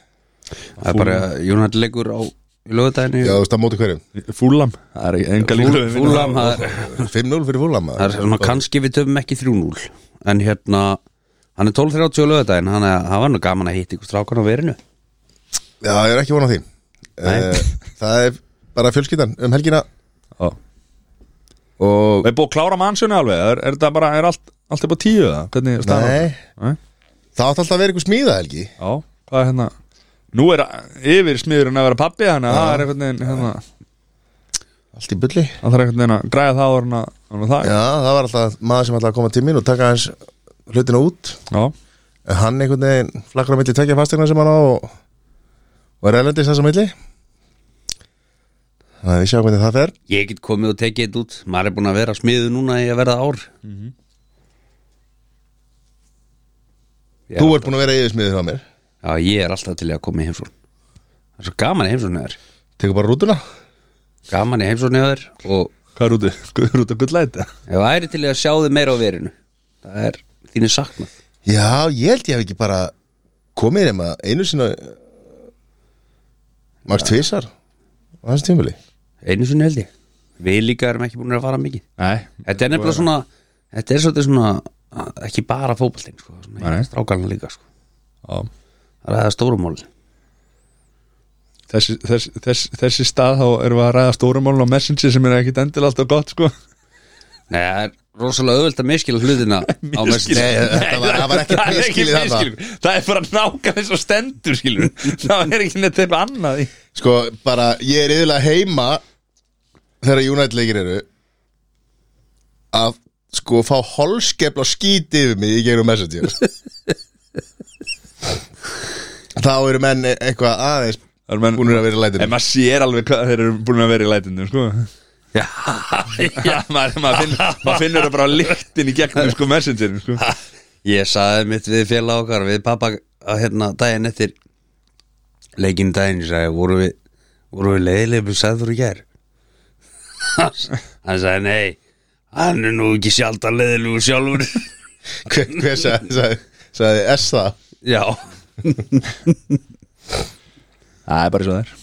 Speaker 3: Það er bara Jónat leikur á lögadaginu
Speaker 2: Já, þú veist að móti hverjum
Speaker 1: Fúlam Það er ekki enga líka
Speaker 3: Fúlam það er-
Speaker 2: 5-0 fyrir fúlam
Speaker 3: það er svona kannski við töfum ekki 3-0 en hérna hann er 12.30 á lögadaginn hann er, hann var nú gaman að hitta ykkur strákan á verinu
Speaker 2: Já, ég er ekki von á því uh, Það er bara fjölskyldan um helgina
Speaker 1: Það
Speaker 2: og
Speaker 1: er búið að klára mannsjónu alveg Er, er þetta bara, er allt, allt upp á tíu það? Hvernig er staðan?
Speaker 2: Nei,
Speaker 1: Nei.
Speaker 2: það átt alltaf að vera ykkur smíða helgi
Speaker 1: Já, hvað er hérna? Nú er yfir smiðurinn að vera pappi Þannig að það er einhvern veginn hérna
Speaker 2: allt í bulli Já,
Speaker 1: Það þarf einhvern veginn að græja það áður en að- áður en að það
Speaker 2: það var alltaf maður sem alltaf að koma til mín og taka hans hlutina út
Speaker 1: Já,
Speaker 2: en hann einhvern veginn flakkar á milli tvekja fastegna sem hann á og, og er erlendis þess á milli Þannig að við sjáum hvernig það fer
Speaker 3: Ég get komið og tekið þetta út Maður er búin að vera smiðu núna í að verða ár Já.
Speaker 2: Þú ert búin að vera yfirsmiður á mér
Speaker 3: Já, ég er alltaf til í að koma í heimsón Það er svo gaman í heimsókn hjá þér
Speaker 2: Tekur bara rútuna
Speaker 3: Gaman í heimsókn hjá þér Og
Speaker 1: hvað er úti? Hvað er úti að gulla þetta?
Speaker 3: ef væri til í að sjá þið meira á verinu Það er þínu saknað
Speaker 2: Já, ég held ég hef ekki bara komið nema einu sinna Max tvisar á þessu tímuli
Speaker 3: Einu sinni held ég Við líka erum ekki búin að fara mikið
Speaker 1: Nei,
Speaker 3: Þetta er nefnilega svona Þetta er svolítið svona að- ekki bara fótboltinn sko,
Speaker 1: Nei, nei.
Speaker 3: Strákalna líka sko.
Speaker 1: já
Speaker 3: Það er það stórumál
Speaker 1: Þessi, þess, þess, þessi stað þá erum við að ræða stórumálun á Messenger sem er ekkit endil alltaf gott sko
Speaker 3: Nei, það er rosalega auðvelt að miskila <laughs> hlutina á Messenger.
Speaker 2: Nei, þetta var, <laughs> það var ekki
Speaker 1: Það er ekki
Speaker 2: miskilið þarna
Speaker 1: miskilið Það er bara nákvæmlega eins og stendur skilur Það er ekki neitt eitthvað annað í
Speaker 2: Sko, bara, ég er yfirlega heima þegar United leikir eru að sko fá holskepl og skíti yfir mig í gerum messenger Þá eru menn eitthvað aðeins
Speaker 1: Það er menn-
Speaker 2: búinir að vera í lætinu
Speaker 1: En maður sér alveg hvað þeir eru búin að vera í lætinu sko.
Speaker 3: Já,
Speaker 1: <laughs> Já, maður, maður, finn, maður finnur það bara lyktin í gegnum sko, messengerin sko.
Speaker 3: Ég saði mitt við félag okkar við pappa að hérna daginn eftir leikinn daginn ég sagði, voru við, voru við leiðilegum sagður í gær hann sagði, nei hann er nú ekki sjálft að leiðilegu sjálfur <laughs>
Speaker 2: Hver, hver sagði, sagði, sagði S það?
Speaker 3: Já
Speaker 1: Það er bara svo þær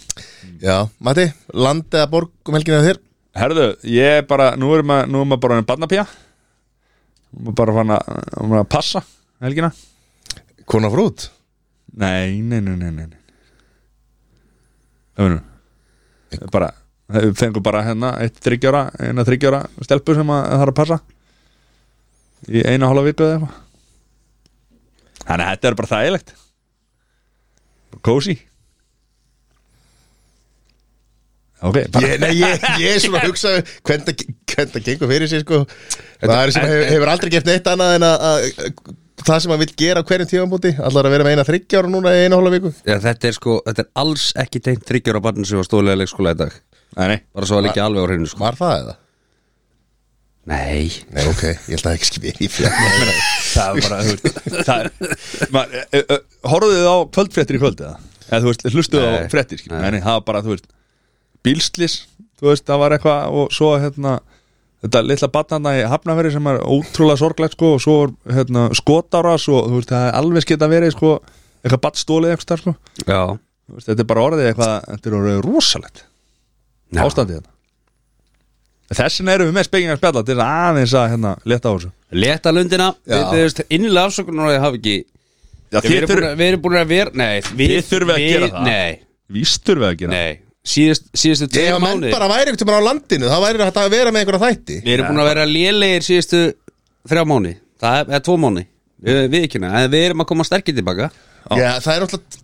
Speaker 2: Já, Matti, land eða borg um helginu þér?
Speaker 1: Herðu, ég er bara, nú er maður, nú er maður bara en barnapía Nú er bara fann að, um að passa helgina
Speaker 2: Kona frút
Speaker 1: Nei, nei, nei, nei, nei nei. Það verður Það er bara, við fengum bara hérna eitt þryggjóra, eina þryggjóra stelpu sem að það er að passa í eina hálfa viku eða eitthvað Þannig að þetta er bara þægilegt Cozy Ok, bara
Speaker 2: ég, nei, ég, ég er svona að hugsa hvernig það- hvernig það gengur fyrir sér sko. Það er sem hefur, hefur aldrei gert neitt annað en að, að það sem maður vill gera á hverjum tífambúti allar að vera með eina þryggja ára núna í eina hóla viku
Speaker 3: Já, þetta er sko, þetta er alls ekki tengt tryggjur á barnum sem var stóðlega leikskóla í dag
Speaker 1: Nei, nei
Speaker 3: bara svo að líka alveg á hreinu sko
Speaker 2: Var það eða?
Speaker 3: Nei,
Speaker 2: Nei, ok, ég held að ekki skipið í fjall
Speaker 1: það er bara, þú veist það er maður, ö, ö, horfðu þið á kvöldfréttir í kvöld eða? eða þú veist, hlustuðu á
Speaker 3: Nei,
Speaker 1: fréttir skilur,
Speaker 3: nei.
Speaker 1: nei, nei, það var bara, þú veist bílslis, þú veist, það var eitthvað og svo, hérna, þetta litla batnana í Hafnaferi sem er ótrúlega sorglegt sko, og svo, er, hérna, skotáras og þú veist, það er alveg skita verið, sko eitthvað batstólið eitthvað, þar, sko
Speaker 3: já
Speaker 1: Þú veist, þetta er bara orðið eitthvað, þetta er orðið rosalegt
Speaker 3: Já.
Speaker 1: ástandið hérna. þetta þessin eru við með spekingar spjalla til þess að aðeins að, hérna, leta á þessu
Speaker 3: Leta lundina,
Speaker 2: Já.
Speaker 3: við veist innilega afsökunar að ég hafi ekki
Speaker 1: Já,
Speaker 3: Við
Speaker 1: þið
Speaker 3: erum, búin
Speaker 1: þurfum,
Speaker 3: að, við erum búin að vera Nei, við,
Speaker 1: Þið þurfið að
Speaker 3: við,
Speaker 1: gera það.
Speaker 3: Nei,
Speaker 1: víst þurfum við að gera
Speaker 3: nei Síðust, Síðustu
Speaker 2: Ég
Speaker 3: tveir
Speaker 2: hef menn
Speaker 3: mánuði
Speaker 2: bara væri einhvern veginn á landinu þá væri þetta að vera með einhverja þætti
Speaker 3: Við erum búin að vera lélegir síðustu þrjá mánuði Það er, er tvo mánuði Við, við ekki hana, en við erum að koma sterkir tilbaka
Speaker 2: Já, það er náttúrulega,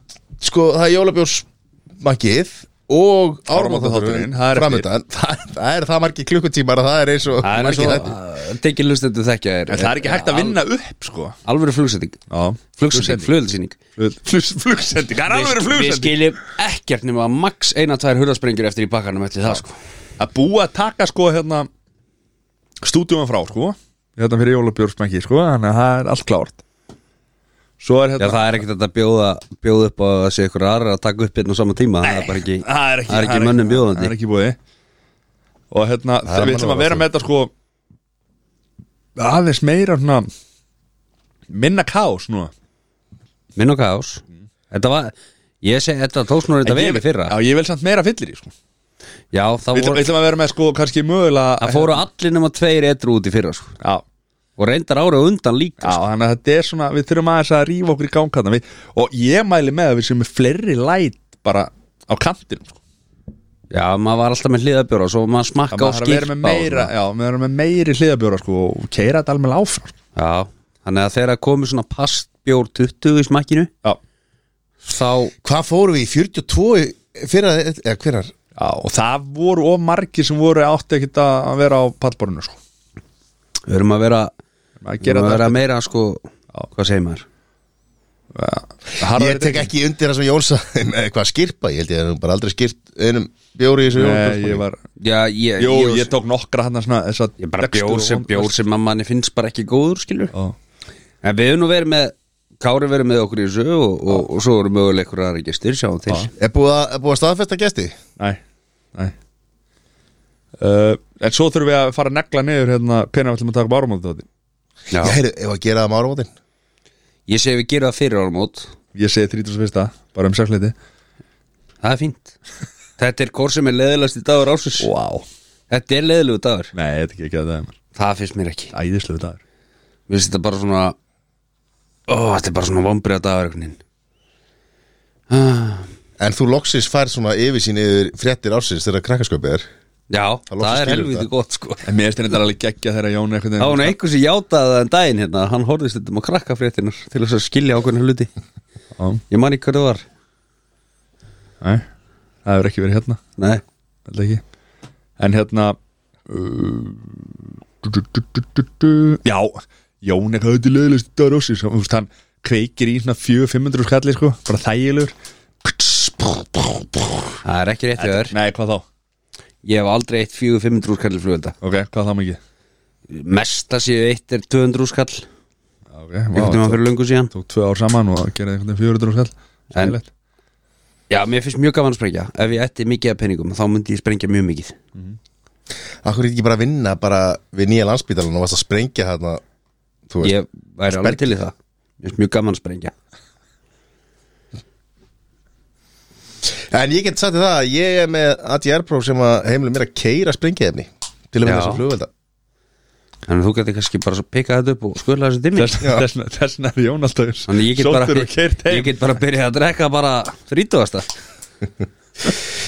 Speaker 2: sko, það er jólabjórsmakkið og
Speaker 1: Áramótaþátturinn,
Speaker 2: áramótaþátturinn
Speaker 1: það er eftir.
Speaker 2: framöndan <laughs> það, það er það margir klukkutímar að það er eins og
Speaker 3: Það er eins
Speaker 2: margir
Speaker 3: og
Speaker 2: þættir.
Speaker 3: að tekið lustendur þekkja er,
Speaker 1: En það er ekki hægt að vinna upp sko
Speaker 3: Alvöru flugsending Flugsending, flugsending
Speaker 1: Flugsending, það er alveg verið
Speaker 3: Við
Speaker 1: flugsending
Speaker 3: skiljum ekkert nema max eina tvær hurðarsprengjur eftir í bakkanum eftir það sko
Speaker 1: Að búa að taka sko hérna Stúdíuman frá sko Hérna fyrir jólabjörnsmæki sko Þannig að það er allt klárt Svo er
Speaker 3: Já
Speaker 1: hérna
Speaker 3: það er ekkert að bjóða, bjóða upp á þessi ykkur aðra að taka upp einn og sama tíma Það er bara ekki,
Speaker 1: Það er ekki,
Speaker 3: það er ekki mönnum
Speaker 1: Það er
Speaker 3: bjóðandi
Speaker 1: ekki búið Og hérna
Speaker 2: Það er
Speaker 1: við ætlum
Speaker 2: mannúðar,
Speaker 1: að vera
Speaker 2: þú.
Speaker 1: með þetta sko Aðeins meira svona Minna kás núna
Speaker 3: Minn og kaos Þetta var, ég segi, þetta tóksnur þetta vel í fyrra
Speaker 1: Já, ég vil samt meira fyllir í sko
Speaker 3: Já, það,
Speaker 1: Við ætlum-
Speaker 3: voru,
Speaker 1: við ætlum að vera með sko kannski mögulega
Speaker 3: það fóru allir nema tveir etru út í fyrra sko.
Speaker 1: Já,
Speaker 3: Og reyndar ára undan líka
Speaker 1: Já, þannig að þetta er svona, við þurfum aðeins að rífa okkur í gang hérna við, og ég mæli með að við séum með fleiri læt bara á kantinum sko.
Speaker 3: sko. Já, maður var alltaf með hliðabjóra Svo maður
Speaker 1: Það
Speaker 3: smakka og
Speaker 1: maður þarf að vera
Speaker 3: skippa
Speaker 1: með
Speaker 3: og
Speaker 1: meira,
Speaker 3: svona.
Speaker 1: já, við erum með meiri hliðabjóra sko og keira þetta alveg áfram sko.
Speaker 3: Já, þannig að þegar komi svona pastbjór 20 í smakkinu
Speaker 1: Já,
Speaker 3: Þá,
Speaker 2: Hvað fórum við í 42 í- fyrir að, eða hverjar?
Speaker 1: Já, og það voru of margir sem voru átti ekkit að að vera á pallborinu sko.
Speaker 3: Við erum að vera,
Speaker 1: að
Speaker 3: við
Speaker 1: gera
Speaker 3: erum að vera
Speaker 1: þetta
Speaker 3: meira sko, hvað segir maður?
Speaker 1: Harðari
Speaker 2: Ég tek
Speaker 1: drengur.
Speaker 2: ekki undir það sem Jón sagði <laughs> með hvað skirpa, ég held ég að hann bara aldrei skirpt einum bjóri í þessu sko.
Speaker 1: Nei, ég var
Speaker 3: Já, ég,
Speaker 1: Jú,
Speaker 3: sko, ég,
Speaker 1: ég tók nokkra hann svona þessa
Speaker 3: ég bara
Speaker 1: textur
Speaker 3: bjór
Speaker 1: og
Speaker 3: sem
Speaker 1: vond-
Speaker 3: bjór sem að manni finnst bara ekki góður skilur
Speaker 1: Já.
Speaker 3: En við höfum nú verið með, Kári verið með okkur í þessu og, og, og svo eru möguleikur aðra gestir, sjáum til
Speaker 2: Er búið að, er búið að staðfesta gesti?
Speaker 1: Nei, nei uh, En svo þurfum við að fara að negla niður hérna Pena við ætlum að taka bárumóti þátti
Speaker 3: Já.
Speaker 2: Já, heyrðu, ef að gera það um márumótin
Speaker 3: Ég segi við gerum það fyrir áramót
Speaker 1: Ég segi 31. bara um sérleiti
Speaker 3: Það er fínt Þetta er kór sem er leðilegast í dagur ásins
Speaker 1: Vá
Speaker 3: Þetta er leðilegu dagur
Speaker 1: Nei, þetta er ekki ekki að það er
Speaker 3: Það finnst mér ekki
Speaker 1: Æðislegu dagur
Speaker 3: Mér finnst þetta bara svona Ó, þetta er bara svona vombriða dagur einhvern veginn. ah,
Speaker 2: En þú loksins fær svona yfirsýn yfir fréttir ársins þegar krakkasköpið er
Speaker 3: Já, það,
Speaker 2: loksins
Speaker 3: er
Speaker 2: skilur
Speaker 3: helviti
Speaker 2: þetta.
Speaker 3: gott sko
Speaker 1: En mér finnst þetta alveg geggja þegar Jón er einhvern
Speaker 3: Það var nú
Speaker 1: veginn
Speaker 3: einhver sem játaði það en daginn hérna Hann horfðist þetta um að krakka fréttinar Til þess að skilja ákveðna hluti
Speaker 1: Já.
Speaker 3: Ég man ekki hvað það var
Speaker 1: Nei, það hefur ekki verið hérna
Speaker 3: Nei,
Speaker 1: held ekki en hérna uh, du, du, du, du, du, du. já, Jón er hætti leðilist það er ósins, þú veist hann kveikir í svona 400-500 skalli sko, bara þægilegur
Speaker 3: það er ekki rétt hjá þér
Speaker 1: nei, hvað þá,
Speaker 3: Ég hef aldrei eitt 4-500 úrskallir flugölda
Speaker 1: ok, hvað þá mikið
Speaker 3: Mesta séu eitt er 200 úrskall
Speaker 1: ok,
Speaker 3: Einhvern
Speaker 1: vá,
Speaker 3: tímann fyrir löngu síðan
Speaker 1: tók tvö ár saman og gerði einhvern veginn 400 skall
Speaker 3: En-
Speaker 1: Sæðilegt.
Speaker 3: Já, mér finnst mjög gaman að sprengja Ef ég ætti mikið af peningum, þá myndi ég sprengja mjög mikið
Speaker 2: Akkur er ekki bara að vinna bara við nýja landsbítalan og varst að sprengja þarna Þú veist,
Speaker 3: Ég væri alveg til í það Mér finnst mjög gaman að sprengja
Speaker 2: En ég get sagt þér það að ég er með ATR-próf sem að heimilum mér að keira sprengiðefni Til að
Speaker 3: Já.
Speaker 2: vinna þessum flugvelda
Speaker 3: Þannig að þú gæti kannski bara að pika þetta upp og skvöla þessu dimmi
Speaker 1: Þess- þess vegna- þess vegna er Jón alltaf
Speaker 3: Þannig ég get bara
Speaker 1: sóttur og keirt heim
Speaker 3: Ég get bara að byrja að drekka bara þrítugasta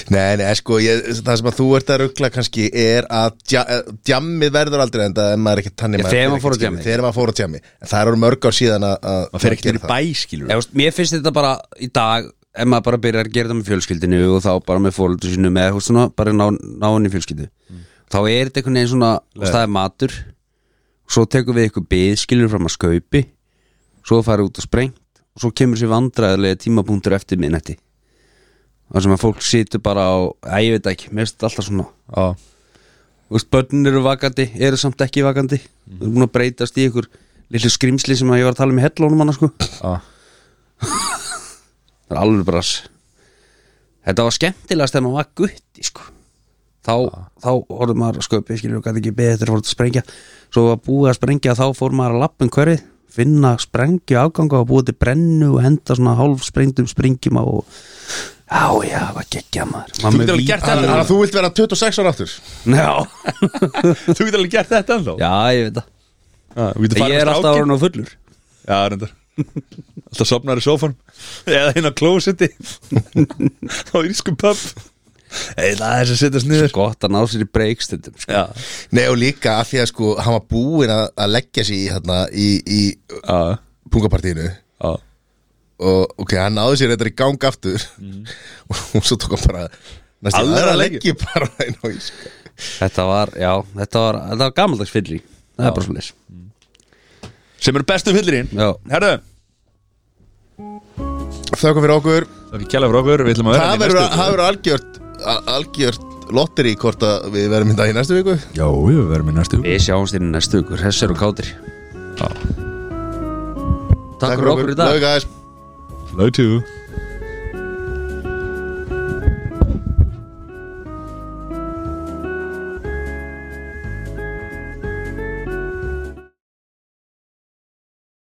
Speaker 2: Nei, nei, sko, ég, það sem að þú ert að ruggla kannski er að dja, eh, djammið verður aldrei enda en maður er ekki tannig
Speaker 3: Já,
Speaker 2: maður fer
Speaker 3: þegar maður fór á
Speaker 2: ekki, skilur.
Speaker 3: djammið.
Speaker 2: Þegar maður fór á djammi En það eru mörg ár síðan að
Speaker 1: maður fer ekkert yfir bæ skilur
Speaker 3: Já, veist, Mér finnst þetta bara í dag Ef maður bara byrjar að gera það með fjölskyldinu og þá bara með fólöldu sínu með eitthvað svona bara ná, ná henni fjölskyldu Þá er þetta einhvern veginn svona og það er matur Svo tekum við eitthvað bið, skilur fram að skaupi Svo farið út og sprengt og svo kemur sér vandræðilega tímapunktur eftir minnetti Það sem að fólk situr bara á Æ, ég veit ekki, mér finnst þetta alltaf svona
Speaker 1: Já.
Speaker 3: Þú veist, börnin eru vakandi, eru samt ekki vakandi Þú erum búin að breytast í ykkur Lillu skrimsli sem að ég var að tala um í hellónum hana sko
Speaker 1: Já.
Speaker 3: Það er alveg brass Þetta var skemmtilegast þegar maður var gutti sko. þá, þá horfði maður að sköpi skilur og gæti ekki beðið eftir að fór að sprengja svo var búið að sprengja þá fór maður að lappin hverfið finna sprengju afganga og búið til brennu og henda svona hálf sprengdum sprengjum á og já já, hvað gekkja maður
Speaker 1: Þú getur
Speaker 3: Maður með
Speaker 1: alveg
Speaker 3: vín-
Speaker 1: gert
Speaker 2: Þannig
Speaker 1: þetta
Speaker 2: að þú vilt vera 26 ára aftur
Speaker 1: <laughs>
Speaker 3: Já,
Speaker 1: Þú getur alveg gert þetta ennþá
Speaker 3: já, ég veit það
Speaker 1: Já, Þú getur farið
Speaker 3: Ég er
Speaker 1: með
Speaker 3: alltaf
Speaker 1: strákinn.
Speaker 3: orðin á fullur
Speaker 1: Já, reyndar Alltaf sopnar í sófan Eða hinn á klósetti Á írskum pub Eða þess að setjast niður
Speaker 3: Gott að ná sér í breykstundum sko.
Speaker 1: Já,
Speaker 2: Nei, og líka af því að sko, hann var búinn að, að leggja sig í, hérna, í, í
Speaker 1: já,
Speaker 2: pungapartíinu
Speaker 1: já
Speaker 2: og ok, hann náði sér þetta í gang aftur <laughs> og svo tók hann bara næstu
Speaker 1: Aðra
Speaker 2: aðra
Speaker 1: leggju.
Speaker 2: leggju bara inn á íska
Speaker 3: Þetta var, já, þetta var, þetta var gamaldags fyllir Það er bara svona leys
Speaker 1: Sem eru bestu fyllirinn
Speaker 3: Já.
Speaker 1: Herðu,
Speaker 2: Þakka fyrir okkur
Speaker 1: það er ekki kjæla fyrir okkur Við ætlum að vera
Speaker 2: Það
Speaker 1: hérna í
Speaker 2: verður
Speaker 1: næstu
Speaker 2: það verður algjört al- algjört lotteri hvort að við verðum í dag í næstu viku
Speaker 1: viku. Já, við verðum í næstu viku.
Speaker 3: Við sjáumst inn í næstu ykkur, hessir og kátir Takk fyrir okkur í dag
Speaker 2: Laugast
Speaker 1: Love you